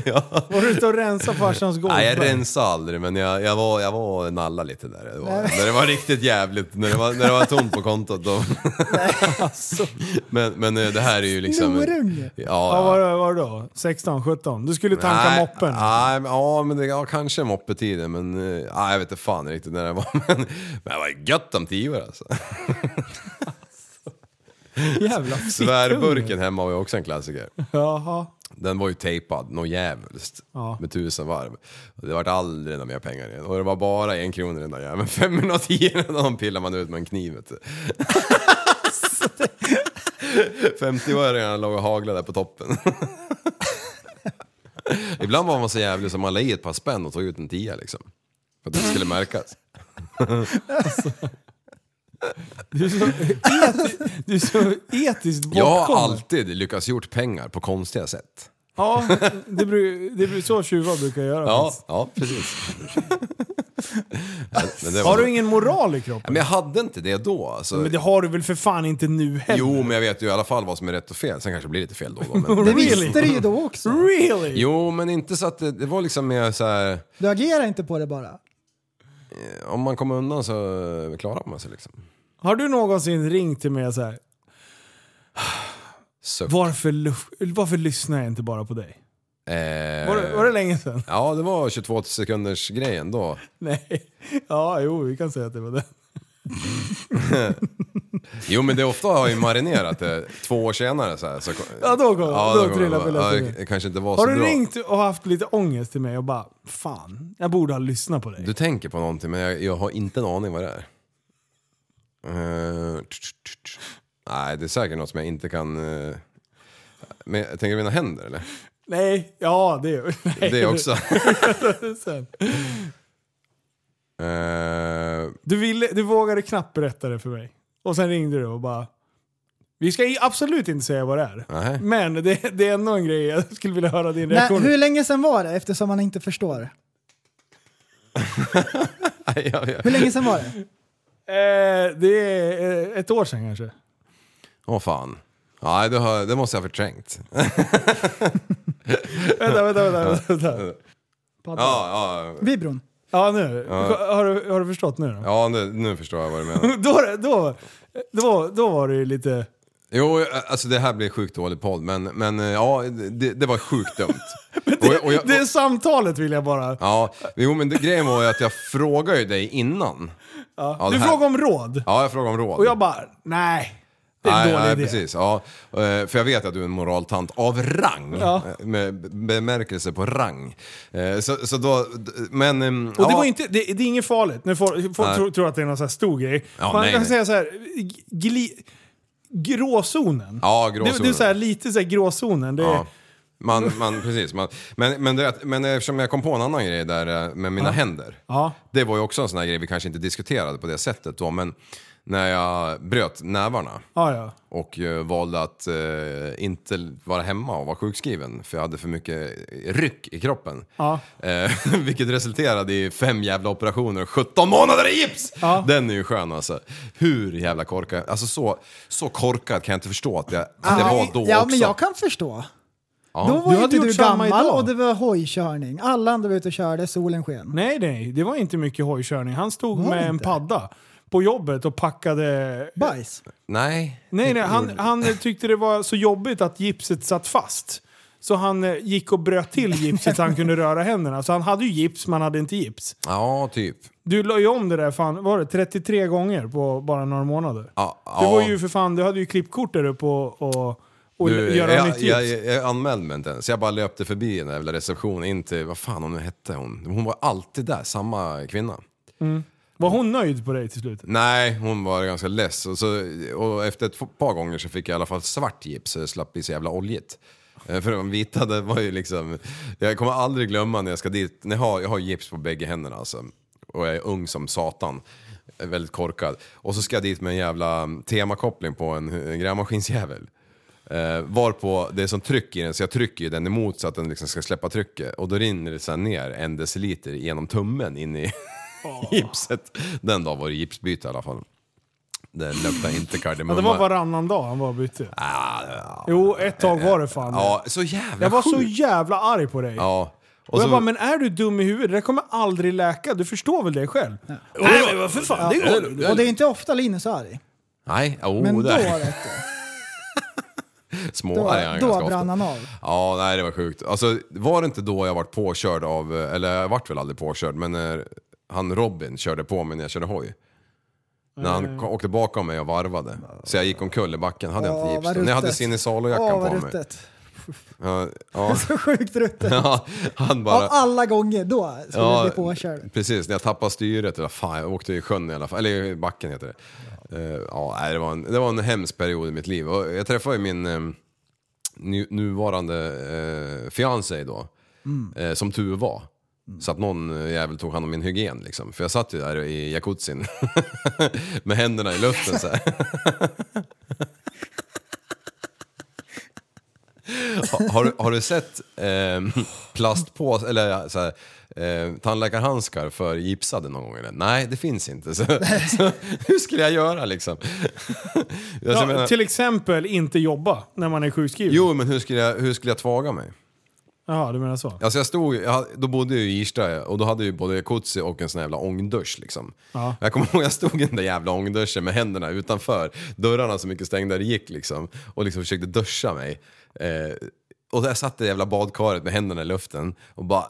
G: Ja.
E: Var du ute och rensade farsans golv?
G: Nej, jag rensade aldrig men jag, jag, var, jag var nalla lite där. Det var,
E: Nej.
G: när det var riktigt jävligt, när det var, när det var tomt på kontot. Då. men, men eh, det här är ju liksom...
E: Snorunge.
G: Ja,
E: alltså. Ja,
G: ja.
E: vad var, var det då? 16, 17? Du skulle tanka
G: Nej,
E: moppen.
G: Nej, men, ja, men det, ja, kanske moppetiden men eh, ja, jag vet inte fan riktigt när det var. Men, men det var gött om tio år alltså.
E: Jävla
G: Svärburken hemma var ju också en klassiker.
E: Jaha.
G: Den var ju tejpad något jävligt
E: Ja.
G: med tusen varv. Och det vart aldrig några mer pengar i den. Och det var bara en krona i den där jäveln. Femmorna och tiorna de pillar man ut med en kniv. vet du. 50-öringarna låg och haglade där på toppen. Ibland var man så jävlig så man la i ett par spänn och tog ut en tia liksom. För att det inte skulle märkas.
E: Du är så, eti, du är så etiskt
G: Jag har
E: bortkommen.
G: alltid lyckats gjort pengar på konstiga sätt.
E: Ja, det blir, det blir så tjuvar brukar göra.
G: Ja,
E: faktiskt.
G: ja precis. Men det var
E: Har
G: nog-
E: du ingen moral i kroppen?
G: Ja, Men jag hade inte det då. Alltså.
E: Men det har du väl för fan inte nu heller?
G: Jo, men jag vet ju i alla fall vad som är rätt och fel. Sen kanske det blir lite fel då. och då men...
F: Det visste du ju då också.
E: Really?
G: Jo, men inte så att det, det var liksom mer så här...
F: Du agerar inte på det bara.
G: eh, Om man kommer undan så eh, klarar man sig liksom.
E: Har du någonsin ringt till mig och så här?
G: Suck.
E: Varför, lu- varför lyssnar jag inte bara på dig?
G: Eh,
E: Var det, var det länge sedan?
G: Ja, det var 22 sekunders grejen då.
E: Nej. Ja, jo, vi kan säga att det var det.
G: jo, men det är ofta har jag ju marinerat det två år senare så här. Så,
E: Ja, då kom- då
G: kom-
E: trillar
G: ja,
E: bilden.
G: det kanske inte var
E: Har
G: så
E: du
G: bra.
E: ringt och haft lite ångest till mig och bara fan, jag borde ha lyssnat på dig?
G: Du tänker på någonting, men jag, jag har inte en aning vad det är. Eh, tch, tch, tch, tch. nej, det är säkert något som jag inte kan... eh, men jag tänker mina händer eller?
E: Nej, ja det nej.
G: Det också.
E: Sen.
G: Eh,
E: du, ville, du vågade knappt berätta det för mig. Och sen ringde du och bara vi ska i- absolut inte säga vad det är.
G: Nej.
E: Men det, det är ändå en grej jag skulle vilja höra din
F: Nej,
E: reaktion.
F: hur länge sedan var det eftersom man inte förstår?
G: nej, jag, jag.
F: Hur länge sedan var det?
E: Eh, det är eh, ett år sedan kanske.
G: Åh fan. Nej, det, har, det måste jag ha förträngt.
E: Vänta, vänta, vänta. vänta, vänta.
G: Ja, ja.
F: Vibron.
E: Ja, nu.
G: Ja.
E: Har, du, har du förstått nu då?
G: Ja, nu, nu förstår jag vad du menar.
E: då, då, då, då var det ju lite...
G: Jo, alltså det här blir sjukt dålig podd, men, men eh, ja, det, det var sjukt dumt. och, jag- och jag,
E: Det är samtalet vill jag bara...
G: ja, jo, men det, grejen var ju att jag frågade ju dig innan.
E: Ja.
G: Ja, det
E: du
G: här-
E: frågade om råd.
G: Ja, jag frågade om råd.
E: Och jag bara, nej. Det är en
G: nej,
E: dålig
G: nej,
E: idé.
G: precis. Ja, Eh, för jag vet att du är en moraltant av rang.
E: Ja.
G: Eh, Med b- bemärkelse på rang. Eh, Så, så då, d- men... ehm,
E: Och det,
G: ja.
E: var inte, det, det är inget farligt. Nu folk folk
G: Nej.
E: tror, tror att det är någon så här stor grej.
G: Ja,
E: Man
G: nej,
E: kan
G: nej.
E: säga så här, gli, gråzonen.
G: Ja,
E: Det,
G: gråzonen.
E: det är så här, lite så här gråzonen. Det är,
G: Ja. Man, man, precis. Man, men, men, det, men eftersom jag kom på en annan grej där eh, med mina händer.
E: Ja.
G: Det var ju också en sån här grej vi kanske inte diskuterade på det sättet då, men när jag bröt nävarna
E: Ja, ja.
G: och eh, valde att eh, inte vara hemma och vara sjukskriven för jag hade för mycket ryck i kroppen.
E: Ja.
G: Eh, vilket resulterade i fem jävla operationer och 17 månader i gips! Den är ju skön alltså. Hur jävla korkad, alltså så, så korkad kan jag inte förstå att, jag, att det
E: Ah,
G: var då
F: ja,
G: också.
F: men jag kan förstå.
G: Ja.
F: Då var
E: Du
F: ju
E: hade
F: inte
E: gjort
F: du
E: samma
F: gammal
E: idag.
F: och det var hojkörning. Alla andra var ute och körde, solen sken.
E: Nej, nej. Det var inte mycket hojkörning. Han stod
F: Var det
E: med en padda på jobbet och packade...
F: Bajs?
G: Nej.
E: Nej, nej. Han, han tyckte det var så jobbigt att gipset satt fast. Så han eh, gick och bröt till gipset så han kunde röra händerna. Så han hade ju gips, men han hade inte gips.
G: Ja, typ.
E: Du la ju om det där fan, vad var det 33 gånger på bara några månader.
G: Ja,
E: Du
G: ja.
E: var ju för fan, du hade ju klippkort där uppe och, och, och
G: ah, Du,
E: göra
G: jag,
E: nytt gips.
G: jag, jag, jag anmälde mig inte ens. Jag bara löpte förbi den där jävla receptionen in till, vad fan hon nu hette hon? Hon var alltid där, samma kvinna.
E: Mm. Var hon nöjd på dig till slut?
G: Nej, hon var ganska less. Och, så, och efter ett f- par gånger så fick jag i alla fall svart gips så det slapp bli så jävla oljigt. Eh, För de vita, det var ju liksom... Jag kommer aldrig glömma när jag ska dit. när Jag har, jag har gips på bägge händerna alltså. Och jag är ung som satan. Jag är Väldigt korkad. Och så ska jag dit med en jävla mm, temakoppling på en, hu- en grävmaskinsjävel. Eh, varpå det är sånt tryck i den så jag trycker ju den emot så att den liksom ska släppa trycket. Och då rinner det så här ner en deciliter genom tummen in i gipset. Den dagen var det gipsbyte i alla fall. Det luktar inte
E: Ja,
G: kardemumma. Ah,
E: det var varannan dag han var och bytte. Jo, ett tag var det fan
G: Ja, så jävla
E: Jag var så
G: sjukt.
E: jävla arg på dig.
G: Ja.
E: Och, jag bara, men är du dum i huvudet? Det där kommer aldrig läka. Du förstår väl det själv? Nej men vad för fan, det går
F: Ja. Och det är inte ofta Linus är arg.
G: Nej, oh,
F: Men då
G: där.
F: var det.
G: Små
F: Då,
G: är han ganska
F: då
G: ofta.
F: brann han av.
G: Ja, nej det var sjukt. Alltså var det inte då jag vart påkörd av, eller jag vart väl aldrig påkörd, men när han Robin körde på mig när jag körde hoj. När
F: Eh.
G: han ko- åkte bakom mig och varvade. Så jag gick omkull i backen, hade jag
F: Åh,
G: inte
F: vad
G: gips. Men jag hade
F: ruttet.
G: Sinisalo-jackan
F: Åh,
G: på
F: vad
G: mig.
F: ruttet.
G: Ja, ja.
F: Så sjukt ruttet.
G: ja, han bara...
F: Av alla gånger då skulle
G: Ja,
F: du bli påkörd.
G: Precis, när jag tappade styret. Eller fan, jag åkte i sjön i alla fall. Eller i backen heter det. Ja. ja, nej, det, var en, det var en hemsk period i mitt liv. Och jag träffade ju min eh, nu, nuvarande eh, fiancé då. Eh, som tur var.
E: Mm.
G: Så att någon eh, jävel tog hand om min hygien liksom. För jag satt ju där i jacuzzin. Med händerna i luften så här. Ha- har, du- har du sett eh, plastpås eller så här, eh, tandläkarhandskar för gipsade någon gång? Eller? Nej, det finns inte. Så, så, hur skulle jag göra liksom? Jag
E: Ja,
G: menar-
E: Till exempel inte jobba när man är sjukskriven.
G: jo, men hur skulle jag, hur skulle jag tvaga mig?
E: Jaha, du menar så?
G: Alltså jag stod, jag, hade- då bodde jag ju i Irsta och då hade jag ju både jacuzzi och en sån här jävla ångdusch liksom.
E: Ja.
G: Jag kommer ihåg jag stod i den där jävla ångduschen med händerna utanför dörrarna så mycket stängda det gick liksom. Och liksom försökte duscha mig. Eh, och där satt det jävla badkaret med händerna i luften och bara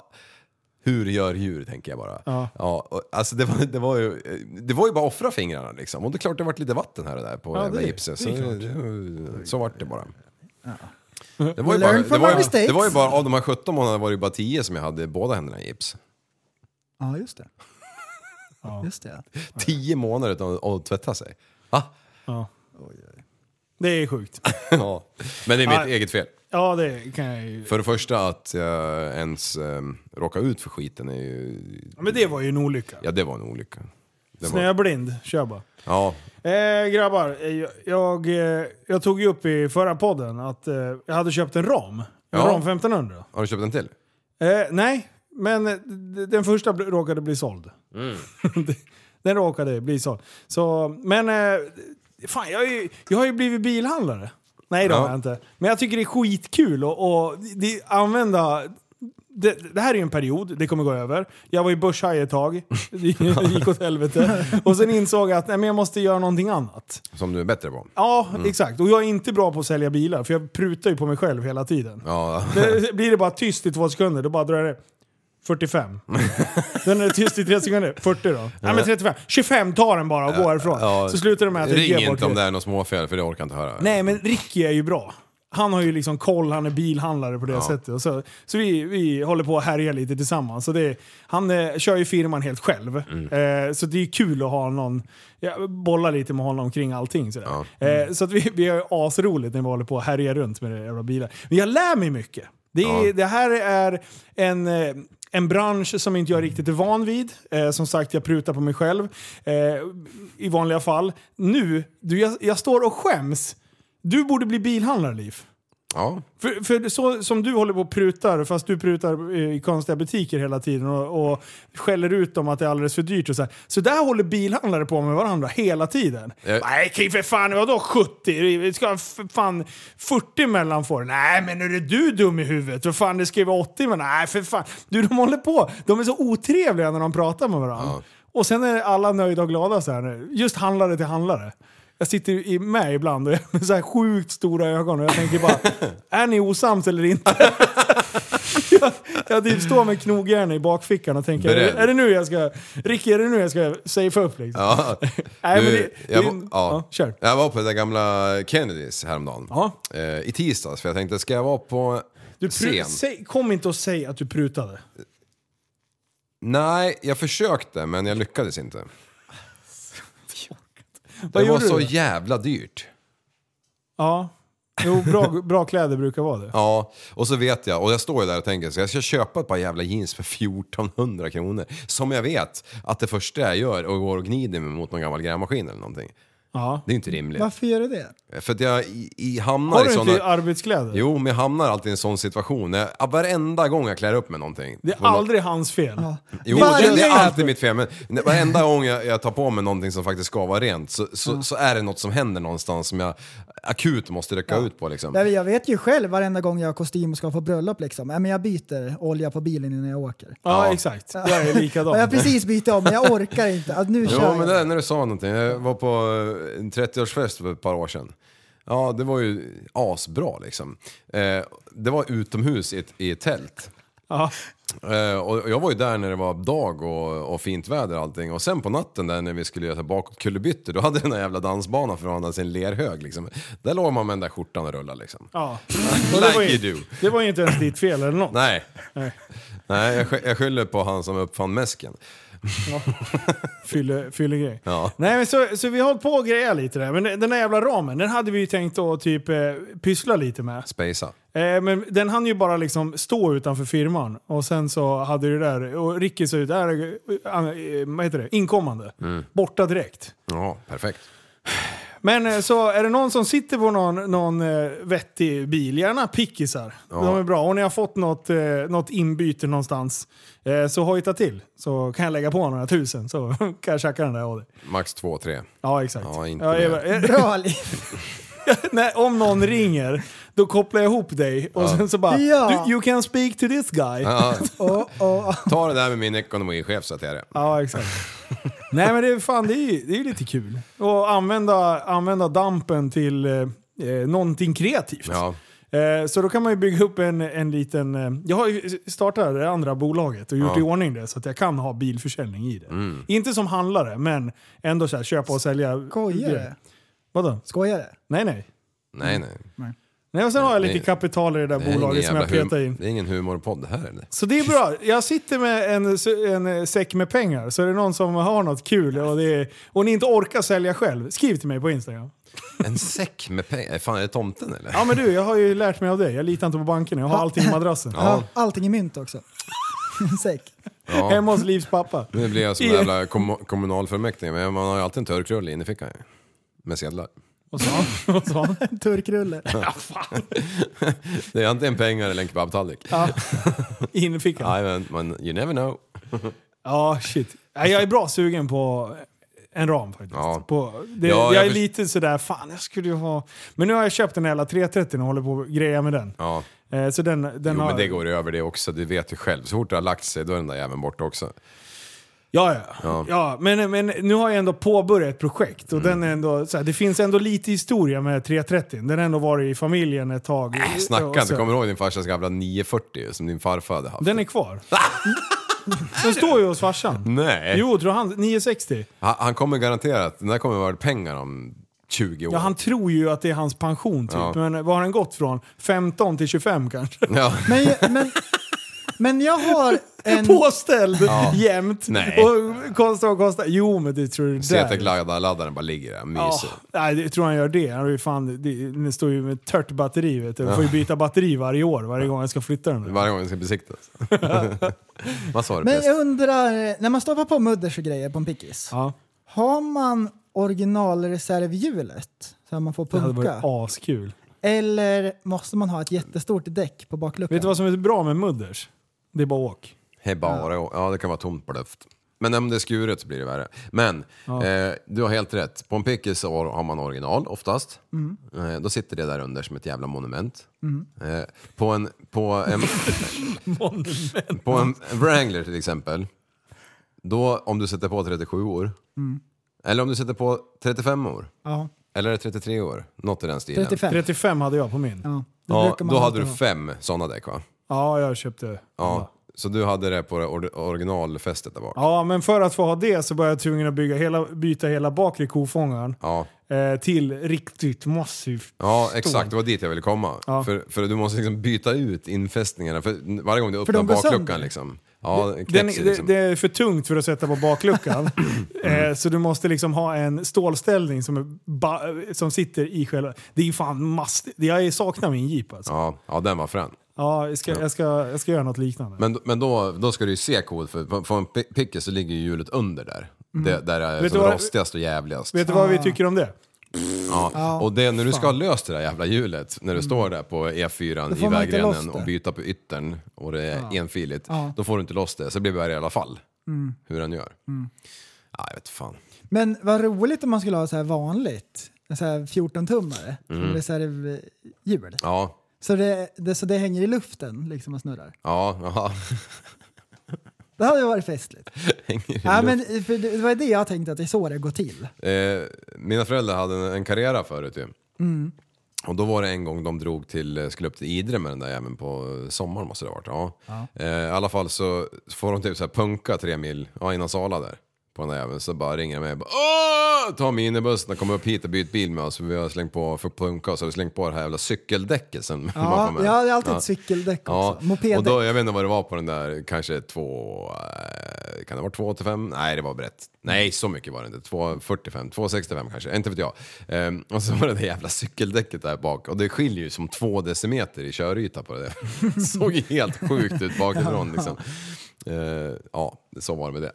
G: hur gör djur, tänker jag bara.
E: Ja.
G: och, alltså det, var, det, var ju, eh, det var ju bara att offra fingrarna liksom. Och det är klart det vart lite vatten här och där på
E: Ja,
G: jävla
E: det-
G: gipsen.
E: det
G: Så,
E: är klart.
G: det- så vart det bara. Det var,
F: We
G: ju bara,
F: learn
G: det,
F: from
G: var
F: our
G: ju,
F: mistakes.
G: det var ju bara, av de här 17 månaderna var det ju bara 10 som jag hade båda händerna i gips.
F: Ja, just det. Just det.
G: 10 månader utan att- att tvätta sig. Va?
E: Ja. Det är sjukt.
G: ja. Men det är mitt
E: Ja.
G: eget fel.
E: Ja, det kan jag ju...
G: För det första att jag ens um, råka ut för skiten är ju...
E: Men det var ju en olycka.
G: Ja, det var en olycka. Det var,
E: Snöblind, kör bara.
G: ja,
E: Eh, grabbar, eh, jag, jag, eh, jag tog ju upp i förra podden att eh, jag hade köpt en ram. En
G: Ja.
E: ram 1500.
G: har du köpt en till?
E: Eh, nej, men eh, d- den första bl- råkade bli såld.
G: Mm.
E: Den råkade bli såld. Så, men eh, fan, jag, är ju, jag har ju blivit bilhandlare. Nej det har
R: Ja.
E: jag inte. Men jag tycker det är skitkul att och, det, använda... Det, det här är ju en period, det kommer gå över. Jag var ju börshaj ett tag, det gick åt helvete. Och sen insåg jag att nej, men jag måste göra någonting annat.
G: Som du är bättre på?
E: Ja,
G: Mm.
E: exakt. Och jag är inte bra på att sälja bilar, för jag prutar ju på mig själv hela tiden.
G: Ja.
E: Det, blir det bara tyst i två sekunder, då bara drar jag det. 45. den är det tyst i tre sekunder. 40 då. Nej men 35. 25 tar den bara och går härifrån.
G: Ja.
E: Så slutar det med att jag
G: Ring
E: ger bort
G: inte om
E: det.
G: det är något småfel för det orkar jag inte höra.
E: Nej men Ricky är ju bra. Han har ju liksom koll, han är bilhandlare på det
G: Ja.
E: sättet. Och Så, så vi, vi håller på att härja lite tillsammans. Så det, han eh, kör ju firman helt själv. Eh, så det är kul att ha någon, ja, bolla lite med honom kring allting. Sådär. Eh, så att vi, vi har ju asroligt när vi håller på att härja runt med det jävla bilar. Men jag lär mig mycket. Det, är,
R: Ja.
E: det här är en, eh, en bransch som inte jag riktigt är van vid. Eh, som sagt, jag prutar på mig själv eh, i vanliga fall. Nu, du, jag, jag står och skäms. Du borde bli bilhandlare, Liv.
G: Ja.
E: För, för så som du håller på och prutar, fast du prutar eh, i konstiga butiker hela tiden och, och skäller ut dem att det är alldeles för dyrt och så här. Så där håller bilhandlare på med varandra hela tiden.
R: Jag-
E: Nej, kan ju för fan, vadå 70? Vi ska ha för fan 40 mellan får. Nej, men är det du dum i huvudet? För fan, det ska ju vara 80 men Nej, för fan. Du, de håller på. De är så otrevliga när de pratar med varandra. Och sen är alla nöjda och glada så här nu. Just handlare till handlare. Jag sitter i- med ibland och jag har så här sjukt stora ögon och jag tänker bara, är ni osams eller inte? jag, jag typ står med knogjärn i bakfickan och tänker, är det,
G: Beredd.
E: är det nu jag ska, Ricky är det nu jag ska safea upp liksom?
G: Ja.
E: Nej, men
G: Du,
E: det-
G: jag,
E: det-
G: var- ja. jag var på det där gamla Kennedys häromdagen. Eh, I tisdags, för jag tänkte, ska jag vara på
E: Du pru-
G: scen?
E: säg, kom inte och säg att du prutade.
G: Nej, jag försökte men jag lyckades inte.
E: Vad
G: Det var
E: gjorde du
G: så
E: då?
G: jävla dyrt.
E: Ja. Jo, bra, bra kläder brukar vara det.
G: Ja, och så vet jag, och jag står ju där och tänker så jag ska köpa ett par jävla jeans för 1400 kronor. Som jag vet att det första jag gör och går och gnider mig mot någon gammal grävmaskin eller någonting.
E: Ja.
G: Det är ju inte rimligt.
F: Varför gör du det?
G: För att jag i, i hamnar
E: Har du
G: i
E: inte
G: sådana...
E: arbetskläder?
G: Jo, men jag hamnar alltid i en sån situation. när Jag, varenda gång jag klär upp mig någonting.
E: Det är
G: på något-
E: aldrig hans fel.
G: Jo, det, det är alltid mitt fel. Men varenda gång jag, jag tar på mig någonting som faktiskt ska vara rent så, så, så är det något som händer någonstans som jag akut måste rycka ut på liksom.
F: Nej, men Jag vet ju själv varenda gång jag har kostym och ska på bröllop liksom. Nej, men jag byter olja på bilen innan jag åker.
G: Ja.
E: exakt. Jag är likadan.
F: Och jag har precis bytt om, men jag orkar inte. Att nu
G: Jo,
F: kör jag.
G: men det är när du sa någonting. Jag var på eh, en 30-årsfest för ett par år sedan. Ja, det var ju asbra liksom. Eh, det var utomhus i ett, i ett tält. Eh, och jag var ju där när det var dag och, och fint väder och allting. Och sen på natten där när vi skulle göra så här bakåt kullerbyttor, då hade den där jävla dansbanan förvandlats till en lerhög liksom. Där låg man med den där skjortan och rullade liksom.
E: Ja. Och det, var
G: Like
E: ju,
G: you do.
E: det var ju inte ens ditt fel eller något.
G: Nej.
E: Nej.
G: Nej, jag, sk- jag skyller på han som uppfann mäsken.
E: Fyller, fyller grej.
G: Ja.
E: Nej men så, så vi har hållit på och grejat lite där. Men den där jävla ramen, den hade vi ju tänkt att typ eh, pyssla lite med.
G: Spacea.
E: Eh, men den hann ju bara liksom stå utanför firman. Och sen så hade det där, och Ricky sa ut, där, eh, vad heter det, inkommande.
G: Mm.
E: Borta direkt.
G: Ja, perfekt.
E: Men eh, så är det någon som sitter på någon, någon eh, vettig bil, gärna pickisar.
G: Ja.
E: De är bra. Och när jag har fått något, eh, något inbyte någonstans eh, så hojta till. Så kan jag lägga på några tusen så kan jag tjacka den där av dig.
G: Max 2-3.
E: Ja, exakt.
G: Ja, inte
E: Ja, jag
G: mer.
E: bara- eh. Nej, om någon ringer, då kopplar jag ihop dig och
G: Ja.
E: sen så bara
F: Ja.
E: du, “You can speak to this guy”.
G: Ja.
F: Oh, oh.
G: Ta det där med min ekonomichef så att jag är det.
E: Ja, exakt. Nej men det, är- fan, det är ju det är ju lite kul. Och använda, använda dampen till eh, eh, någonting kreativt.
G: Ja.
E: Eh, så då kan man ju bygga upp en, en liten... Eh, jag har ju startat det andra bolaget och gjort
G: Ja.
E: i ordning det så att jag kan ha bilförsäljning i det.
G: Mm.
E: Inte som handlare, men ändå så här, köpa och sälja.
F: Skojar du?
E: grejer. Vadå?
F: Skojar du?
E: Nej, nej.
G: Nej, nej.
E: Nej, och sen har jag lite
G: Nej.
E: kapital i det där
G: Det är ingen
E: bolaget som jag
G: jävla hum-
E: petar in.
G: Det är ingen humorpodd här eller?
E: Så det är bra. Jag sitter med en, en, eh, säck med pengar, så är det någon som har något kul och, det är, och ni inte orkar sälja själv, skriv till mig på Instagram.
G: En säck med pengar? Fan, är det tomten eller?
E: Ja men du, jag har ju lärt mig av dig. Jag litar inte på banken. jag har allting i madrassen.
G: Ja.
F: Allting i mynt också. Säck.
G: Ja.
E: Hemma hos Livs pappa.
G: Nu blir jag som
E: I-
G: en jävla kom- kommunalfullmäktige, men man har ju alltid en törkrulle inne i fickan ju. Med sedlar.
E: Vad sa han?
F: Turkrulle.
G: det är antingen pengar eller en kebabtallrik.
E: Ja. In i fickan.
G: Nej men, men you never know.
E: Ja, shit. Nej, Jag är bra sugen på en ram faktiskt.
G: Ja.
E: På, det,
G: Ja,
E: jag,
G: jag
E: är
G: förs-
E: lite sådär, fan jag skulle ju ha... Men nu har jag köpt en hela 330 och håller på och grejar med den.
G: Ja.
E: Eh, Så den, den
G: jo
E: har...
G: men det går ju över det också, du vet ju själv. Så fort det har lagt sig då är den där jäveln borta också.
E: Ja, ja. Ja, men, men nu har jag ändå påbörjat ett projekt och den är ändå, så här, det finns ändå lite historia med 330. Den har ändå varit i familjen ett tag.
G: Äh,
E: Och
G: snacka inte,
E: så-
G: kommer du ihåg din farsas gamla 940 som din farfar hade haft?
E: Den är kvar. den står ju hos farsan.
G: Nej!
E: Jo, tror han. 960.
G: Han, han kommer garanterat, den där kommer vara värd pengar om 20 år.
E: Ja, han tror ju att det är hans pension typ.
G: Ja.
E: Men vad har den gått från? 15 till 25 kanske?
G: Ja.
F: Men, men, men jag har en...
E: Påställd
G: Ja.
E: jämt.
G: Nej.
E: Och konstant och konstant. Jo, men det tror du där.
G: CT-laddaren bara ligger där,
E: Ja,
G: myser.
E: nej, jag tror han gör det. Han har ju fan, det, den står ju med tört batteri vet du. Jag får ju
G: Ja.
E: byta batteri varje år, varje gång jag ska flytta den.
G: Varje gång den ska besiktas. Vad sa du
F: Men
G: förresten?
F: jag undrar, eh, när man stoppar på mudders och grejer på en pickis. Har man originalreservhjulet? Så att man får
E: Det hade varit
F: punka?
E: askul.
F: Eller måste man ha ett jättestort däck på bakluckan?
E: Vet du vad som är bra med mudders? Det är bara åk.
G: Hej bara, ja. det kan vara tomt på luft. Men om det är skuret så blir det värre. Men
E: Ja.
G: eh, du har helt rätt. På en pickis så har har man original oftast.
F: Mm.
G: Eh, då sitter det där under som ett jävla monument.
F: Mm.
G: Eh, på en, på en,
E: Monument.
G: på en Wrangler till exempel. Då om du sätter på 37 år.
F: Mm.
G: Eller om du sätter på 35 år.
F: Ja.
G: Eller 33 år. Något i den stilen.
E: 35 hade jag på min.
F: Ja,
G: Ja, då hade du fem sådana däck va?
E: Ja, jag köpte.
G: Ja. Så du hade det på det or- originalfästet där bak?
E: Ja, men för att få ha det så var jag tvungen att bygga hela, byta hela bakre kofångaren
G: Ja.
E: eh, till riktigt massivt.
G: Ja, exakt. Det var dit jag ville komma. För, för du måste liksom byta ut infästningarna för varje gång du öppnar
E: de går
G: bakluckan.
E: sönder.
G: Liksom. Ja, det
E: Den,
G: knäcks ju
E: det,
G: liksom.
E: det är för tungt för att sätta på bakluckan. eh, så du måste liksom ha en stålställning som, är ba, som sitter i själva... Det är ju fan must. Jag saknar min jeep alltså.
G: Ja, ja, den var frän.
E: Ja, jag ska, Jag ska, jag ska göra något liknande.
G: Men, men då, då ska du ju se coolt, för på, på en pi- picker så ligger ju hjulet under där.
E: Mm.
G: Det, där är
E: Vet
G: som
E: du vad-
G: rostigast och jävligast.
E: Vet du vad vi tycker om det?
G: Ja.
F: Ja,
G: och det, när du ska ha
F: fan.
G: löst det där jävla hjulet, när du står där på
F: Då
G: E4
F: får
G: i
F: man inte loss
G: vägrenen
F: det.
G: och byta på yttern och det är enfiligt,
F: Ja.
G: då får du inte loss det. Så det blir berg i alla fall,
F: Mm.
G: hur han gör.
F: Mm.
G: Ja, jag vet fan.
F: Men vad roligt om man skulle ha så här vanligt. En Så här 14-tummare.
G: Mm.
F: Mm. Reservhjul.
G: Ja,
F: Så det, det, så det hänger i luften liksom och snurrar.
G: ja, ja.
F: Det hade ju varit festligt.
G: Hänger i
F: Ja,
G: luften.
F: men, för det, det var det jag tänkte att det är så det går till.
G: Eh, mina föräldrar hade en, en karriär förut ju.
F: Mm.
G: Och då var det en gång de drog till, eh, skulle upp till Idre med den där jäveln på eh, sommaren måste det ha varit. Ja. Eh, I alla fall så får de typ så här punka tre mil ja, innan Sala där. På den där jäveln. Så bara ringer de mig och bara Åh! Ta minibussen och kommer upp hit och byt bil med oss. För vi har slängt på, för punka oss, har vi slängt på det här jävla cykeldäcket sen man
F: Ja,
G: kom
F: jag
G: hem.
F: hade alltid
G: Ja.
F: ett cykeldäck
G: Ja,
F: också. Mopeddäck.
G: och då, jag vet inte vad det var på den där, kanske två, eh, kan det vara 2,85? Nej, det var brett. Nej, så mycket var det inte. 2,45, 2,65 kanske, inte vet jag. Ehm, och så var det det jävla cykeldäcket där bak och det skiljer ju som två decimeter i köryta på det. där. såg ju helt sjukt ut bakifrån liksom. Ehm, ja, så var det med det.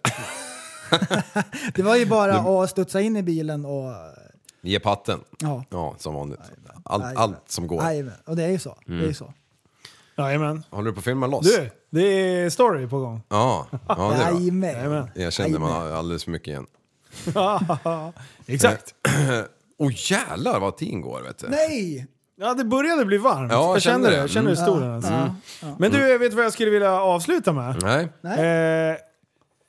F: Det var ju bara att studsa in i bilen och...
G: Ge patten.
F: Ja.
G: Ja, som vanligt. Allt,
F: Jajamän.
G: allt som går.
F: Jajamän. Och det är ju så. Det är
G: Mm.
F: ju så.
E: Jajamän.
G: Håller du på att filma loss?
E: Du, det är story på gång.
G: Ja, ja det då.
E: Jajamän.
G: Jag känner man alldeles för mycket igen.
E: Exakt.
G: Åh jävlar vad tiden går vet du.
F: Nej!
E: Ja, det började bli varmt.
G: Ja,
E: jag kände det. Jag kände hur
G: Mm.
E: stor
G: Ja,
E: den alltså.
G: ja,
E: Men du, vet du vad jag skulle vilja avsluta med?
G: Nej.
E: Eh,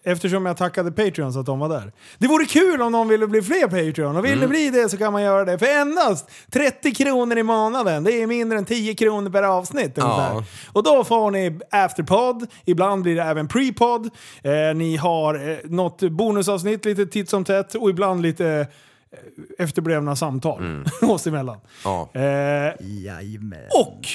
E: eftersom jag tackade Patreons att de var där. Det vore kul om någon ville bli fler Patreon. Och vill ni
G: Mm.
E: bli det så kan man göra det. För endast 30 kronor i månaden. Det är mindre än 10 kronor per avsnitt
G: Ja.
E: ungefär. Och då får ni afterpod, ibland blir det även prepod. Eh, ni har eh, något bonusavsnitt lite titt som tätt och ibland lite eh, efterblivna samtal
G: Mm.
E: oss emellan.
G: Ja.
E: Eh, och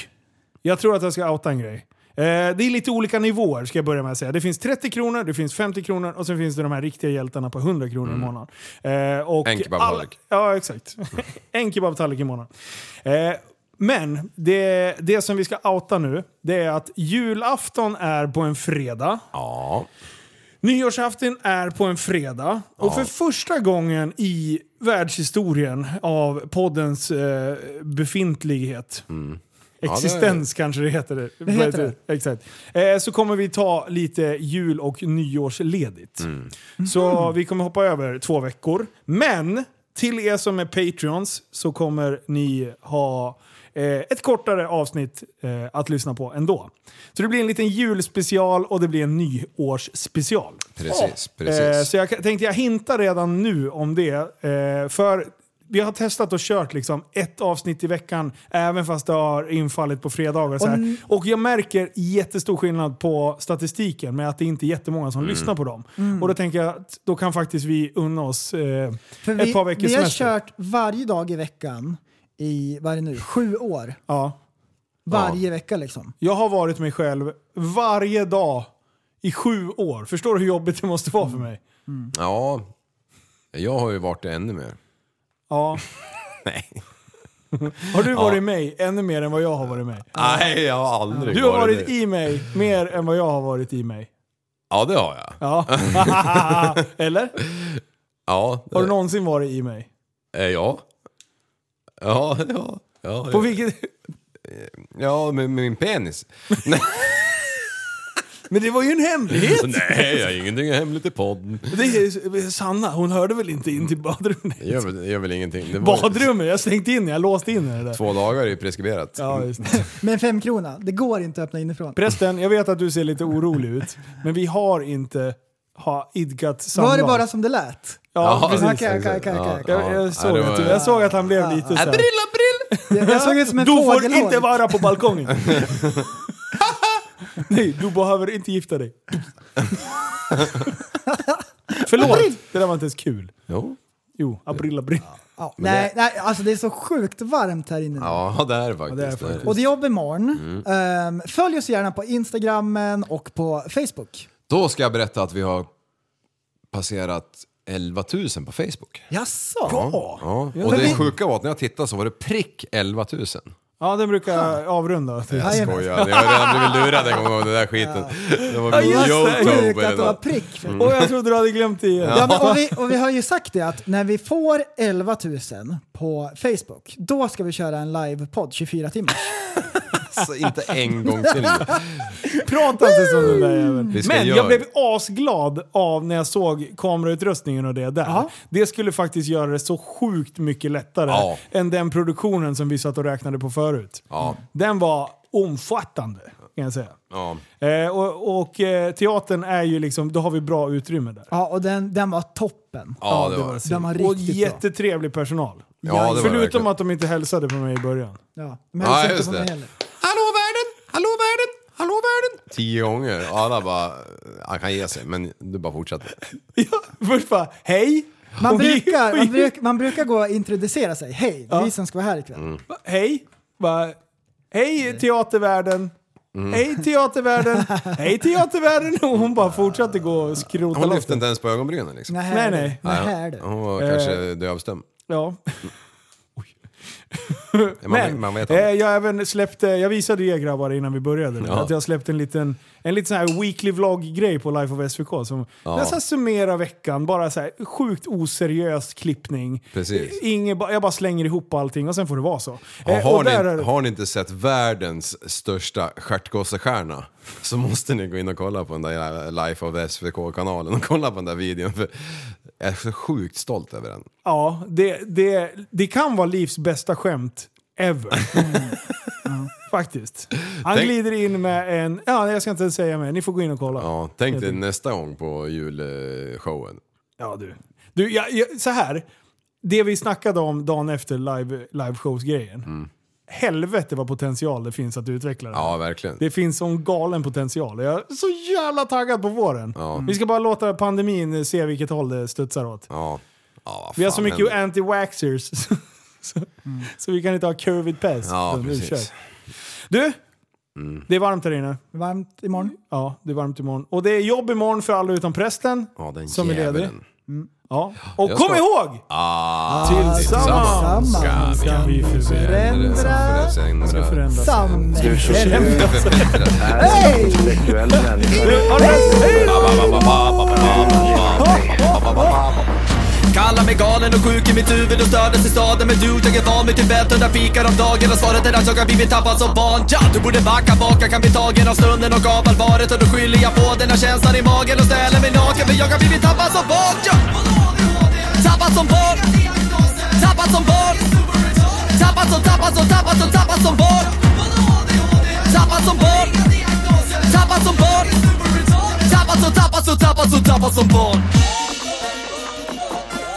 E: jag tror att jag ska outa en grej. Eh, det är lite olika nivåer ska jag börja med att säga. Det finns 30 kronor, det finns 50 kronor och sen finns det de här riktiga hjältarna på 100 kronor i månaden. Eh, och
G: Mm. En kebabtallrik.
E: alla- Ja, exakt. en kebabtallrik i månaden. Eh, men det, det som vi ska outa nu, det är att julafton är på en fredag.
G: Ja.
E: Nyårsafton är på en fredag. Och för första gången i världshistorien av poddens eh, befintlighet
G: Mm. Ja, det-
E: Existens kanske det heter.
G: Det heter
E: Exakt. Eh, så kommer vi ta lite jul och nyårsledigt. Så vi kommer hoppa över två veckor. Men till er som är Patreons så kommer ni ha eh, ett kortare avsnitt eh, att lyssna på ändå. Så det blir en liten julspecial och det blir en nyårsspecial.
G: Precis,
E: Ja.
G: precis.
E: Eh, så jag kan- tänkte jag hinta redan nu om det. Eh, för vi har testat och kört liksom ett avsnitt i veckan även fast det har infallit på fredagar. Så
F: Och
E: här.
F: n-
E: Och jag märker jättestor skillnad på statistiken med att det inte är jättemånga som
F: Mm.
E: lyssnar på dem.
F: Mm.
E: Och då tänker jag att då kan faktiskt vi unna oss eh,
F: För
E: ett
F: vi,
E: par veckors
F: vi har
E: semester.
F: kört varje dag i veckan i, vad är det nu, sju år.
E: Ja.
F: Varje vecka liksom.
E: Jag har varit mig själv varje dag i sju år. Förstår du hur jobbigt det måste vara för
F: Mm.
E: mig?
G: Ja. Jag har ju varit det ännu mer.
E: Ja.
G: Nej.
E: Har du
G: Ja.
E: varit mig ännu mer än vad jag har varit mig?
G: Nej, jag har aldrig
E: Du har varit
G: det.
E: i mig mer än vad jag har varit i mig.
G: Ja, det har jag.
E: Ja. Eller?
G: Ja.
E: Har du någonsin varit i mig?
G: Eh, Ja. Ja, ja. ja
E: På
G: ja.
E: vilket...
G: Ja, med, med min penis.
E: Men det var ju en hemlighet!
G: Nej, jag har ingenting hemligt i podden.
E: Det är Sanna, hon hörde väl inte in till badrummet?
G: Det gör, väl- det gör väl ingenting. Det var
E: Badrummet? Jag stängt in jag låste in det där.
G: Två dagar är ju preskriberat.
E: Ja, just det.
F: Med en femkrona. Det går inte att öppna inifrån.
E: Prästen, jag vet att du ser lite orolig ut, men vi har inte ha idkat samlag.
F: Var det bara som det lät?
E: Ja, precis.
F: Okej, okej, okej, okej.
E: Jag, jag, såg
G: det
E: att,
G: var-
E: jag såg att han blev lite så här.
F: Jag- Jag såg ut som en
E: Du får
F: fågelholk.
E: inte vara på balkongen. Nej, du behöver inte gifta dig. Förlåt, det där var inte ens kul.
G: Jo.
E: Jo, april, april.
F: Ja,
E: Men
F: nej, nej, alltså det är så sjukt varmt här inne. nu.
G: Ja, det är det faktiskt.
E: det är faktiskt.
F: Och det är jobb imorgon.
G: Mm.
F: Ehm, följ oss gärna på Instagrammen och på Facebook.
G: Då ska jag berätta att vi har passerat 11 000 på Facebook.
F: Jaså?
G: Ja. ja.
F: Ja,
G: Och
F: men
G: det
F: vi-
G: sjuka var att när jag tittade så var det prick 11 000.
E: Ja, den brukar avrunda. typ.
G: Jag skojar, jag har redan blivit lurad en gång av den där skiten. Det var
E: Ja, just det.
F: Sjukt
G: Yotobe.
F: att det var
G: eller-
F: prick.
G: Mm.
E: Och jag trodde du hade glömt det igen.
F: Ja, men, och, vi, och vi har ju sagt det att när vi får 11 000 på Facebook, då ska vi köra en livepodd 24 timmar.
G: Så inte en gång till.
E: Prata inte som den där jäveln.
G: Vi ska
E: Men jag
G: göra-
E: blev asglad av när jag såg kamerautrustningen och det där. Det skulle faktiskt göra det så sjukt mycket lättare
G: Ja.
E: än den produktionen som vi satt och räknade på förut.
G: Ja.
E: Den var omfattande kan jag säga.
G: Ja.
E: Eh, och och eh, teatern är ju liksom, då har vi bra utrymme där.
F: Ja, och den, den var toppen.
E: Ja,
G: det var det.
F: Den var
E: och
F: riktigt bra.
E: jättetrevlig personal.
G: Ja, det var det
E: Förutom
G: verkligen.
E: att de inte hälsade på mig i början.
F: Ja,
G: Ja, just det. Hallå världen! Hallå världen! Hallå världen! Tio gånger. Och alla bara, han kan ge sig. Men du bara fortsätter.
E: Först bara, hej!
F: Man
E: Och vi-
F: brukar,
E: vi-
F: man, bruk, man brukar gå och introducera sig. Hej, det är vi som ska vara här ikväll.
G: Mm.
E: Va- Hej! Bara, hej teatervärlden!
G: Mm.
E: Hej teatervärlden! hej teatervärlden! Och hon bara fortsatte gå och skrota
G: Hon
E: loss
G: lyfte
E: det.
G: inte ens på ögonbrynen liksom.
E: Nej, Nej, nej. nej.
G: Nej,
E: Nej.
G: Hon var
E: Eh,
G: kanske dövstum.
E: Ja.
G: Man,
E: Men
G: man vet
E: eh,
G: aldrig.
E: jag, även släppte, jag visade ju er grabbar innan vi började.
G: Ja.
E: Att jag släppte en
F: Mm.
E: liten, en liten sån här weekly vlogg-grej på Life of SVK. Som
G: Ja.
E: nästan summerar veckan. Bara så här, sjukt oseriös klippning.
G: Precis.
E: Inge, jag bara slänger ihop allting och sen får det vara så.
G: Och
E: Eh, och
G: har,
E: där är
G: ni,
E: det-
G: har ni inte sett världens största stjärtgossestjärna så måste ni gå in och kolla på den där Life of SVK-kanalen och kolla på den där videon. För jag är så sjukt stolt över den.
E: Ja, det, det, det kan vara livs bästa skämt ever. Mm. Faktiskt. Han
G: Tänk-
E: glider in med en... Ja, jag ska inte säga mer. Ni får gå in och kolla.
G: Ja, tänk dig nästa gång på julshowen.
E: Ja, du. Du, jag, jag, så här. Det vi snackade om dagen efter live, live shows-grejen.
G: Mm.
E: Helvete vad potential det finns att utveckla det.
G: Ja, verkligen.
E: Det finns sån galen potential. Jag är så jävla taggad på våren.
G: Ja.
E: Vi ska bara låta pandemin se vilket håll det studsar åt.
G: Ja. Ja, vad
E: Vi har
G: fan
E: så mycket
G: händer?
E: anti-waxers. så,
F: Mm.
E: så vi kan inte ha covid pest.
G: Ja,
E: Så nu
G: precis.
E: kör vi. Du, det är varmt här inne.
F: Varmt imorgon.
E: Ja, det är varmt imorgon. Och det är jobb imorgon för alla utom prästen.
G: Ja, den
E: som är ledig.
G: jäveln.
E: Ja. Och
G: Jag
E: kom
G: ska-
E: ihåg!
G: Ah,
E: Tillsammans
G: ska vi
F: förändra-
G: förändra.
E: Ska förändra.
F: Samhället.
C: Du som ser ut att förbättra här är
F: Hej!
C: en intellektuell människa.
A: Kallar mig galen och sjuk i mitt huvud och stördes i staden Men du, jag är van vid Tibet och där fikar om dagen Och svaret är att jag har blivit tappad som barn ja, Du borde backa bak, jag kan bli tagen av stunden och av allvaret Och då skyller jag på den här känslan i magen och ställer mig naken För jag har blivit tappad som barn ja. Tappad som barn Tappad som barn Tappad som, tappad som, tappad som, tappad som barn Tappad som barn Tappad som barn Tappad som, tappad som, tappad som, tappad som barn